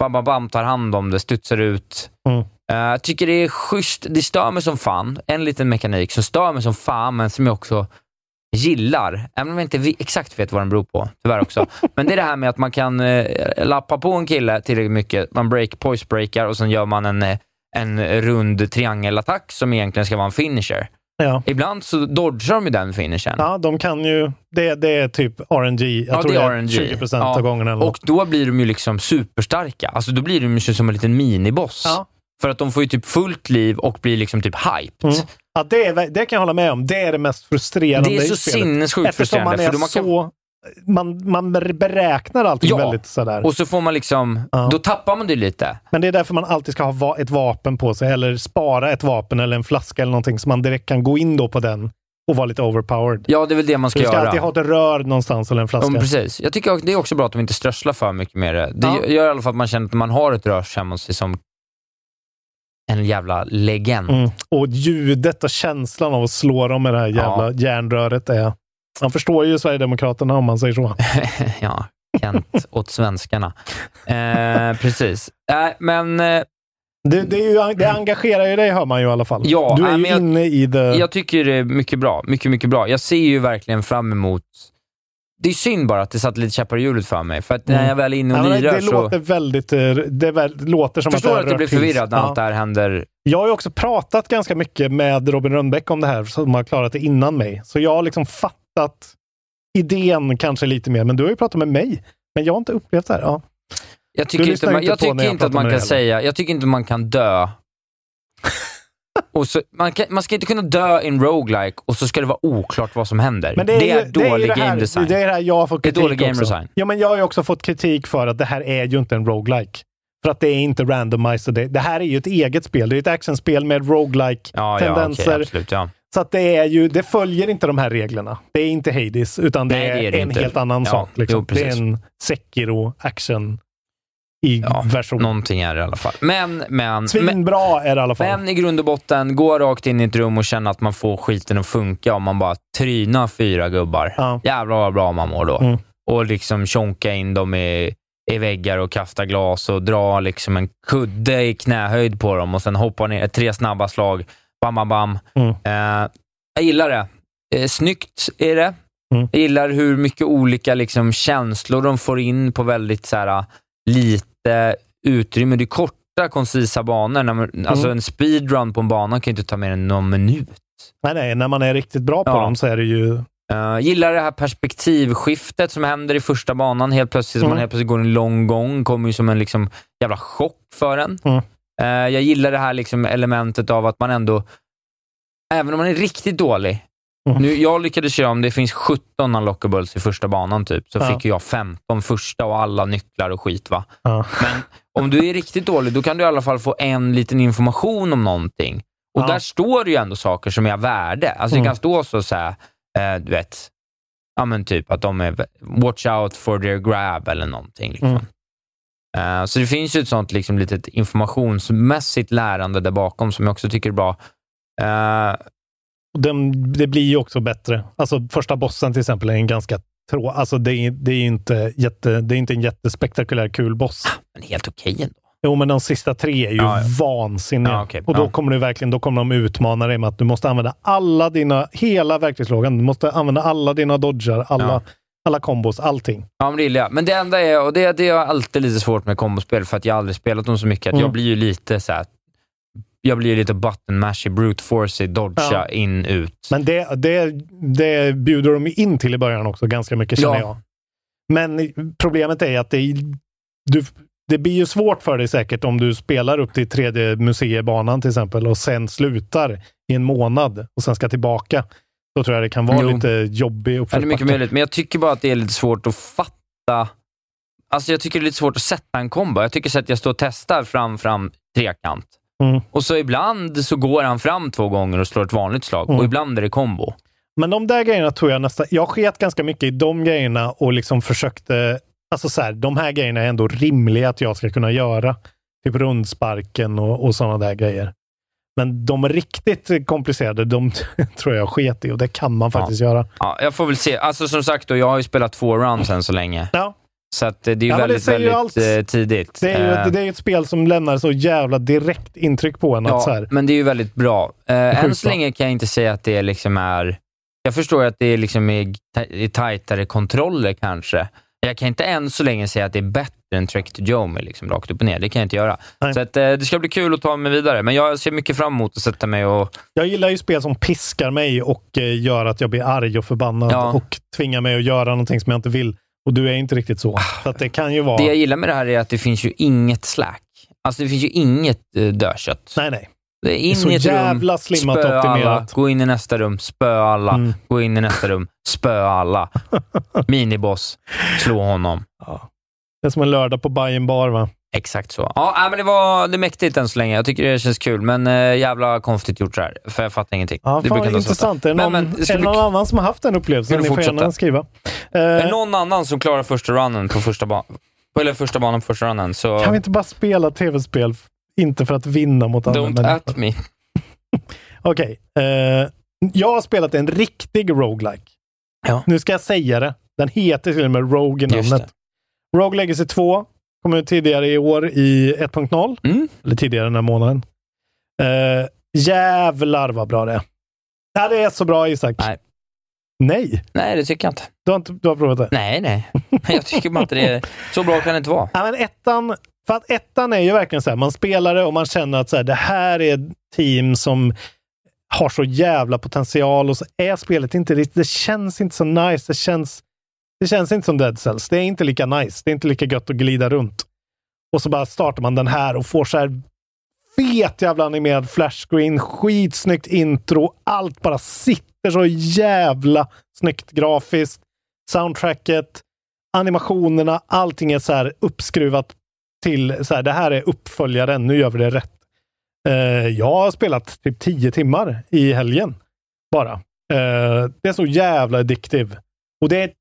Speaker 4: bam, bam, bam, tar hand om det, studsar ut.
Speaker 5: Mm.
Speaker 4: Eh, Jag tycker det är schysst. Det stör mig som fan. En liten mekanik som stör mig som fan, men som jag också gillar. Även om jag inte vi- exakt vet vad den beror på, tyvärr också. men det är det här med att man kan eh, lappa på en kille tillräckligt mycket. Man break, poise breakar och sen gör man en, eh, en rund triangelattack som egentligen ska vara en finisher.
Speaker 5: Ja.
Speaker 4: Ibland så dodgar de ju den finishen.
Speaker 5: Ja, de kan ju... Det, det är typ RNG. Jag
Speaker 4: Ja,
Speaker 5: tror
Speaker 4: det är
Speaker 5: det är
Speaker 4: RNG.
Speaker 5: 20 procent
Speaker 4: Ja.
Speaker 5: av gångerna. Eller
Speaker 4: Och då blir de ju liksom superstarka. Alltså då blir de ju som en liten miniboss.
Speaker 5: Ja.
Speaker 4: För att de får ju typ fullt liv och blir liksom typ hyped.
Speaker 5: Mm. Ja, det, är, det kan jag hålla med om. Det är det mest frustrerande
Speaker 4: Det är så
Speaker 5: i spelet.
Speaker 4: sinnessjukt
Speaker 5: Eftersom man
Speaker 4: frustrerande.
Speaker 5: är
Speaker 4: för då man kan-
Speaker 5: så... Man, man beräknar allting
Speaker 4: Ja.
Speaker 5: väldigt sådär.
Speaker 4: Och så får man liksom,
Speaker 5: Ja.
Speaker 4: då tappar man det lite.
Speaker 5: Men det är därför man alltid ska ha va- ett vapen på sig, eller spara ett vapen eller en flaska eller någonting, så man direkt kan gå in då på den och vara lite overpowered.
Speaker 4: Ja, det är väl det man ska,
Speaker 5: du ska
Speaker 4: göra.
Speaker 5: alltid ha ett rör någonstans eller en
Speaker 4: Ja,
Speaker 5: flaska.
Speaker 4: men precis. Jag tycker det är också bra att de inte strösslar för mycket med det. Det
Speaker 5: Ja.
Speaker 4: gör i alla fall att man känner att man har ett rör så känner man sig som en jävla legend.
Speaker 5: Mm. Och ljudet och känslan av att slå dem med det här jävla
Speaker 4: Ja.
Speaker 5: järnröret är... Man förstår ju Sverigedemokraterna om man säger så.
Speaker 4: ja, Kent åt svenskarna. Eh, precis. Äh, men eh,
Speaker 5: Det, det, är ju, det engagerar ju dig, hör man ju i alla fall.
Speaker 4: Ja,
Speaker 5: du är
Speaker 4: nej,
Speaker 5: ju
Speaker 4: men jag-
Speaker 5: inne i det...
Speaker 4: jag tycker det är mycket bra. Mycket, mycket bra. Jag ser ju verkligen fram emot... Det är synd bara att det satt lite käppar i hjulet för mig, för att när
Speaker 5: Mm.
Speaker 4: jag väl är inne
Speaker 5: Ja,
Speaker 4: och
Speaker 5: men det,
Speaker 4: lirar
Speaker 5: det
Speaker 4: så...
Speaker 5: låter väldigt... eh, Det är väl, låter som
Speaker 4: förstår
Speaker 5: att
Speaker 4: att jag blir
Speaker 5: rört till sig.
Speaker 4: förvirrad när
Speaker 5: Ja.
Speaker 4: allt det här händer.
Speaker 5: Jag har ju också pratat ganska mycket med Robin Rönnbäck om det här, som har klarat det innan mig. Så jag har liksom fattat idén kanske lite mer, men du har ju pratat med mig. Men jag har inte upplevt det här. Ja.
Speaker 4: Jag tycker inte,
Speaker 5: lyssnar
Speaker 4: man,
Speaker 5: inte
Speaker 4: jag
Speaker 5: på när
Speaker 4: tycker
Speaker 5: jag
Speaker 4: inte att
Speaker 5: pratar
Speaker 4: man
Speaker 5: med
Speaker 4: kan
Speaker 5: dig,
Speaker 4: säga, jag tycker inte man kan dö. och så, man, kan, man ska inte kunna dö i en roguelike och så ska det vara oklart vad som händer.
Speaker 5: Men
Speaker 4: det, är
Speaker 5: ju- det
Speaker 4: dålig
Speaker 5: ju det här-
Speaker 4: game design.
Speaker 5: Det är det här jag har fått
Speaker 4: Det är
Speaker 5: kritik
Speaker 4: dålig game
Speaker 5: också.
Speaker 4: design.
Speaker 5: Ja, men jag har ju också fått kritik för att det här är ju inte en roguelike. För att det är inte randomized. och Det, det här är ju ett eget spel. Det är ett actionspel med
Speaker 4: ja, ja, okej,
Speaker 5: roguelike-tendenser.
Speaker 4: absolut. Ja.
Speaker 5: så att det, är ju, det följer inte de här reglerna. Det är inte Hades, utan det,
Speaker 4: Nej, det är det
Speaker 5: en
Speaker 4: inte.
Speaker 5: helt annan
Speaker 4: Ja,
Speaker 5: sak. Liksom.
Speaker 4: jo,
Speaker 5: det är
Speaker 4: precis.
Speaker 5: en Sekiro-action i
Speaker 4: Ja,
Speaker 5: version.
Speaker 4: Någonting är det i alla fall. Men, men, men,
Speaker 5: Svinbra är det i alla fall.
Speaker 4: men i grund och botten, gå rakt in i ett rum och känna att man får skiten att funka om man bara trynar fyra gubbar.
Speaker 5: Ja.
Speaker 4: Jävlar vad bra man mår då.
Speaker 5: Mm.
Speaker 4: Och liksom tjonka in dem i, i väggar och kasta glas och dra liksom en kudde i knähöjd på dem och sen hoppa ner. Tre snabba slag. Bam, bam, bam.
Speaker 5: Mm.
Speaker 4: Eh, jag gillar det. Eh, snyggt är det.
Speaker 5: Mm.
Speaker 4: Jag gillar hur mycket olika liksom, känslor de får in på väldigt så här, lite utrymme. Det är korta, koncisa banor. När man,
Speaker 5: Mm.
Speaker 4: Alltså en speedrun på en bana kan ju inte ta mer än någon minut.
Speaker 5: Nej, nej, när man är riktigt bra på
Speaker 4: Ja.
Speaker 5: dem så är det ju...
Speaker 4: Eh, gillar det här perspektivskiftet som händer i första banan. Helt plötsligt,
Speaker 5: Mm.
Speaker 4: man helt plötsligt går en lång gång, kommer ju som en liksom jävla chock för en.
Speaker 5: Mm.
Speaker 4: Eh, jag gillar det här liksom elementet av att man ändå, även om man är riktigt dålig,
Speaker 5: Mm.
Speaker 4: nu, jag lyckades köra om, det finns 17 unlockables i första banan typ, så
Speaker 5: Ja.
Speaker 4: fick ju jag 15 första och alla nycklar och skit. va.
Speaker 5: Ja.
Speaker 4: Men om du är riktigt dålig, då kan du i alla fall få en liten information om någonting. Och
Speaker 5: Ja.
Speaker 4: där står det ju ändå saker som är av värde. Alltså
Speaker 5: Mm.
Speaker 4: Det kan stå så, så här, eh, du vet, ja men typ att de är watch out for their grab eller någonting. Liksom.
Speaker 5: Mm.
Speaker 4: Eh, så det finns ju ett sånt liksom, litet informationsmässigt lärande där bakom som jag också tycker är bra. Eh,
Speaker 5: Och Den, det blir ju också bättre. Alltså första bossen till exempel är en ganska trå... Alltså det är, det är ju inte, jätte, det är inte en jättespektakulär kul boss.
Speaker 4: men helt okej ändå.
Speaker 5: Jo, men de sista tre är ju
Speaker 4: Ja, ja.
Speaker 5: vansinniga.
Speaker 4: Ja, okej.
Speaker 5: Och då
Speaker 4: Ja.
Speaker 5: kommer du verkligen, då kommer de utmana dig med att du måste använda alla dina, hela verktygslådan. Du måste använda alla dina dodgar, alla,
Speaker 4: Ja.
Speaker 5: alla kombos, allting.
Speaker 4: Ja, men det gillar jag. Men det enda är, och det, det är alltid lite svårt med kombospel, för att jag aldrig spelat dem så mycket, att
Speaker 5: Mm.
Speaker 4: jag blir ju lite så här, jag blir ju lite button mashy, brute force dodga
Speaker 5: Ja.
Speaker 4: in, ut.
Speaker 5: Men det, det, det bjuder de ju in till i början också, ganska mycket känner
Speaker 4: Ja.
Speaker 5: jag. Men problemet är att det, är- du, det blir ju svårt för dig säkert om du spelar upp till tredje museibanan till exempel och sen slutar i en månad och sen ska tillbaka. Då tror jag det kan vara
Speaker 4: Jo.
Speaker 5: lite
Speaker 4: Ja,
Speaker 5: jobbig
Speaker 4: det är mycket
Speaker 5: uppförsbacke.
Speaker 4: möjligt, men jag tycker bara att det är lite svårt att fatta. Alltså jag tycker det är lite svårt att sätta en kombo. Jag tycker så att jag står och testar fram, fram, trekant.
Speaker 5: Mm.
Speaker 4: Och så ibland så går han fram två gånger och slår ett vanligt slag
Speaker 5: Mm.
Speaker 4: och ibland är det kombo.
Speaker 5: Men de där grejerna tror jag nästan... Jag sket ganska mycket i de grejerna och liksom försökte... Alltså så här, de här grejerna är ändå rimliga att jag ska kunna göra. Typ rundsparken och, och sådana där grejer. Men de riktigt komplicerade, de tror jag sket i och det kan man faktiskt göra.
Speaker 4: Ja, jag får väl se. Alltså som sagt, då, jag har ju spelat två rounds än så länge.
Speaker 5: Ja.
Speaker 4: Så att eh, det är ju
Speaker 5: Ja, men det
Speaker 4: väldigt,
Speaker 5: säger ju
Speaker 4: väldigt
Speaker 5: allt.
Speaker 4: eh, tidigt.
Speaker 5: Det är ju
Speaker 4: Eh,
Speaker 5: ett, det är ju ett spel som lämnar så jävla direkt intryck på en. Att så
Speaker 4: ja,
Speaker 5: här,
Speaker 4: men det är ju väldigt bra. Eh, än
Speaker 5: Sjukt
Speaker 4: så
Speaker 5: bra.
Speaker 4: länge kan jag inte säga att det liksom är... Jag förstår att det är liksom är, ta- är tajtare kontroller kanske. Men Jag kan inte än så länge säga att det är bättre än Trek to Jomi, liksom, rakt upp och ner. Det kan jag inte göra.
Speaker 5: Nej.
Speaker 4: Så att, eh, det ska bli kul att ta mig vidare, men jag ser mycket fram emot att sätta mig och...
Speaker 5: jag gillar ju spel som piskar mig och eh, gör att jag blir arg och förbannad
Speaker 4: Ja.
Speaker 5: och tvingar mig att göra någonting som jag inte vill. Och du är inte riktigt så. Så att det kan ju vara...
Speaker 4: Ah. Det jag gillar med det här är att det finns ju inget slack. Alltså det finns ju inget eh, dödkött.
Speaker 5: Nej, nej.
Speaker 4: Det är in
Speaker 5: Det är så
Speaker 4: i ett
Speaker 5: jävla
Speaker 4: rum,
Speaker 5: slimmat
Speaker 4: spö alla,
Speaker 5: optimerat.
Speaker 4: gå in i nästa rum, spö alla,
Speaker 5: Mm.
Speaker 4: gå in i nästa rum, spö alla. Miniboss, slå honom.
Speaker 5: Det är som en lördag på Bayern bar, va?
Speaker 4: Exakt så. Ja, nej, men det var det är mäktigt än så länge. Jag tycker det känns kul, men eh, jävla konstigt gjort så här. För jag fattar ingenting.
Speaker 5: Ja,
Speaker 4: det
Speaker 5: fan,
Speaker 4: inte vara så
Speaker 5: intressant. Är det
Speaker 4: Men,
Speaker 5: någon,
Speaker 4: men, det ska
Speaker 5: är det
Speaker 4: bli
Speaker 5: någon
Speaker 4: kul.
Speaker 5: annan som har haft den
Speaker 4: Ska
Speaker 5: upplevelsen?
Speaker 4: du
Speaker 5: Ni får
Speaker 4: fortsätta?
Speaker 5: gärna skriva. Eh,
Speaker 4: ofta. Är det någon annan som klarar första runnen på första banan? Eller första banan på första runnen, så
Speaker 5: Kan vi inte bara spela tv-spel, f- inte för att vinna mot andra
Speaker 4: don't
Speaker 5: människor?
Speaker 4: at me.
Speaker 5: Okej. eh, jag har spelat en riktig roguelike.
Speaker 4: Ja.
Speaker 5: Nu ska jag säga det. Den heter till och med Rogue i
Speaker 4: Just
Speaker 5: namnet. Rogue Legacy 2 kom ut tidigare i år i 1.0.
Speaker 4: Mm.
Speaker 5: Eller tidigare den här månaden. Eh, jävlar vad bra det är. Ja, det är så bra Isak.
Speaker 4: Nej.
Speaker 5: Nej,
Speaker 4: Nej, det tycker jag inte.
Speaker 5: du har, inte, du har provat det.
Speaker 4: Nej, nej. Jag tycker bara inte det är... Så bra kan det inte vara.
Speaker 5: Ja, men ettan, för att ettan är ju verkligen så här, man spelar det och man känner att så här, det här är ett team som har så jävla potential och så är spelet inte riktigt, det känns inte så nice. Det känns, det känns inte som Dead Cells. Det är inte lika nice. Det är inte lika gött att glida runt. Och så bara startar man den här och får så här fet jävla animerad flashscreen, skitsnyggt intro, allt bara sitter så jävla snyggt grafiskt. Soundtracket, animationerna, allting är så här uppskruvat till så här, det här är uppföljaren, nu gör vi det rätt. Eh, jag har spelat typ 10 timmar i helgen bara. Eh, det är så jävla addictive. Och det är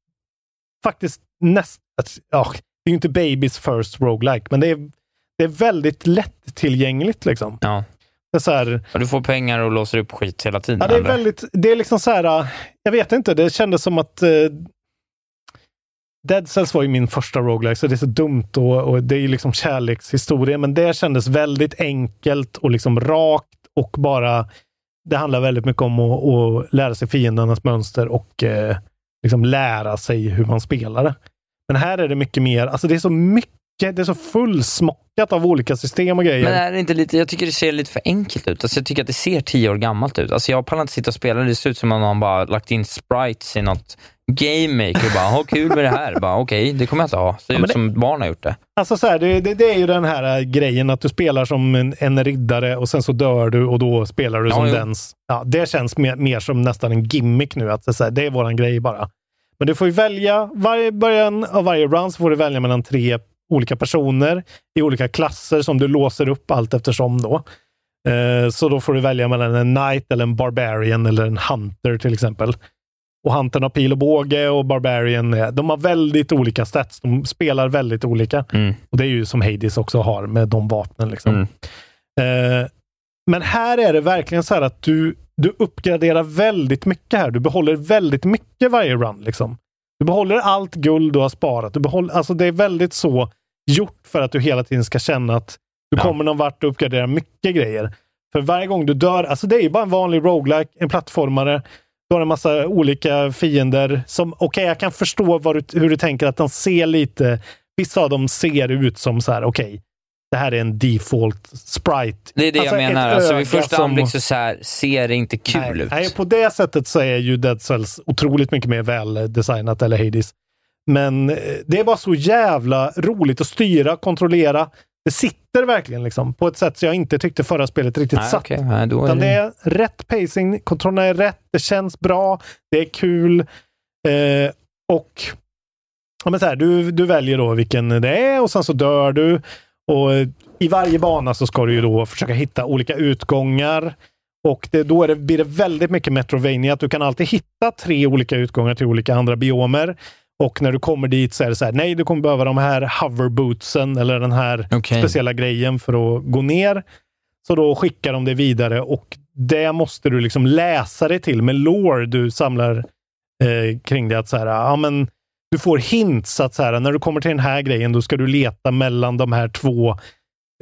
Speaker 5: faktiskt nästan, ja, det är ju inte babys first roguelike, men det är, det är väldigt lättillgängligt liksom.
Speaker 4: Ja.
Speaker 5: Det är så här,
Speaker 4: Och du får pengar och låser upp skit hela tiden.
Speaker 5: Ja, det är
Speaker 4: eller?
Speaker 5: väldigt, det är liksom så här, äh, jag vet inte, det kändes som att eh, Dead Cells var ju min första roguelike, så det är så dumt och, och det är ju liksom kärlekshistoria, men det kändes väldigt enkelt och liksom rakt och bara, det handlar väldigt mycket om att, att lära sig fiendernas mönster och eh, liksom lära sig hur man spelar det. Men här är det mycket mer, alltså det är så mycket, det är så fullsmockat av olika system och grejer.
Speaker 4: Men är det inte lite, jag tycker det ser lite för enkelt ut. Alltså jag tycker att det ser tio år gammalt ut. Alltså jag pallar inte sitta och spela. Det ser ut som om man bara lagt in sprites i något game maker och bara, ha kul med det här. Bara, Okej, det kommer jag inte ha. Ser
Speaker 5: Ja,
Speaker 4: ut
Speaker 5: men det-
Speaker 4: som barn har gjort det.
Speaker 5: Alltså så här, det, det, det är ju den här äh, grejen att du spelar som en, en riddare och sen så dör du och då spelar du
Speaker 4: Ja,
Speaker 5: som
Speaker 4: jo.
Speaker 5: dens. Ja, det känns mer, mer som nästan en gimmick nu. Att det, är så här, det är våran grej bara. Men du får ju välja, varje början av varje round så får du välja mellan tre olika personer i olika klasser som du låser upp allt eftersom då. Eh, Så då får du välja mellan en knight eller en barbarian eller en hunter till exempel. Och huntern har pil och båge och barbarian, är- de har väldigt olika stats. De spelar väldigt olika.
Speaker 4: Mm.
Speaker 5: Och det är ju som Hades också har med de vapnen. Liksom.
Speaker 4: Mm.
Speaker 5: Eh, men här är det verkligen så här att du, du uppgraderar väldigt mycket här. Du behåller väldigt mycket varje run. Liksom. Du behåller allt guld du har sparat. Du behåller, alltså det är väldigt så gjort för att du hela tiden ska känna att du
Speaker 4: Ja.
Speaker 5: kommer någon vart och uppgraderar mycket grejer. För varje gång du dör, alltså det är ju bara en vanlig roguelike, en plattformare. Du har en massa olika fiender som, okej, jag kan förstå vad du, hur du tänker att de ser lite, vissa av dem ser ut som så här, okej, det här är en default sprite.
Speaker 4: Det är det
Speaker 5: Alltså,
Speaker 4: jag menar.
Speaker 5: ett
Speaker 4: Alltså vid
Speaker 5: öga
Speaker 4: första
Speaker 5: som-
Speaker 4: anblick så, så här, ser det inte kul
Speaker 5: nej,
Speaker 4: ut.
Speaker 5: Nej, på det sättet så är ju Dead Cells otroligt mycket mer väldesignat, eller Hades. Men eh, det är bara så jävla roligt att styra, kontrollera. Det sitter verkligen liksom på ett sätt som jag inte tyckte förra spelet riktigt
Speaker 4: Nej,
Speaker 5: satt.
Speaker 4: okej. Nej, då är
Speaker 5: Utan
Speaker 4: det-
Speaker 5: det är rätt pacing, kontrollerna är rätt, det känns bra, det är kul. Eh, och ja, men så här, du, du väljer då vilken det är och sen så dör du. Och eh, I varje bana så ska du ju då försöka hitta olika utgångar. Och det, då är det, blir det väldigt mycket Metrovania att du kan alltid hitta tre olika utgångar till olika andra biomer. Och när du kommer dit så är det så här, nej du kommer behöva de här hoverbootsen eller den här
Speaker 4: Okej.
Speaker 5: speciella grejen för att gå ner. Så då skickar de det vidare och det måste du liksom läsa dig till med lore du samlar eh, kring det. Att så här, ja, men du får hints att så här, när du kommer till den här grejen, då ska du leta mellan de här två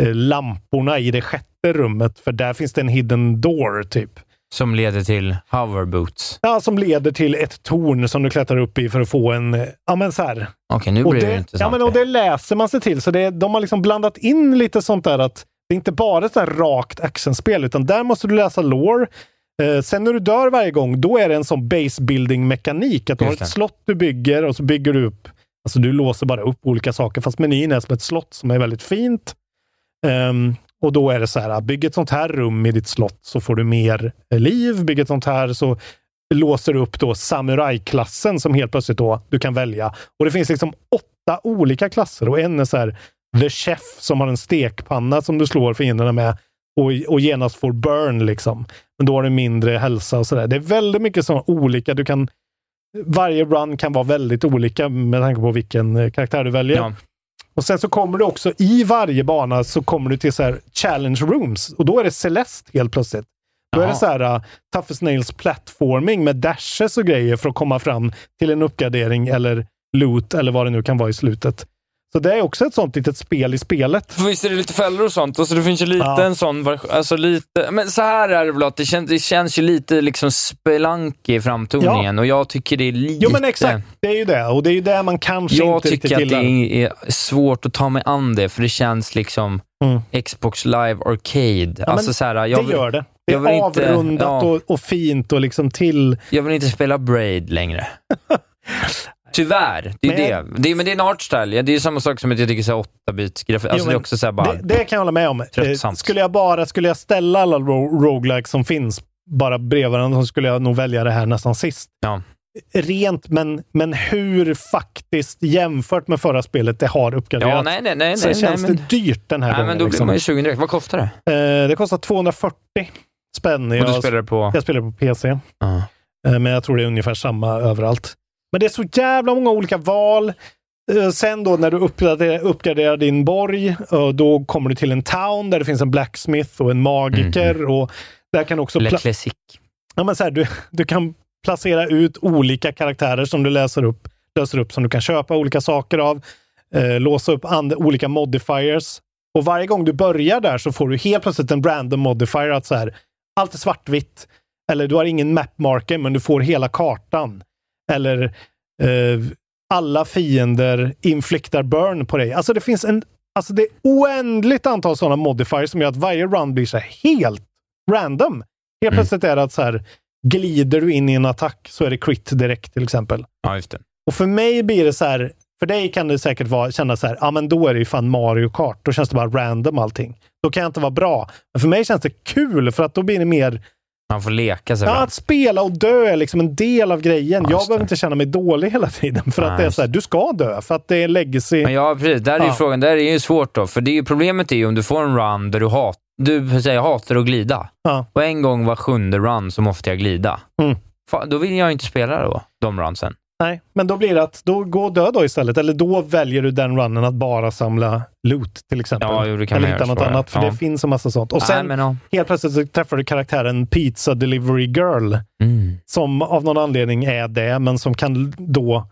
Speaker 5: eh, lamporna i det sjätte rummet, för där finns det en hidden door, typ.
Speaker 4: Som leder till hoverboots.
Speaker 5: Ja, som leder till ett torn som du klättrar upp i för att få en... eh, Ja, men så här,
Speaker 4: Okej, nu
Speaker 5: och
Speaker 4: blir det,
Speaker 5: det,
Speaker 4: intressant.
Speaker 5: ja, men, och det läser man sig till. Så det, de har liksom blandat in lite sånt där att det är inte bara ett sånt här rakt actionspel, utan där måste du läsa lore. Eh, sen när du dör varje gång, då är det en sån base building mekanik. Att du har
Speaker 4: Just
Speaker 5: ett
Speaker 4: det.
Speaker 5: slott du bygger och så bygger du upp. Alltså du låser bara upp olika saker, fast menyn är som ett slott som är väldigt fint. Ehm, och då är det så här, bygg ett sånt här rum i ditt slott så får du mer eh, liv. Bygg ett sånt här så låser du upp då samurajklassen som helt plötsligt då du kan välja. Och det finns liksom åtta olika klasser och en är så här the chef som har en stekpanna som du slår fienderna med och, och genast får burn liksom. Men då har du mindre hälsa och sådär. Det är väldigt mycket sådana olika. Du kan, varje run kan vara väldigt olika med tanke på vilken eh, karaktär du väljer.
Speaker 4: Ja.
Speaker 5: Och sen så kommer du också i varje bana så kommer du till så här challenge rooms och då är det Celeste helt plötsligt. Då är
Speaker 4: Jaha.
Speaker 5: det så här uh, Toughest Nails platforming med dashes och grejer för att komma fram till en uppgradering eller loot eller vad det nu kan vara i slutet. Så det är också ett sånt litet spel i spelet.
Speaker 4: För Visst är det lite fällor och sånt? Alltså det finns ju lite
Speaker 5: Ja.
Speaker 4: en sån version. Alltså lite, men så här är det väl att det känns, det känns ju lite liksom spelank i framtoningen och jag tycker det är lite...
Speaker 5: Jo men exakt, det är ju det. Och det är ju det man kanske
Speaker 4: Jag
Speaker 5: inte riktigt
Speaker 4: tycker att det
Speaker 5: gillar.
Speaker 4: är svårt att ta mig an det, för det känns liksom Xbox Live Arcade. alltså så här, jag,
Speaker 5: Mm. det
Speaker 4: vill,
Speaker 5: gör det. Det
Speaker 4: jag vill
Speaker 5: är
Speaker 4: inte-
Speaker 5: avrundat
Speaker 4: ja.
Speaker 5: och, och fint och liksom till.
Speaker 4: jag vill inte spela Braid längre. Tyvärr, det är ju
Speaker 5: Men-
Speaker 4: det. det. är- Men det är en artstyle. Ja, Det är ju samma sak som att jag tycker 8-bits grafik. Alltså
Speaker 5: men
Speaker 4: det är också så här bara...
Speaker 5: Det, det kan jag hålla med om. Eh,
Speaker 4: Tröttsamt.
Speaker 5: Skulle jag bara skulle jag ställa alla ro- roguelikes som finns bara bredvid varandra så skulle jag nog välja det här nästan sist.
Speaker 4: Ja.
Speaker 5: Rent, men, men hur faktiskt jämfört med förra spelet det har uppgraderats.
Speaker 4: Ja, nej, nej, nej,
Speaker 5: så
Speaker 4: nej,
Speaker 5: känns
Speaker 4: nej, men-
Speaker 5: det dyrt den här
Speaker 4: Nej,
Speaker 5: gången.
Speaker 4: men då blir
Speaker 5: liksom.
Speaker 4: man ju sugen direkt. Vad kostar det?
Speaker 5: Eh, det kostar 240 spänn.
Speaker 4: Och du
Speaker 5: Jag,
Speaker 4: spelar på...
Speaker 5: jag spelar på PC.
Speaker 4: Ja.
Speaker 5: Eh, Men jag tror det är ungefär samma överallt. Men det är så jävla många olika val. Eh, Sen då när du uppgraderar, uppgraderar din borg, eh, då kommer du till en town där det finns en blacksmith och en magiker.
Speaker 4: Mhm.
Speaker 5: Och där kan också
Speaker 4: Le
Speaker 5: pla-
Speaker 4: Classic.
Speaker 5: ja, men så här, du, du kan placera ut olika karaktärer som du läser upp, löser upp, som du kan köpa olika saker av. Eh, låsa upp and- olika modifiers. Och varje gång du börjar där så får du helt plötsligt en random modifier. Att så här, allt är svartvitt. Eller du har ingen mapmarker, men du får hela kartan. Eller eh, alla fiender infliktar burn på dig. Alltså det finns en... Alltså det är oändligt antal sådana modifiers som gör att varje run blir så här helt random.
Speaker 4: Mm.
Speaker 5: Helt plötsligt är det att så här, glider du in i en attack så är det crit direkt till exempel.
Speaker 4: Ja, just det.
Speaker 5: Och för mig blir det så här, för dig kan det säkert vara, kännas så här, ja ah, men då är det ju fan Mario Kart. Då känns det bara random allting. Då kan jag inte vara bra. Men för mig känns det kul för att då blir det mer,
Speaker 4: Man får leka sig
Speaker 5: ja,
Speaker 4: fram.
Speaker 5: att spela och dö är liksom en del av grejen.
Speaker 4: Ja,
Speaker 5: jag
Speaker 4: just
Speaker 5: behöver
Speaker 4: det.
Speaker 5: inte känna mig dålig hela tiden för
Speaker 4: Nej,
Speaker 5: att det är
Speaker 4: just
Speaker 5: så här, du ska dö för att det är legacy.
Speaker 4: Men ja, precis. Där är ju
Speaker 5: Ja.
Speaker 4: frågan. Där är ju svårt då. För det är ju, problemet är ju om du får en run där du, hat, du säger, jag hatar att glida.
Speaker 5: Ja.
Speaker 4: Och en gång var sjunde run så måste jag glida.
Speaker 5: Mm.
Speaker 4: Fa- då vill jag inte spela då, de runsen.
Speaker 5: Nej, men då blir det att då gå och dö då istället. Eller då väljer du den runnen att bara samla loot till exempel.
Speaker 4: Ja, jo, det kan
Speaker 5: Eller
Speaker 4: man
Speaker 5: hitta
Speaker 4: göra,
Speaker 5: något
Speaker 4: så är det.
Speaker 5: annat, för
Speaker 4: Ja.
Speaker 5: det finns en massa sånt. Och sen
Speaker 4: Nej, men, ja.
Speaker 5: helt plötsligt så träffar du karaktären Pizza Delivery Girl,
Speaker 4: mm.
Speaker 5: som av någon anledning är det, men som kan då...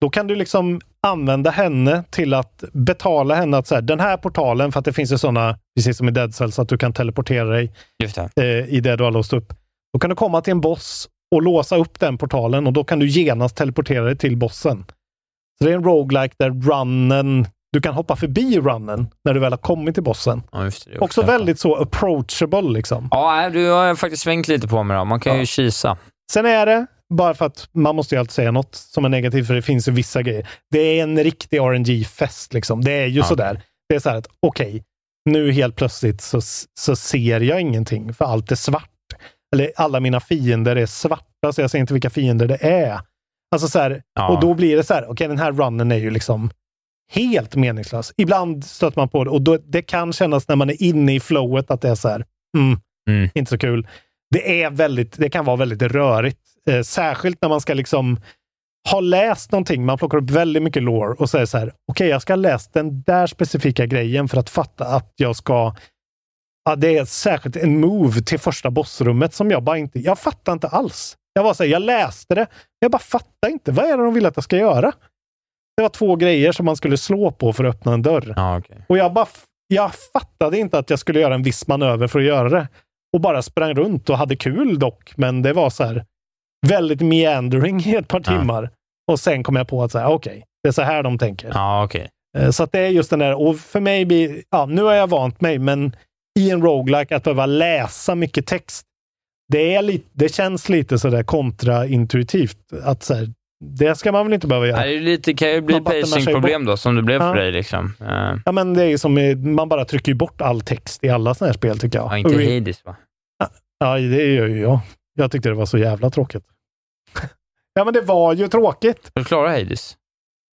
Speaker 5: Då kan du liksom använda henne till att betala henne att så här, den här portalen, för att det finns ju sådana, precis som i Dead Cells, att du kan teleportera dig
Speaker 4: Just det.
Speaker 5: eh, i det du har låst upp. Då kan du komma till en boss och låsa upp den portalen och då kan du genast teleportera dig till bossen. Så det är en roguelike där runnen, du kan hoppa förbi runnen när du väl har kommit till bossen.
Speaker 4: Ja, just det. det är
Speaker 5: Också
Speaker 4: därför.
Speaker 5: väldigt så approachable liksom.
Speaker 4: Ja, nej, du har faktiskt svängt lite på mig då. Man kan ju kisa.
Speaker 5: Sen är det bara för att man måste ju alltid säga något som är negativt, för det finns ju vissa grejer. Det är en riktig RNG-fest liksom. Det är ju
Speaker 4: Ja.
Speaker 5: sådär. Det är så här att okej, nu helt plötsligt så, så ser jag ingenting, för allt är svart. Eller alla mina fiender är svarta, så jag ser inte vilka fiender det är. Alltså så här,
Speaker 4: Ja.
Speaker 5: och då blir det så här, okej, den här runnen är ju liksom helt meningslös. Ibland stöter man på det och då, det kan kännas när man är inne i flowet att det är så här, mm,
Speaker 4: Mm.
Speaker 5: inte så kul. Det, är väldigt, det kan vara väldigt rörigt, eh, särskilt när man ska liksom ha läst någonting. Man plockar upp väldigt mycket lore och säger så här, okej, jag ska ha läst den där specifika grejen för att fatta att jag ska Ja, det är särskilt en move till första bossrummet som jag bara inte... Jag fattar inte alls. Jag var så här, jag läste det, men jag bara fattar inte. Vad är det de vill att jag ska göra? Det var två grejer som man skulle slå på för att öppna en dörr.
Speaker 4: Ja, okej.
Speaker 5: Och jag bara... f- Jag fattade inte att jag skulle göra en viss manöver för att göra det. Och bara sprang runt och hade kul dock, men det var så här väldigt meandering i ett par
Speaker 4: Ja.
Speaker 5: timmar. Och sen kom jag på att så här, okej, det är så här de tänker.
Speaker 4: Ja, okej.
Speaker 5: Eh, Så att det är just den där, och för mig blir, ja, nu har jag vant mig, men i en roguelike att behöva läsa mycket text, det, är lite, det känns lite sådär kontraintuitivt. Att så här, det ska man väl inte behöva
Speaker 4: Ja,
Speaker 5: göra.
Speaker 4: Det är lite- kan ju bli
Speaker 5: Man vattnar sig
Speaker 4: pacing-problem då, som det blev
Speaker 5: Ja.
Speaker 4: för dig. Liksom. Eh,
Speaker 5: Ja, men det är ju som, i- man bara trycker ju bort all text i alla sådana här spel tycker jag.
Speaker 4: ja, inte
Speaker 5: Och i-
Speaker 4: Hades va?
Speaker 5: Ja, det gör ju jag. Jag tyckte det var så jävla tråkigt. ja, men det var ju tråkigt.
Speaker 4: Har du klarat Hades?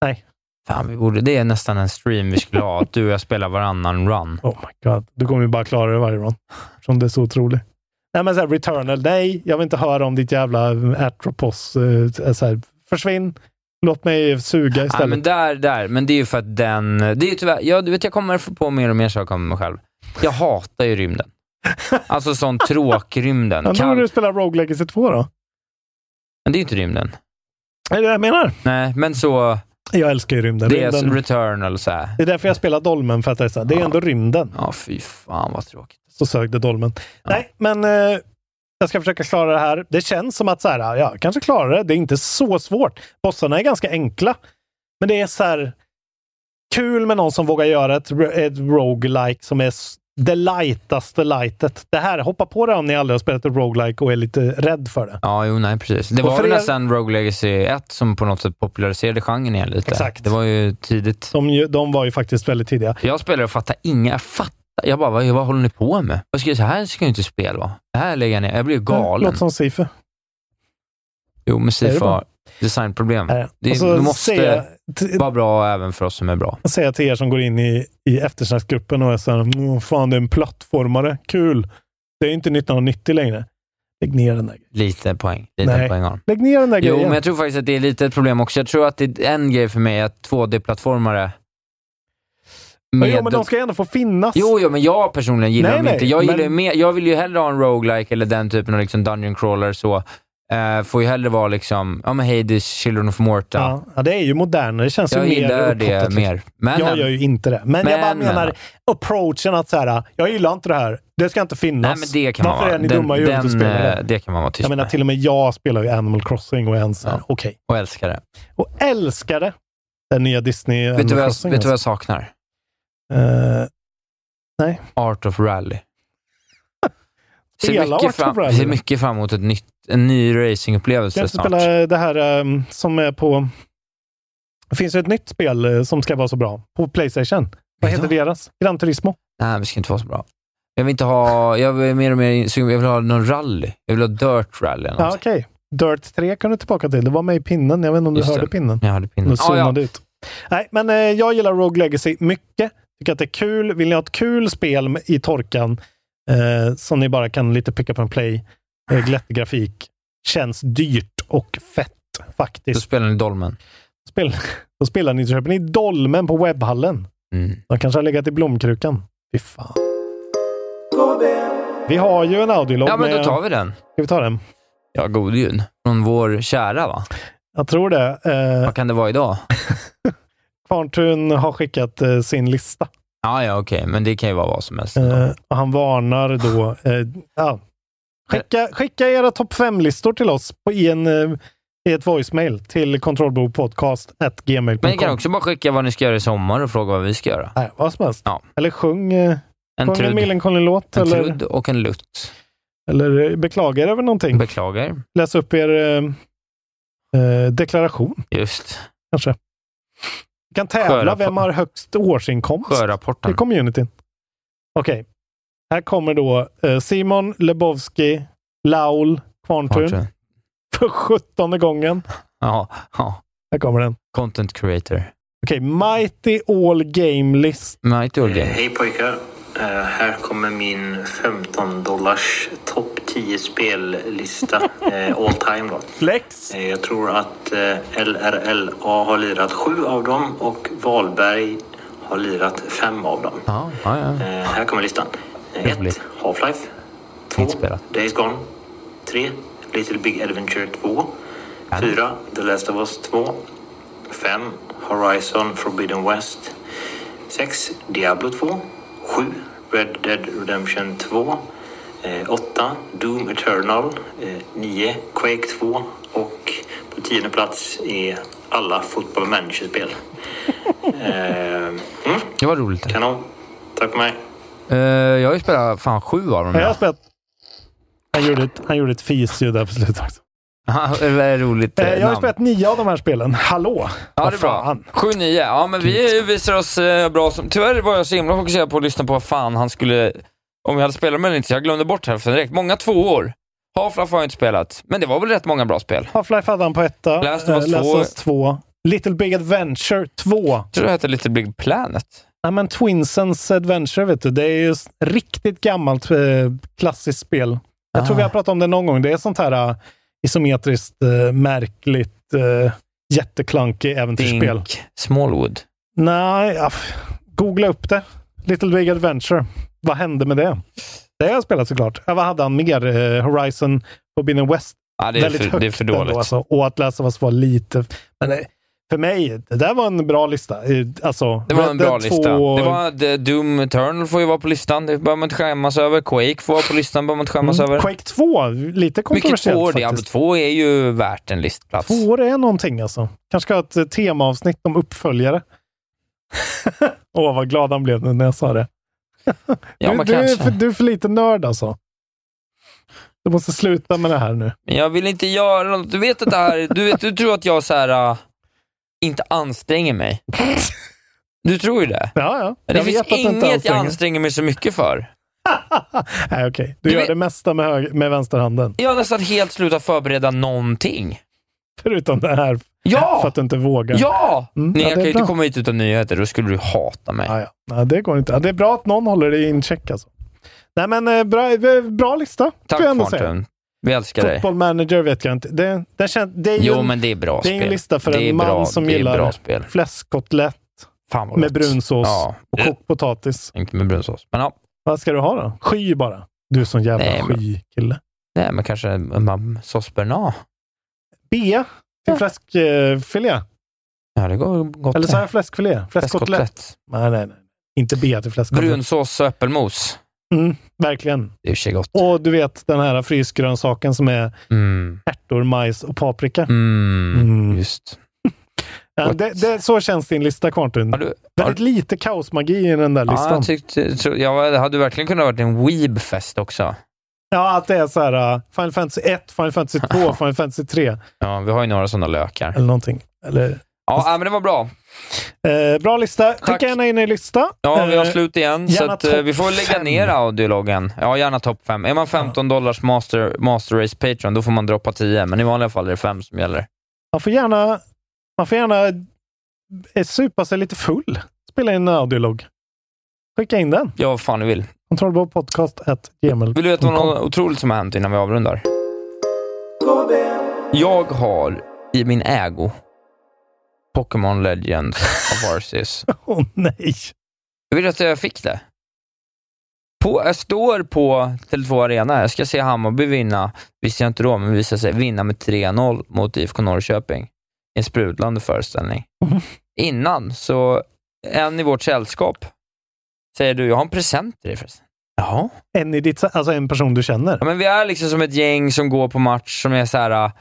Speaker 5: Nej.
Speaker 4: Fan, vi borde, det är nästan en stream vi skulle ha, att du och jag spelar varannan run.
Speaker 5: Oh my god. Du kommer ju bara klara det varje gång. Som det är så otroligt. Nej, men så här, Returnal. Nej, jag vill inte höra om ditt jävla Atropos. Eh, så här, försvinn. Låt mig suga
Speaker 4: Ja, men
Speaker 5: istället.
Speaker 4: där, där. Men det är ju för att den... Det är ju tyvärr, jag, du vet, jag kommer få på mer och mer saker om mig själv. Jag hatar ju rymden. Alltså sån tråkrymden.
Speaker 5: Ja,
Speaker 4: Kall-
Speaker 5: men... Nu du spelar Rogue Legacy 2 då?
Speaker 4: Men det är ju inte rymden.
Speaker 5: Är det det jag menar?
Speaker 4: Nej, men så...
Speaker 5: Jag älskar ju rymden.
Speaker 4: Det är
Speaker 5: rymden.
Speaker 4: Returnal så här.
Speaker 5: Det är därför jag spelar Dolmen, för att det är, så här, det är ju
Speaker 4: Ja.
Speaker 5: ändå rymden.
Speaker 4: Ja, fy fan vad tråkigt.
Speaker 5: Så sög det Dolmen.
Speaker 4: Ja.
Speaker 5: Nej, men eh, jag ska försöka klara det här. Det känns som att så här, ja, jag kanske klarar det. Det är inte så svårt. Bossarna är ganska enkla. Men det är så här kul med någon som vågar göra ett, ro- ett roguelike som är s- det lightaste lightet. Det här, hoppa på det om ni aldrig har spelat ett roguelike och är lite rädd för det.
Speaker 4: Ja, jo, nej, precis. Det
Speaker 5: Och
Speaker 4: var
Speaker 5: för
Speaker 4: väl
Speaker 5: er-
Speaker 4: nästan Rogue Legacy 1 som på något sätt populariserade genren igen lite.
Speaker 5: Exakt.
Speaker 4: Det var ju tidigt.
Speaker 5: De, ju- de var ju faktiskt väldigt tidiga.
Speaker 4: Jag spelade och fattade inga. Jag fattar. Jag bara, vad, vad håller ni på med? Jag skulle, så här ska jag inte spela. va? Det här lägger jag ner. Jag blir ju galen.
Speaker 5: Låter som Sifu.
Speaker 4: Jo, men
Speaker 5: Mm, Är det
Speaker 4: Sifa
Speaker 5: bra?
Speaker 4: har designproblem.
Speaker 5: Är det?
Speaker 4: Det-
Speaker 5: Och så
Speaker 4: du måste-
Speaker 5: Alltså, säger jag t-
Speaker 4: Var bra även för oss som är bra.
Speaker 5: säga till er som går in i, i eftersnacksgruppen och är såhär, "Mm, fan det är en plattformare, kul. Det är inte 1990 längre. Lägg ner den där grejen.
Speaker 4: Lite poäng. Lite
Speaker 5: Nej.
Speaker 4: poäng har de.
Speaker 5: Lägg ner den där
Speaker 4: Jo,
Speaker 5: grejen.
Speaker 4: men jag tror faktiskt att det är lite ett problem också. Jag tror att det är en grej för mig att 2D-plattformare
Speaker 5: Ja,
Speaker 4: med...
Speaker 5: jo, men de ska ju ändå få finnas.
Speaker 4: Jo, jo, men jag personligen gillar
Speaker 5: Nej,
Speaker 4: dem
Speaker 5: nej,
Speaker 4: inte. Jag, gillar ju
Speaker 5: men-
Speaker 4: mer, jag vill ju hellre ha en roguelike eller den typen av liksom dungeon crawler så. Eh, får ju hellre vara liksom, ja men Hades, Children of Morta.
Speaker 5: ja. ja, det är ju modernare. Det känns
Speaker 4: jag
Speaker 5: ju mer
Speaker 4: gillar liksom. det
Speaker 5: uppkoppat,
Speaker 4: mer. Men,
Speaker 5: jag gör ju inte det. Men, jag bara
Speaker 4: Men,
Speaker 5: menar
Speaker 4: men.
Speaker 5: approachen att så här, jag gillar inte det här. Det ska inte finnas.
Speaker 4: nej, men det kan
Speaker 5: Varför
Speaker 4: man vara.
Speaker 5: är ni dumma i huvudet och
Speaker 4: den,
Speaker 5: spelar det?
Speaker 4: eh, det kan man vara tyst
Speaker 5: Jag menar,
Speaker 4: med.
Speaker 5: till och med jag spelar ju Animal Crossing och är en så här,
Speaker 4: Ja.
Speaker 5: okej.
Speaker 4: Och älskar det.
Speaker 5: Och älskar det. Den nya Disney
Speaker 4: Vet du,
Speaker 5: Animal
Speaker 4: vad jag,
Speaker 5: Crossing.
Speaker 4: vet du vad jag saknar?
Speaker 5: alltså. Eh,
Speaker 4: Art of Rally.
Speaker 5: Spela Art
Speaker 4: mycket
Speaker 5: of
Speaker 4: fram,
Speaker 5: Rally.
Speaker 4: ser mycket fram emot ett nytt, en ny
Speaker 5: Ska
Speaker 4: racingupplevelse
Speaker 5: jag inte
Speaker 4: snart.
Speaker 5: spela det här ehm, som är på... Det finns ju ett nytt spel eh, som ska vara så bra på Playstation. Vad heter deras? Gran Turismo.
Speaker 4: Nej, det ska inte vara så bra. Jag vill inte ha, jag är mer och mer in- sugen- jag vill ha någon rally. Jag vill ha dirt rally eller
Speaker 5: Ja,
Speaker 4: någonting.
Speaker 5: okej. Dirt 3 kan du tillbaka till. Det var med i pinnen. Jag vet inte om du
Speaker 4: Just
Speaker 5: hörde
Speaker 4: det.
Speaker 5: pinnen.
Speaker 4: Jag hade pinnen.
Speaker 5: Nu
Speaker 4: Ah, ja.
Speaker 5: zonade ut. Nej, men eh, jag gillar Rogue Legacy mycket. Tycker att det är kul. Vill ni ha ett kul spel med- i torkan eh, som ni bara kan lite pick up and play, eh, glättig grafik, känns dyrt och fett
Speaker 4: Då
Speaker 5: faktiskt.
Speaker 4: spelar ni Dolmen.
Speaker 5: Spel, då spelar ni, köper ni Dolmen på webbhallen.
Speaker 4: Mm.
Speaker 5: De kanske har legat i blomkrukan. Fy fan. Vi har ju en audiolog
Speaker 4: Ja, men då
Speaker 5: med-
Speaker 4: tar vi den.
Speaker 5: Ska vi ta den?
Speaker 4: Ja, god jul. Från vår kära, va?
Speaker 5: Jag tror det. Eh,
Speaker 4: Vad kan det vara idag?
Speaker 5: Kvarntun har skickat eh, sin lista.
Speaker 4: Ja, ja, okej, men det kan ju vara vad som helst.
Speaker 5: Eh, och han varnar då. Eh, ja. skicka, skicka era topp fem-listor till oss på, i, en, eh, i ett voicemail till
Speaker 4: Men ni kan
Speaker 5: kontrollbopodcast.gmail.com.
Speaker 4: också bara skicka vad ni ska göra i sommar och fråga vad vi ska göra.
Speaker 5: Nej, vad som helst.
Speaker 4: Ja.
Speaker 5: Eller sjung, eh,
Speaker 4: En
Speaker 5: sjung en
Speaker 4: trudd,
Speaker 5: Millencolin-låt.
Speaker 4: en
Speaker 5: Eller,
Speaker 4: trudd och en lutt.
Speaker 5: eller eh, beklaga er över någonting.
Speaker 4: Beklagar.
Speaker 5: Läs upp er eh, eh, deklaration.
Speaker 4: Just.
Speaker 5: Kanske. Vi kan tävla.
Speaker 4: Sköra på-
Speaker 5: Vem har högst årsinkomst?
Speaker 4: Sjörapporten.
Speaker 5: I communityn. Okej. Här kommer då eh, Simon Lebowski, Laul Kvarntun.
Speaker 4: Kvarntun.
Speaker 5: För sjuttonde gången.
Speaker 4: Ja, ja.
Speaker 5: Här kommer den.
Speaker 4: Content creator.
Speaker 5: Okej, Mighty All Game List.
Speaker 4: Mighty Old
Speaker 9: Eh,
Speaker 4: Game.
Speaker 9: Hej pojkar! Eh, Här kommer min 15 dollars topp 10 spellista eh, all time. Då.
Speaker 5: Flex.
Speaker 9: Eh, Jag tror att eh, LRLA har lirat sju av dem och Valberg har lirat fem av dem.
Speaker 4: Ja, ja, ja.
Speaker 9: Eh, Här kommer listan. 1.
Speaker 4: Roligt.
Speaker 9: Half-Life.
Speaker 4: Fint spelat.
Speaker 9: Days Gone. 3. Little Big Adventure 2. 4. The Last of Us 2. 5. Horizon Forbidden West. 6. Diablo 2. 7. Red Dead Redemption 2. 8. Doom Eternal. 9. Quake 2. Och på tionde plats är alla Football Manager-spel. Eh, mm,
Speaker 4: Det var roligt.
Speaker 9: kanon. Tack för mig.
Speaker 4: Eh, jag har ju spelat fan sju av dem.
Speaker 5: Jag har
Speaker 4: Ja.
Speaker 5: spelat. Han gjorde ett, han gjorde ett fisljud där på slutet också.
Speaker 4: det är roligt eh,
Speaker 5: Eh, jag har
Speaker 4: namn.
Speaker 5: spelat nio av de här spelen. Hallå!
Speaker 4: Ja,
Speaker 5: Vad
Speaker 4: det är bra.
Speaker 5: fan.
Speaker 4: 7-9. Ja, men vi visar oss eh, bra som... Tyvärr var jag så himla fokuserad på att lyssna på vad fan han skulle... Om vi hade spelat med eller inte, så jag glömde bort hälften direkt. Många två år. Half-Life har jag inte spelat, men det var väl rätt många bra spel.
Speaker 5: Half-Life hade han på etta.
Speaker 4: Last of Us
Speaker 5: Eh, Last
Speaker 4: två.
Speaker 5: of Us 2. Little Big Adventure 2.
Speaker 4: Jag tror det hette Little Big Planet.
Speaker 5: Nej, men Twinsons Adventure, vet du. Det är ju s- riktigt gammalt eh, klassiskt spel. Jag tror vi har
Speaker 4: Ah.
Speaker 5: pratat om det någon gång. Det är sånt här eh, isometriskt eh, märkligt, eh, jätteklankigt äventyrsspel.
Speaker 4: Dink Smallwood.
Speaker 5: Nej, aff, googla upp det. Little Big Adventure. Vad hände med det? Det har jag spelat såklart. Ja, vad hade han mer? Eh, Horizon Forbidden West.
Speaker 4: Ja, det är,
Speaker 5: Väldigt
Speaker 4: för,
Speaker 5: högt
Speaker 4: det är för
Speaker 5: ändå,
Speaker 4: dåligt.
Speaker 5: alltså. Och att läsa vad som var lite... Men eh, för mig, det där var en bra lista. Eh, Alltså,
Speaker 4: Det var
Speaker 5: Red
Speaker 4: en bra
Speaker 5: Dead 2
Speaker 4: lista.
Speaker 5: och-
Speaker 4: Det var The Doom Eternal får ju vara på listan. Det behöver man inte skämmas över. Quake får vara på listan. behöver man inte skämmas
Speaker 5: Mm.
Speaker 4: över.
Speaker 5: Quake 2, lite
Speaker 4: Mycket
Speaker 5: kontroversiellt
Speaker 4: tvåor. Diablo
Speaker 5: faktiskt.
Speaker 4: 2 är ju värt en listplats.
Speaker 5: Tvåor är någonting alltså. Kanske ska ha ett eh, temaavsnitt om uppföljare. Åh, vad glad han blev nu när jag sa det.
Speaker 4: Ja,
Speaker 5: du,
Speaker 4: men
Speaker 5: du, är
Speaker 4: kanske.
Speaker 5: för, du är för lite nörd alltså. Du måste sluta med det här nu.
Speaker 4: Men jag vill inte göra något. Du vet att det här, du, vet, du tror att jag så här, äh, inte anstränger mig. Du tror ju det.
Speaker 5: Ja, ja.
Speaker 4: Men
Speaker 5: jag
Speaker 4: det finns
Speaker 5: vet att du inte
Speaker 4: inget jag
Speaker 5: anstränger.
Speaker 4: anstränger mig så mycket för.
Speaker 5: Nej, okej. Du,
Speaker 4: Du
Speaker 5: gör
Speaker 4: vet-
Speaker 5: det mesta med, höger, med vänsterhanden.
Speaker 4: Jag har nästan helt slutat förbereda någonting.
Speaker 5: Förutom det här.
Speaker 4: Ja!
Speaker 5: För att du inte vågar.
Speaker 4: Ja!
Speaker 5: Mm,
Speaker 4: Nej, jag
Speaker 5: ja, det
Speaker 4: kan
Speaker 5: är
Speaker 4: ju inte
Speaker 5: bra.
Speaker 4: komma hit utan nyheter. Då skulle du hata mig.
Speaker 5: Ja, ja. Nej, det går inte. Ja, det är bra att någon håller det i incheck alltså. Nej, men eh, bra, eh, bra lista.
Speaker 4: Tack
Speaker 5: får jag ändå säga.
Speaker 4: Kvarnström. Vi älskar dig.
Speaker 5: Football manager vet jag inte. Det, det, känns, det är ju
Speaker 4: Jo,
Speaker 5: en-
Speaker 4: men det är bra
Speaker 5: det är
Speaker 4: spel.
Speaker 5: en lista för
Speaker 4: Det är
Speaker 5: en man
Speaker 4: bra-
Speaker 5: som
Speaker 4: det är
Speaker 5: gillar
Speaker 4: bra spel.
Speaker 5: fläskkotlett
Speaker 4: Fan vad
Speaker 5: med
Speaker 4: gott.
Speaker 5: brunsås
Speaker 4: Ja,
Speaker 5: och kokt potatis.
Speaker 4: inte med brunsås. Men ja,
Speaker 5: Vad ska du ha då? Sky bara. Du är sån jävla
Speaker 4: Nej, men-
Speaker 5: skykille.
Speaker 4: nej, men kanske en mam- sås bearnaise.
Speaker 5: B till fläskfilé.
Speaker 4: Ja, det går gott.
Speaker 5: Eller sa
Speaker 4: det.
Speaker 5: jag fläskfilé? Fläskkotlett.
Speaker 4: Fläskkotlett.
Speaker 5: Nej, nej, nej. Inte B till fläskkotlett.
Speaker 4: Brunsås och äppelmos.
Speaker 5: Mm, verkligen.
Speaker 4: Det är i och för sig gott.
Speaker 5: Och du vet den här frysgrönsaken som är
Speaker 4: Mm.
Speaker 5: ärtor, majs och paprika.
Speaker 4: Mm.
Speaker 5: Mm.
Speaker 4: Just.
Speaker 5: Ja, det, det, så känns din lista, Kvarntun.
Speaker 4: Har du, har,
Speaker 5: Väldigt lite kaosmagi i den där
Speaker 4: ja,
Speaker 5: listan.
Speaker 4: jag tyckte, tro, jag hade verkligen kunnat varit en weebfest också.
Speaker 5: Ja, att det är så här uh, Final Fantasy 1, Final Fantasy 2, Final Fantasy 3
Speaker 4: Ja, vi har ju några sådana lökar.
Speaker 5: eller någonting. Eller,
Speaker 4: Ja, äh, men det var bra.
Speaker 5: eh, bra lista. Skicka
Speaker 4: Tack.
Speaker 5: gärna in er lista.
Speaker 4: Ja, vi har
Speaker 5: Eh,
Speaker 4: slut igen, så
Speaker 5: gärna
Speaker 4: att, eh,
Speaker 5: topp
Speaker 4: vi får väl lägga
Speaker 5: fem.
Speaker 4: ner audiologen. Ja, gärna topp fem. Är man 15 dollars master, master race Patreon, då får man droppa 10, men i vanliga fall är det fem som gäller.
Speaker 5: Man får gärna, man får gärna eh, supa sig lite full. Spela in en audiolog. Skicka in den.
Speaker 4: Ja, vad fan du vill.
Speaker 5: Kontrollbordpodcast.gmail.
Speaker 4: Vill du veta vad något otroligt som har hänt innan vi avrundar? Jag har i min ägo Pokémon Legends of Arceus.
Speaker 5: Åh nej!
Speaker 4: Vill du att jag fick det? På, jag står på Tele2 Arena. Jag ska se Hammarby vinna, visste jag inte då, men visade sig vinna med 3-0 mot IFK Norrköping. I En sprudlande föreställning.
Speaker 5: Mhm.
Speaker 4: Innan, så en i vårt sällskap säger du, jag har en present till dig förresten. Jaha?
Speaker 5: En, i ditt, alltså en person du känner.
Speaker 4: Ja, men vi är liksom som ett gäng som går på match som är så här. äh,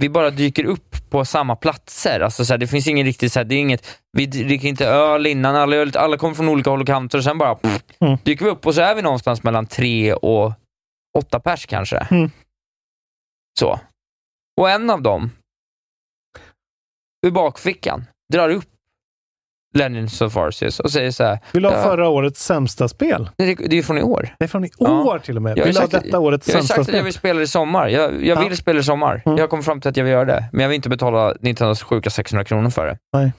Speaker 4: Vi bara dyker upp på samma platser. Alltså så här, det finns ingen riktigt, så här, det är inget, vi dricker inte öl innan, alla, gör lite- alla kommer från olika håll och kanter och sen bara pff,
Speaker 5: Mm.
Speaker 4: dyker vi upp och så är vi någonstans mellan tre och åtta pers kanske.
Speaker 5: Mm.
Speaker 4: Så. Och en av dem ur bakfickan, drar upp Lenin Sofarsis och säger så här.
Speaker 5: Vill du ha
Speaker 4: "Ja,
Speaker 5: förra årets sämsta spel?
Speaker 4: Det, det är ju från i år.
Speaker 5: Det är från i
Speaker 4: Ja.
Speaker 5: år till och med.
Speaker 4: Jag har
Speaker 5: Vill du ha
Speaker 4: sagt-
Speaker 5: detta årets
Speaker 4: Jag har ju
Speaker 5: sämsta
Speaker 4: sagt att jag
Speaker 5: spel?
Speaker 4: vill spela i sommar. Jag, jag
Speaker 5: Ja. Mm.
Speaker 4: vill spela i sommar. Jag kom fram till att jag vill göra det, men jag vill inte betala Nintendos sjuka 600 kronor för det.
Speaker 5: Nej.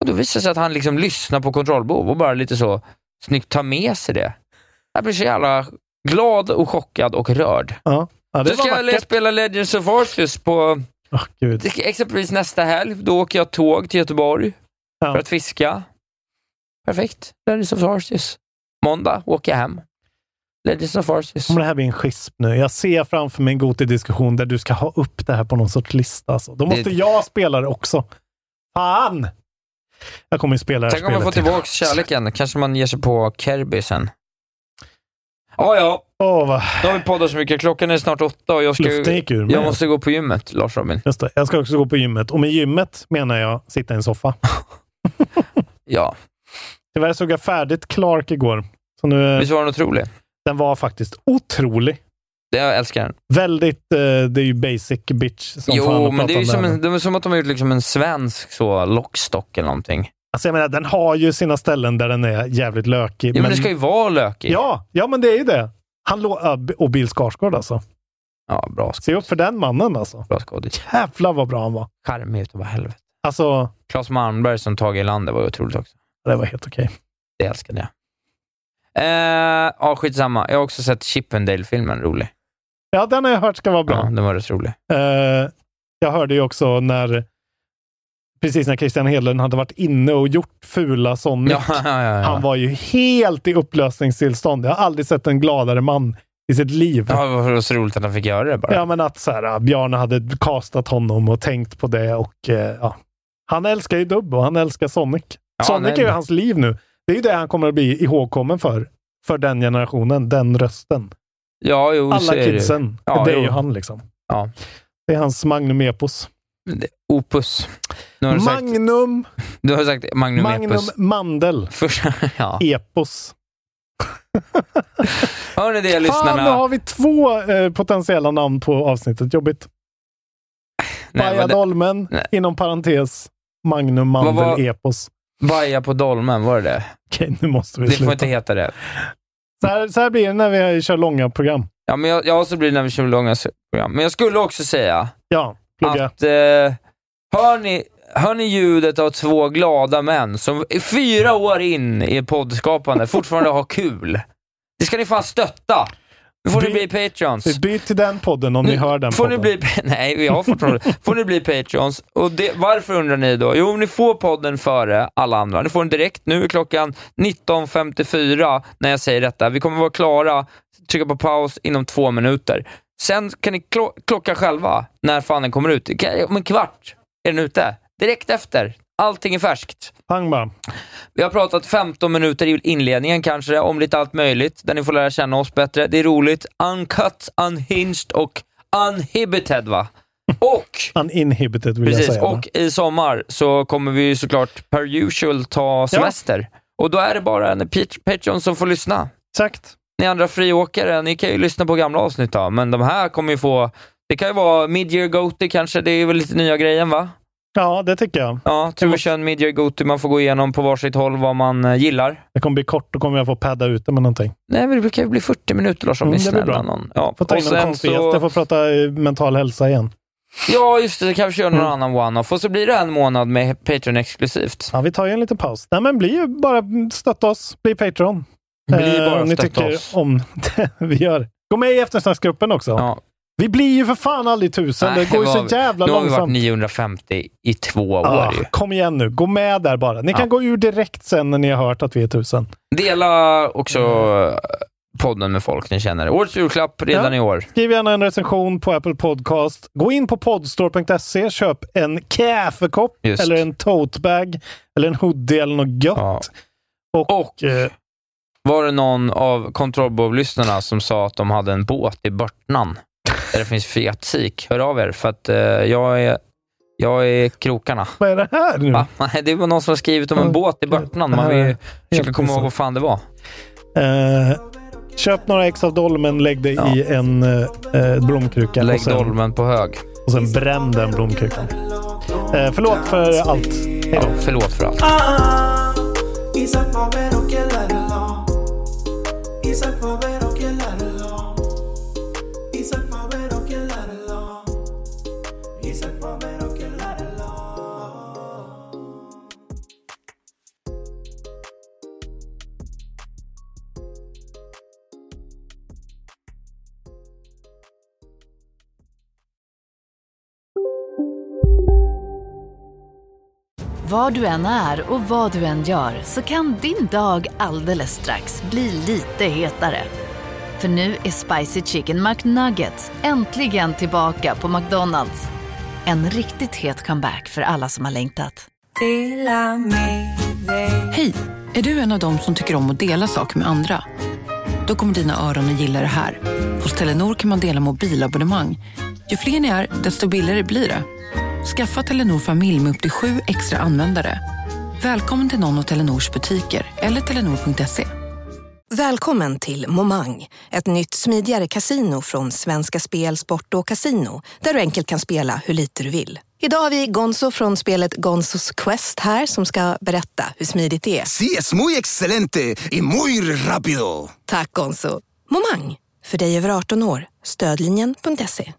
Speaker 4: Och då visar det sig att han liksom lyssnar på kontrollbehov och bara lite så snyggt tar med sig det. Jag blir så jävla glad och chockad och rörd.
Speaker 5: Ja. Ja, det
Speaker 4: Då ska
Speaker 5: var
Speaker 4: jag le-
Speaker 5: vackert.
Speaker 4: spela Legends of Arceus på
Speaker 5: Åh, gud.
Speaker 4: det ska- exempelvis nästa helg. Då åker jag tåg till Göteborg
Speaker 5: Ja.
Speaker 4: för att fiska. Perfekt. Legends of Arceus. Måndag åker jag hem. Legends of Arceus.
Speaker 5: Kommer det här bli en schism nu? Jag ser framför mig en gotig diskussion där du ska ha upp det här på någon sorts lista. Alltså. Då måste
Speaker 4: Det-
Speaker 5: jag spela det också. Fan! Jag kommer ju spela det här
Speaker 4: Tänk om man får
Speaker 5: spelet till.
Speaker 4: tillbaka kärleken. Kanske man ger sig på Kirby sen. Ja, ja.
Speaker 5: Åh, vad...
Speaker 4: Då har vi poddat så mycket. Klockan är snart åtta och jag, ska,
Speaker 5: Luften gick ur mig.
Speaker 4: jag måste gå på gymmet, Lars-Robin.
Speaker 5: Just det. Jag ska också gå på gymmet. Och med gymmet menar jag sitta i en soffa.
Speaker 4: Ja,
Speaker 5: Tyvärr såg jag färdigt Clark igår. Så nu,
Speaker 4: visst var den otrolig?
Speaker 5: den var faktiskt otrolig.
Speaker 4: Det, jag älskar den.
Speaker 5: Väldigt, eh, det är ju basic bitch som fan
Speaker 4: jo,
Speaker 5: att
Speaker 4: men det är
Speaker 5: prata
Speaker 4: ju
Speaker 5: om
Speaker 4: som,
Speaker 5: här.
Speaker 4: en, det är som att de har gjort liksom en svensk så, lockstock eller någonting.
Speaker 5: Alltså jag menar, den har ju sina ställen där den är jävligt lökig.
Speaker 4: Ja, men det ska ju vara lökig.
Speaker 5: ja, ja, men det är ju det. Han lå... ja, B- Och Bill Skarsgård alltså.
Speaker 4: ja bra sk-
Speaker 5: Se upp för den mannen alltså.
Speaker 4: bra skådis.
Speaker 5: Jävlar vad bra han var.
Speaker 4: Charmig utav helvete.
Speaker 5: Alltså,
Speaker 4: Claes Malmberg som Tage Erlander var ju otroligt också.
Speaker 5: det var helt okej.
Speaker 4: Det älskade jag. Eh, ja, skitsamma. Jag har också sett Chippendale-filmen, rolig.
Speaker 5: Ja, den har jag hört ska vara bra.
Speaker 4: Ja, den var rätt rolig.
Speaker 5: Eh, jag hörde ju också när, precis när Christian Hedlund hade varit inne och gjort fula Sonic.
Speaker 4: Ja, ja, ja, ja.
Speaker 5: Han var ju helt i upplösningstillstånd. Jag har aldrig sett en gladare man i sitt liv.
Speaker 4: Ja, det var så roligt att han fick göra det bara.
Speaker 5: Ja, men att så här, ah, Bjarne hade castat honom och tänkt på det och eh, ja. Han älskar ju dubb och han älskar Sonic.
Speaker 4: Ja,
Speaker 5: Sonic
Speaker 4: nej.
Speaker 5: är ju hans liv nu. Det är ju det han kommer att bli ihågkommen för. För den generationen, den rösten.
Speaker 4: Ja, jo, så
Speaker 5: Alla
Speaker 4: är det ju.
Speaker 5: kidsen.
Speaker 4: Ja,
Speaker 5: det är
Speaker 4: jo.
Speaker 5: ju han liksom.
Speaker 4: Ja.
Speaker 5: Det är hans magnum epos.
Speaker 4: Opus. Nu har du sagt,
Speaker 5: Magnum,
Speaker 4: du har sagt Magnum,
Speaker 5: magnum
Speaker 4: Epus.
Speaker 5: mandel.
Speaker 4: Första, ja.
Speaker 5: Epos.
Speaker 4: Hör ni det
Speaker 5: Fan,
Speaker 4: lyssnarna?
Speaker 5: nu har vi två eh, potentiella namn på avsnittet. Jobbigt.
Speaker 4: Nej,
Speaker 5: Baja
Speaker 4: vad det-
Speaker 5: Dolmen,
Speaker 4: Nej.
Speaker 5: inom parentes, Magnum
Speaker 4: Vad
Speaker 5: mandel
Speaker 4: var-
Speaker 5: epos.
Speaker 4: Baja på dolmen, var det det?
Speaker 5: Okej, nu måste vi
Speaker 4: Det får
Speaker 5: sluta.
Speaker 4: inte heta det.
Speaker 5: Så här, så här blir det när vi kör långa program.
Speaker 4: Ja, men jag, jag så blir det när vi kör långa program. Men jag skulle också säga
Speaker 5: Ja, plugga.
Speaker 4: att eh, hör, ni, hör ni ljudet av två glada män som i fyra år in i poddskapande fortfarande har kul? Det ska ni fan stötta! Nu får ni
Speaker 5: Vi-
Speaker 4: bli patreons.
Speaker 5: Byt till den podden om ni hör den
Speaker 4: får ni
Speaker 5: podden.
Speaker 4: bli, Nej, jag har fortfarande Får ni bli patreons. Och det, varför undrar ni då? Jo, ni får podden före alla andra. Ni får den direkt. Nu är klockan 19.54 när jag säger detta. Vi kommer vara klara, trycka på paus inom två minuter. Sen kan ni klo- klocka själva när fan den kommer ut. Det kan- Om en kvart är den ute. Direkt efter. Allting är färskt.
Speaker 5: Pang bara.
Speaker 4: Vi har pratat 15 minuter i inledningen kanske, om lite allt möjligt, där ni får lära känna oss bättre. Det är roligt. Uncut, unhinged och uninhibited va? Och,
Speaker 5: Uninhibited vill jag
Speaker 4: precis,
Speaker 5: säga. va?
Speaker 4: och i sommar så kommer vi ju såklart per usual ta semester. Och då är det bara en Pat- Patreon som får lyssna.
Speaker 5: Exakt.
Speaker 4: Ni andra friåkare, ni kan ju lyssna på gamla avsnitt då, men de här kommer ju få, det kan ju vara Midyear Goaty kanske, det är väl lite nya grejen va?
Speaker 5: Ja, det tycker jag.
Speaker 4: Ja, tror vi kör en Midyear Goaty, man får gå igenom på varsitt håll vad man eh, gillar.
Speaker 5: Det kommer bli kort, då kommer jag få padda ut det med någonting.
Speaker 4: Nej, men det brukar ju bli 40 minuter Lars, om
Speaker 5: Mm,
Speaker 4: ni är
Speaker 5: det blir
Speaker 4: snälla.
Speaker 5: bra.
Speaker 4: Någon. Ja.
Speaker 5: Får ta in någon konstig gäst. Jag får prata eh, mental hälsa igen.
Speaker 4: ja, just det. Då kan vi köra någon
Speaker 5: Mm.
Speaker 4: annan one-off. Och så blir det en månad med Patreon exklusivt.
Speaker 5: Ja, vi tar ju en liten paus. Nej, men bli ju bara stötta oss. Bli Patreon.
Speaker 4: Bli bara
Speaker 5: Eh, om ni
Speaker 4: stötta
Speaker 5: tycker
Speaker 4: oss.
Speaker 5: om det vi gör. Gå med i eftersnacksgruppen också.
Speaker 4: Ja.
Speaker 5: Vi blir ju för fan aldrig tusen.
Speaker 4: Nej,
Speaker 5: det går ju
Speaker 4: vad
Speaker 5: så
Speaker 4: har vi-
Speaker 5: jävla
Speaker 4: Nu har vi varit
Speaker 5: långsamt.
Speaker 4: 950 i två år
Speaker 5: Ah,
Speaker 4: ju.
Speaker 5: kom igen nu, gå med där bara. Ni
Speaker 4: Ja.
Speaker 5: kan gå ur direkt sen när ni har hört att vi är tusen.
Speaker 4: Dela också eh, podden med folk ni känner. Årets julklapp redan
Speaker 5: Mm. Ja.
Speaker 4: i år.
Speaker 5: Skriv gärna en recension på Apple Podcast. Gå in på podstore.se, köp en kaffekopp
Speaker 4: Just.
Speaker 5: eller en totebag eller en hoodie eller något gött.
Speaker 4: Ja.
Speaker 5: Och,
Speaker 4: Och
Speaker 5: eh,
Speaker 4: var det någon av kontrollbehov-lyssnarna som sa att de hade en båt i Börtnan? Där det finns fet sik. Hör av er, för att eh, jag är, jag är krokarna.
Speaker 5: vad är det här nu?
Speaker 4: Va? Nej, det var någon som har skrivit om en
Speaker 5: Mm. Ja,
Speaker 4: båt i Börtnan.
Speaker 5: det
Speaker 4: Man
Speaker 5: här
Speaker 4: vill
Speaker 5: är
Speaker 4: ju försöka komma
Speaker 5: pinsamt.
Speaker 4: ihåg vad fan det var.
Speaker 5: Eh, köp några ex av dolmen, lägg det i en eh, eh, blomkruka
Speaker 4: Lägg
Speaker 5: och sen,
Speaker 4: dolmen på hög.
Speaker 5: och sen bränn den blomkrukan. Eh, förlåt för allt. Hej då.
Speaker 4: Förlåt för allt.
Speaker 3: Ah, Isaac va a ver o que la reloj. Isaac va a ver o que la reloj. Isaac va a ver o que la reloj. Isaac va a ver o que la reloj.
Speaker 8: Var du än är och vad du än gör så kan din dag alldeles strax bli lite hetare. För nu är Spicy Chicken McNuggets äntligen tillbaka på McDonalds. En riktigt het comeback för alla som har längtat.
Speaker 10: Hej! Är du en av dem som tycker om att dela saker med andra? Då kommer dina öron att gilla det här. Hos Telenor kan man dela mobilabonnemang. Ju fler ni är, desto billigare blir det. Skaffa Telenor familj med upp till sju extra användare. Välkommen till någon av Telenors butiker eller telenor.se.
Speaker 11: Välkommen till Momang, ett nytt smidigare kasino från Svenska Spel, Sport och Casino där du enkelt kan spela hur lite du vill. Idag har vi Gonzo från spelet Gonzos Quest här som ska berätta hur smidigt det är.
Speaker 12: Sí, es muy excelente y muy rápido.
Speaker 11: Tack Gonzo! Momang, för dig över 18 år. Stödlinjen.se.